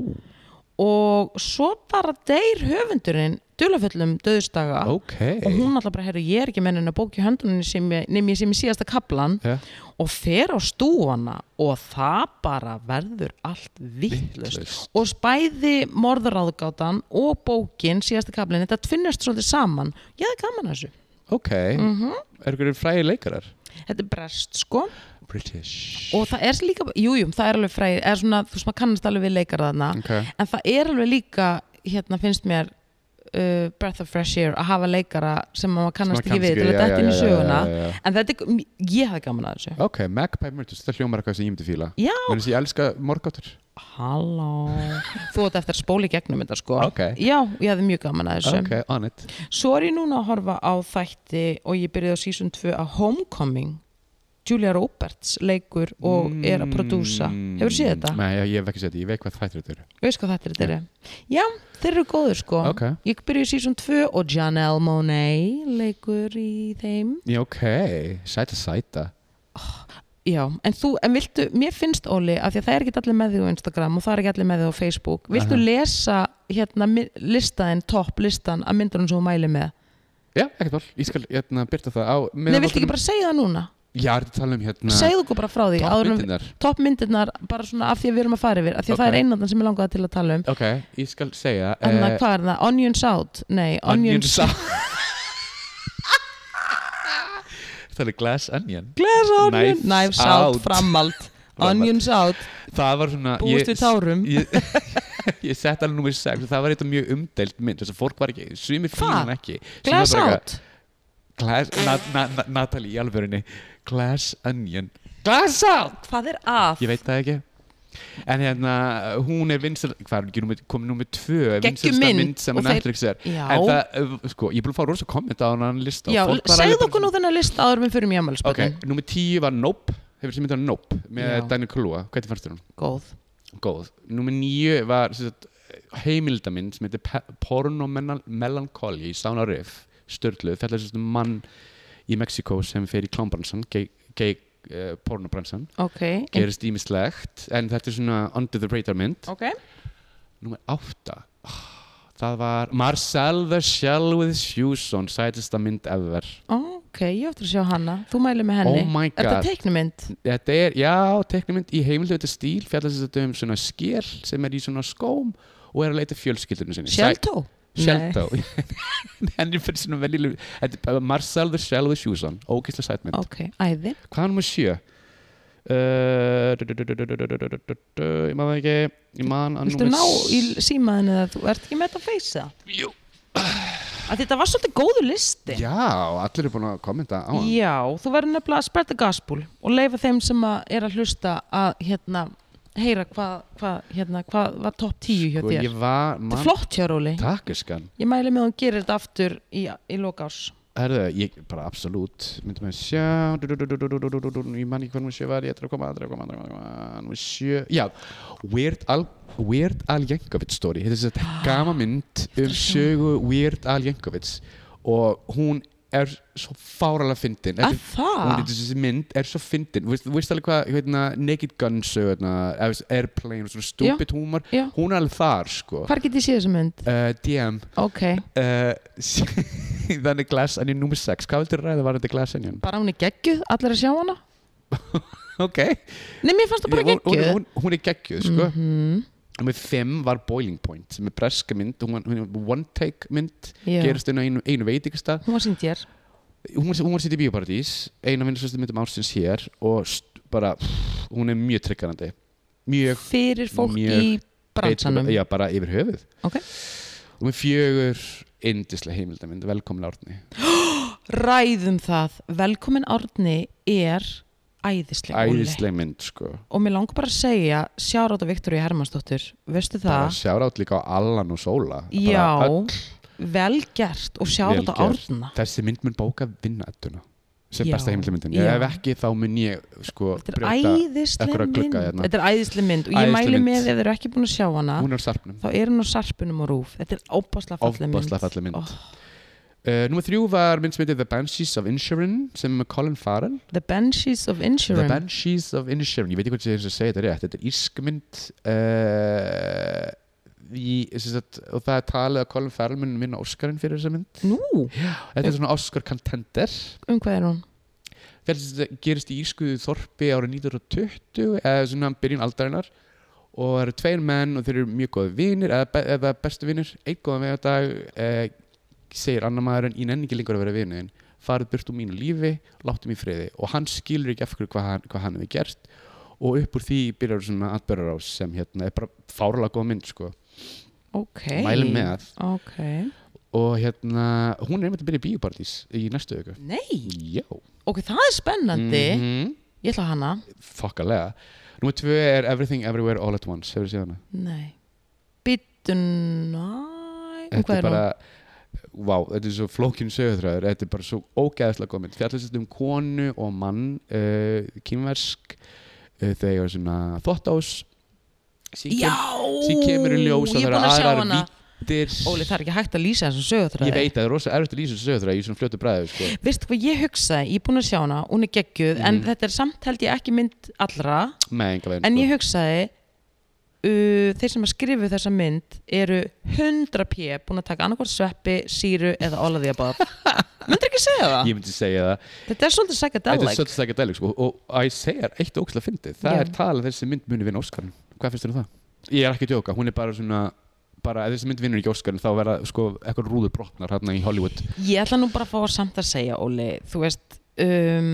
S2: og svo bara deyr höfundurinn dulaföllum döðstaga
S1: ok
S2: Ah. og hún alltaf bara, herru, ég er ekki mennin að bóki höndunni sem ég, nefn ég sem ég síðasta kaplan
S1: Já.
S2: og fer á stúana og það bara verður allt vittlust
S1: Vitlaust.
S2: og spæði morðuráðgátan og bókin síðasta kaplin, þetta tvinnast svolítið saman ég hefði gaman að þessu,
S1: Ok,
S2: Mhm.
S1: er ykkur fræði leikarar?
S2: þetta er brest sko
S1: British
S2: og það er líka, jújum, það er alveg fræð er svona, þú veist, maður kannast alveg við leikar þarna
S1: Ok,
S2: en það er alveg líka, hérna finnst mér uh, breath of fresh air að hafa leikara sem maður kannast ekki
S1: Sem maður
S2: við til að
S1: já,
S2: detta inn í
S1: já, já,
S2: söguna
S1: já, já, já.
S2: en þetta er, ég hafði gaman að þessu
S1: Ok, Magpie Murders, þetta hljómar eitthvað sem ég myndi fíla
S2: Já.
S1: Þannig að ég elska morgáttur
S2: halló þú átt eftir að spóla í gegnum þetta sko
S1: Ok.
S2: já, ég hafði mjög gaman að þessu
S1: Ok, on it
S2: svo er ég núna að horfa á þætti og ég byrjaði á season 2 á Homecoming Julia Roberts leikur og er að prodúsa hefur séð þetta?
S1: Mm. Nei, ég, ég hef ekki séð þetta, ég veit hvað þættir þetta eru
S2: veist hvað þetta er þetta já, þeir eru góður sko
S1: Ok.
S2: ég byrja í season 2 og Janelle Monáe leikur í þeim
S1: Já, ok, sæta sæta
S2: já, en þú, en viltu, mér finnst Óli, af því að það er ekki allir með þig á Instagram og það er ekki allir með þig á Facebook, viltu
S1: Aha.
S2: lesa hérna mi- listaðin, topp listan að myndunum sem þú mæli með
S1: Já, ekkert mál, ég skal hérna byrta það á
S2: nei, viltu ekki bara segja það núna
S1: Já, er þetta að tala um hérna
S2: segðu okkur bara frá því, áður en-
S1: myndirnar
S2: topp myndirnar bara svona af því að við erum að fara yfir, af því að
S1: Ok.
S2: það er einandan sem ég langaði til að tala um
S1: Ok, ég skal segja
S2: en
S1: eh,
S2: hvað er það, Onions Out nei,
S1: Onion
S2: Onions
S1: Sound það er glass onion
S2: Glass onion,
S1: Knives
S2: knives, out,
S1: out.
S2: framald Onions out,
S1: það var svona
S2: búist við tárum
S1: ég, ég sett alveg númer 6 það var eitthvað mjög umdelt mynd þess að fólk var ekki, sumi
S2: Hva?
S1: fílan ekki Sumir
S2: Glass
S1: bara eitthvað,
S2: out
S1: glass, na, na, na, Natalie í alvörunni glass onion glass out,
S2: Hvað er að?
S1: ég veit það ekki en hérna, hún er vinsal hvað er hún ekki, númer- komin númer 2
S2: Geggjum
S1: vinsalsta
S2: mynd,
S1: mynd sem
S2: og þeir-
S1: Netflix er
S2: Já.
S1: en það, uh, sko, ég er búin að fá rosa komment á hann lista
S2: Já,
S1: og fólk var alveg
S2: segð
S1: bara
S2: okkur nú þennan list áður með fyrir mjög
S1: Ok,
S2: ammælisböndin
S1: númer 10 var Nope Hefur þið myndið á Nope með
S2: Já.
S1: Daniel Kaluuya Hvernig fannst þér hún?
S2: Góð
S1: Góð Númer 9 var sem sagt, heimildamind sem heitir Pe- Porno Menal- Melancholy í Sána Riff Störluð, fjallar sem sagt um mann í Mexiko sem fer í klámbransan gay, gay uh, pornobransan
S2: Ok, en-
S1: gerist ímislegt en þetta er svona under the radar mynd
S2: ok
S1: Númer 8 Það var Marcel the Shell with Shoes on sætasta mynd ever
S2: Ok, ég ætti að sjá hana, þú mæli með henni
S1: Oh
S2: Er
S1: my god.
S2: þetta teiknumynd?
S1: Þetta er, já, teknimynd í heimildöðu stíl fjallast þetta um svona skél sem er í svona skóm og er að leita fjölskyldunum sinni
S2: Shelto?
S1: Shelto Henni fyrir svona veljilu Þetta er Marcel the Shell with Shoes on Ógislega sætmynd
S2: Ok, æði
S1: Hvað er nummer sjö? Uh, du- du- du- du- du- du- du- du- du- du- du, Ég man það ekki Ég man að
S2: Viltu ná í símaðinu eða þú ert ekki með þetta að feysa?
S1: Jú.
S2: Að þetta var svolítið góðu listi
S1: Já, allir eru búin að kommenta á hann
S2: Já, þú verður nefnilega að spread the gospel og leifa þeim sem að er að hlusta að hérna, heyra hvað hva, hérna, hva var topp 10 hjá
S1: Og
S2: þér.
S1: Sko, ég var
S2: Þetta er
S1: man,
S2: flott hjá Róli.
S1: Takk, skan
S2: Ég mæli með að hún gerir þetta aftur í, í lokás.
S1: Herðu, ég bara absolutt myndi með sjá du, du, du, du, du, du, du, du, du, ég man ekki hvað nú sjö var ég ætla að koma aðra koma aðra koma nú sjö já Weird Al Weird Al Jankovic story þetta er sett gama mynd um sögu Weird Al Jankovic og hún er svo fáralega fyndin
S2: Að
S1: Þetta er- hún
S2: það?
S1: er þessi mynd er svo fyndin Þú veist, þú veist alveg hvað hérna, Naked Gun sögurna eða þessi Airplane og svona stupid humor
S2: Já.
S1: hún er alveg þar sko
S2: Hvar get ég séð þessa mynd?
S1: uh, DM
S2: Ok,
S1: Eh, Þannig Glass Onion nummer 6 Hvað viltu ræða var þetta Glass Onion?
S2: bara hún er geggjuð, allir að sjá hana?
S1: Ok
S2: Nei, mér fannst það bara
S1: hún, hún,
S2: geggjuð. Mhm.
S1: hún, hún er geggjuð sko. Nummer 5 var Boiling Point sem er breska mynd, hún var hún var one take mynd
S2: Já.
S1: gerist inn á einu, einu veitingastað
S2: Hún var sínd hér.
S1: hún var, hún var sitt í Bíóparadís eina af minnisvæmstu myndum ársins hér og st- bara, pff, hún er mjög tryggarandi mjög
S2: Fyrir fólk
S1: Mjög
S2: í bransanum.
S1: já, bara yfir höfuð
S2: Ok.
S1: Númer 4 indislega heimildamind, velkomin Árni
S2: Ræðum það. Velkomin Árni er æðisleg. Óli.
S1: æðislega mynd sko
S2: Og mér langar bara að segja, sjárátt á Viktoríu Hermannsdóttur, veistu
S1: bara
S2: það?
S1: sjárátt líka á Allan og Sóla Bara
S2: Já,
S1: öll
S2: vel gert og sjárátt á
S1: Vel gert.
S2: Árna.
S1: þessi mynd mun bóka vinnaðuna sem
S2: Já.
S1: besta heimildamyndin
S2: Já.
S1: ef ekki þá mun ég sko
S2: Þetta er
S1: brjóta
S2: æðisleg
S1: einhverja
S2: mynd.
S1: glugga hérna.
S2: Þetta er æðisleg mynd og ég
S1: Æðisleg
S2: mæli
S1: mynd.
S2: með ef þið eru ekki búin að sjá hana,
S1: hún er á sarpnum
S2: þá er hún á sarpunum og rúf. Þetta er óbáslega falleg mynd.
S1: Ofboðslega falleg mynd.
S2: Oh,
S1: uh, Númer þrjú var mynd sem heitir The Banshees of Inisherin sem er með Colin Farrell
S2: the Banshees of
S1: The
S2: Insurance.
S1: Banshees of Inisherin ég veit ekki hvað þetta er að segja þetta rétt þetta er ískmynd uh, í, sem sagt, og það er talið að Colin Farrell mun vinna Oscarinn fyrir þessa mynd
S2: Nú,
S1: þetta er svona Oscar contender
S2: um hvað er hún?
S1: Fjallsins gerist í Írskuðu þorpi árið 1920 eða svona byrjun aldarinnar og það eru tveir menn og þeir eru mjög góði vinir eða, be- eða bestu vinir, einn góðan vega dag eh, segir annar maðurinn ég nenni ekki lengur að vera vinniðin farið burt úr mínu lífi, láttu mig í friði og hann skilur ekki af hverju hvað hann, hvað hann hefur gert og upp úr því byrjar svona atbyrjarás sem hérna er bara fárlega góð mynd sko,
S2: Ok.
S1: mælum með
S2: Ok.
S1: og hérna, hún er einmitt að byrja í bíupartís í næstu auku
S2: Nei,
S1: Já
S2: ok, það er spennandi.
S1: Mhm.
S2: Ég ætla á hana.
S1: fokkalega Númer tvö er Everything Everywhere All at Once Hefur þið séð hana?
S2: Nei. Bituna. Um
S1: Þetta
S2: hvað
S1: er
S2: er hún?
S1: bara Vá, þetta er svo flókin sögutræður Þetta er bara svo ógæðslega góð mynd Fjallast þetta um konu og mann uh, Kínversk uh, Þau eru svona þvottás
S2: Já,
S1: síðan kemur í ljós að
S2: ég er
S1: það eru
S2: búin að sjá
S1: aðrar
S2: hana.
S1: Vittir
S2: Óli, það er ekki hægt að lýsa þessum sögutræði.
S1: Ég veit að það er rosa erfitt að lýsa sögutræði Í svona fljótu bræðu sko.
S2: Veistu hvað ég hugsaði, ég er búin að sjá hana, hún er geggjuð, en
S1: Mhm.
S2: þetta er samt held ég ekki mynd allra,
S1: Með enga veginn
S2: en ég
S1: sko.
S2: hugsaði, uh, þeir sem að skrifu þessa mynd eru 100 p búin að taka annarkvort sveppi, síru eða all of the above. Myndir ekki segja það?
S1: ég myndi segja það
S2: Þetta er svolítið
S1: Þetta
S2: psychedelic.
S1: er svolítið psychedelic sko. og að ég segja eitt ógæðslega fyndið Það
S2: Já.
S1: er talað að þessi mynd muni vinna Óskarinn Hvað finnst þér um það? Ég er ekki að djóka, hún er bara svona bara ef þessi mynd vinnur ekki Óskarinn þá verða sko eitthvað rúður brotnar hérna í Hollywood
S2: Ég ætla nú bara að fá samt að segja, Óli, þú veist, um,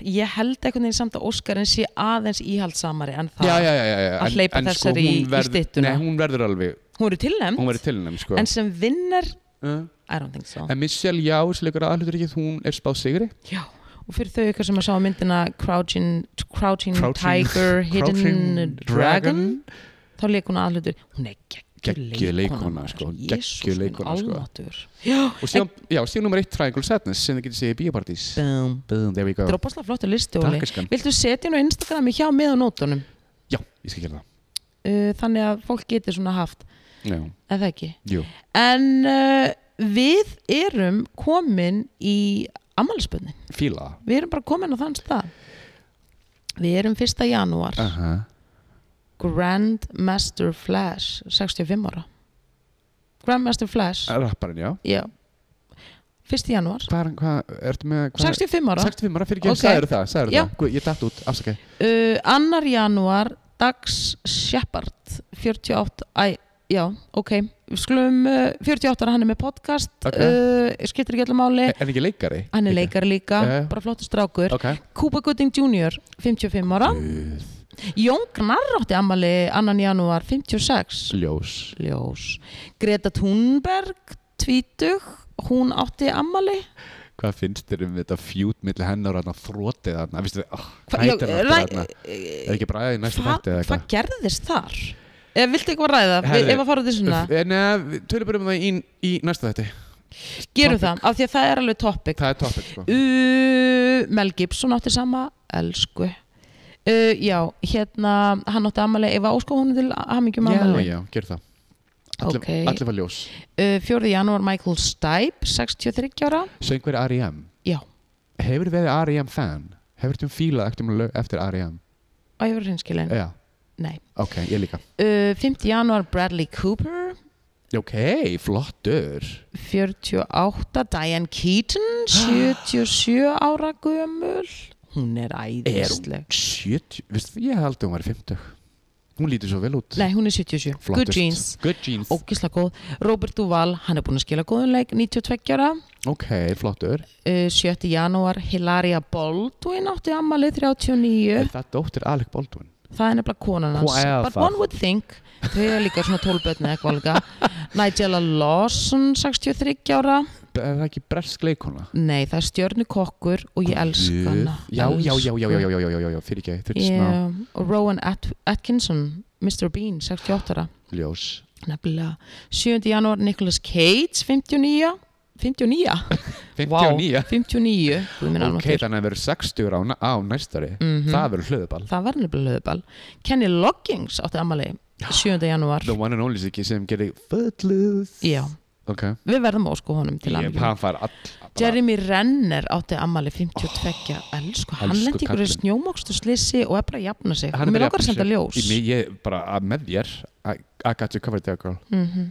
S2: ég held einhvern veginn samt að Óskarinn sé aðeins íhaldsamari en það
S1: já, já, já, já, já.
S2: Ah. að hleypa þessari í-
S1: hún
S2: í
S1: verð-
S2: styttuna.
S1: Nei, hún verður alveg,
S2: hún verður tilnæmt
S1: hún verður tilnæm sko.
S2: en sem vinnar,
S1: en,
S2: I don't think so
S1: en Michelle Yao sem leikur aðhluturikið, hún er spáð sigri
S2: já, og fyrir þau ykkur sem að sjá myndina Crouching, Crouching,
S1: Crouching-
S2: Tiger Hidden
S1: Crouching
S2: Dragon þá leik hún aðhlutur, hún er
S1: Geggjuð
S2: geggjuð
S1: leikkona,
S2: maður.
S1: sko,
S2: Jesús
S1: geggjuð
S2: minn
S1: leikkona, sko.
S2: almáttugur. já,
S1: og síðan, já, síðan nummer eitt Triangle Sadness sem þið getur séð í bíopartís
S2: bum
S1: Boom, there we go
S2: drópaslega flottu listi, Óli
S1: Takk, elskan.
S2: viltu setja nú Instagrami hjá með á nótunum
S1: Já, ég skal gera
S2: uh, þannig að fólk getur svona haft
S1: það Já,
S2: eða ekki
S1: jú
S2: en uh, við erum komin í ammælisbönnin
S1: Fíla
S2: við erum bara komin á þann stað við erum 1. janúar
S1: það Aha.
S2: Grand Master Flash 65 ára Grand Master Flash
S1: Rapparinn, já
S2: já 1. janúar
S1: Hvað, er- hvað, ertu með hvað,
S2: 65 ára
S1: 65 ára fyrir ekki,
S2: Ok.
S1: okay. sagður það, sagður
S2: Já.
S1: það Guð, Ég datt út, afsaka
S2: uh, 2. janúar Dags Shepard 48 æ, já, ok Við skulum uh, 48 ára hann er með podcast
S1: Ok.
S2: uh, skiptir ekki allir máli
S1: En en ekki leikari
S2: hann er
S1: Líka.
S2: leikar líka,
S1: Já, já.
S2: bara flottur strákur
S1: Ok
S2: Cooper Gooding Jr. 55 ára
S1: Guð,
S2: Jón Gnarr átti ammali 2. janúar 56
S1: Ljós
S2: Ljós Greta Thunberg, tvítug hún átti ammali
S1: Hvað finnst þér um þetta fjút milli hennar hann að þrótið hann Það finnst þér, oh,
S2: Hva-
S1: hvað heitir
S2: já,
S1: hann
S2: ræ- Eh,
S1: aftur hann Er ekki bræðið í næstu
S2: Hva-
S1: hætti eða
S2: Hvað
S1: eitthvað
S2: gerðist þar? Eh, Viltu eitthvað ræða?
S1: Herðu,
S2: Herri, ef að fara til svona,
S1: Eh, Nei, tölum bara um það í, í næsta þetta
S2: gerum
S1: topic.
S2: það af því að það er alveg topic
S1: Það er topic sko.
S2: uh, Mel Gibson átti sama elsku uh, Já, hérna, hann átti ammali Eva Ósko hún til hamingjum
S1: Já,
S2: ammali
S1: já, gerð það Allir,
S2: Ok.
S1: allir var ljós
S2: uh, 4. janúar Michael Stipe 63 ára
S1: Söngur R.E.M.
S2: Já,
S1: E Hefur verið R.E.M. fan? Hefur þú fílað eftir, um lög eftir R.E.M.?
S2: á ég verið hreinskilin
S1: Já,
S2: Nei
S1: ok, ég líka
S2: uh, 5. janúar Bradley Cooper
S1: Ok, flottur
S2: 48 Diane Keaton 77 ára gömul Hún er
S1: Er hún
S2: æðisleg
S1: 70? Veistu, ég held að hún var 50 Hún lítur svo vel út
S2: Nei, hún er 77 Good jeans
S1: Good jeans
S2: Ógisla góð Robert Duval, hann er búinn að skila góðun leik 92 ára
S1: Ok, flottur
S2: uh, 7. janúar Hilaria Baldwin átti ammalið 39
S1: Er það dóttir Alec Baldwin?
S2: það er nefnilega konan hans
S1: Hvað er
S2: but
S1: það?
S2: one would think þau er líka svona 12 börn eða eitthvað líka Nigella Lawson 63 ára
S1: Er það ekki bresk leikona?
S2: nei það er stjörnukokkur og ég elska
S1: Guð.
S2: hana
S1: Já, já, já,
S2: Elsku.
S1: já, já, já, já, já, já, já, fyrir ekki Þetta er svona
S2: Yeah. og Rowan At Atkinson Mr. Bean 68 ára
S1: ljós
S2: nefnilega 7. janúar Nicolas Cage 59 59
S1: 59
S2: Vá, 59 Guð minn
S1: Ok,
S2: almáttugur.
S1: þannig að verður 60 á, á næstari
S2: Mhm.
S1: Það verður hlöðuball
S2: það var nefnilega höfubal Kenny Loggins átti amali 7. janúar
S1: The one and only Siggi sem gerir Footloose
S2: Já,
S1: Ok
S2: við verðum að ósku honum til
S1: Ég,
S2: hann
S1: hann fær all bara-
S2: Jeremy Renner átti amali 52 elsku, hann
S1: elsku
S2: lendi ykkur
S1: kallinn.
S2: snjómokstu slissi og er bara að jafna sig
S1: hann er
S2: og mér
S1: bara
S2: okkar að senda ljós
S1: Í mig- Ég bara að með þér I, I got you covered there girl
S2: mm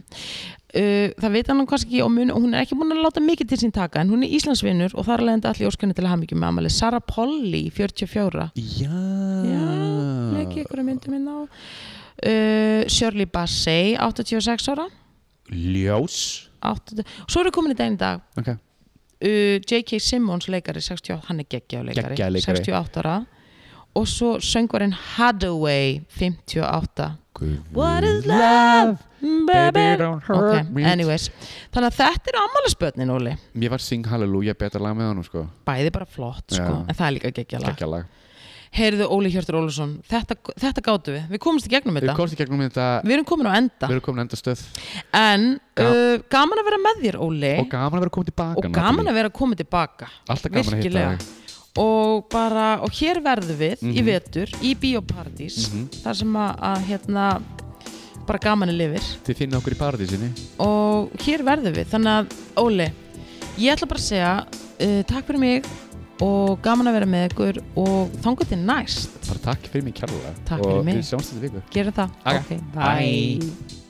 S2: uh, það veit hann kannski ekki og mun, hún er ekki búin að láta mikið til sín taka en hún er Íslandsvinnur og þar er leiðandi allir óskunni til hamingjum með amali Sara Polly 44
S1: Já
S2: Já, ekki ykkur um myndum inn á uh, Shirley Bassey 86 ára
S1: Ljós
S2: 80, svo eru komin í daginn í dag
S1: Ok
S2: uh, J.K. Simmons leikari 68, hann er geggja leikari,
S1: Geggjaður leikari.
S2: 68 ára og svo söngvarinn Hathaway 58 What is love, baby
S1: don't
S2: Ok, anyways Þannig að þetta eru ammálisbötnin, Óli
S1: Mér var Sing Hallelujah betra lag með honum sko
S2: Bæði bara flott, sko,
S1: Já.
S2: en það er líka geggjala
S1: Gekkja lag
S2: Heyrðu Óli Hjörtur Ólusson, þetta, þetta gátu við Við komumst í gegnum
S1: Við
S2: þetta
S1: komst í gegnum þetta
S2: Við erum komin á enda
S1: Við erum komin enda stöð
S2: En
S1: Ga-
S2: uh, gaman að vera með þér, Óli
S1: Og gaman að vera komin tilbaka
S2: og gaman að vera komið tilbaka
S1: Alltaf gaman að hitta
S2: virkilega.
S1: þig.
S2: og bara, og hér verðum við í
S1: Mhm.
S2: vetur, í Bíóparadís
S1: Mhm.
S2: þar sem að, að hérna bara gaman er lifir
S1: Þið finna okkur í paradísinni
S2: og hér verðum við, þannig að Óli, ég ætla bara að segja uh, takk fyrir mig og gaman að vera með ykkur og þangu til næst
S1: Bara takk fyrir mig kærlega
S2: Takk
S1: Og
S2: fyrir mig.
S1: við sjáumst þetta viku
S2: gerum það,
S1: Ok.
S2: ok,
S1: Bye.
S2: bye.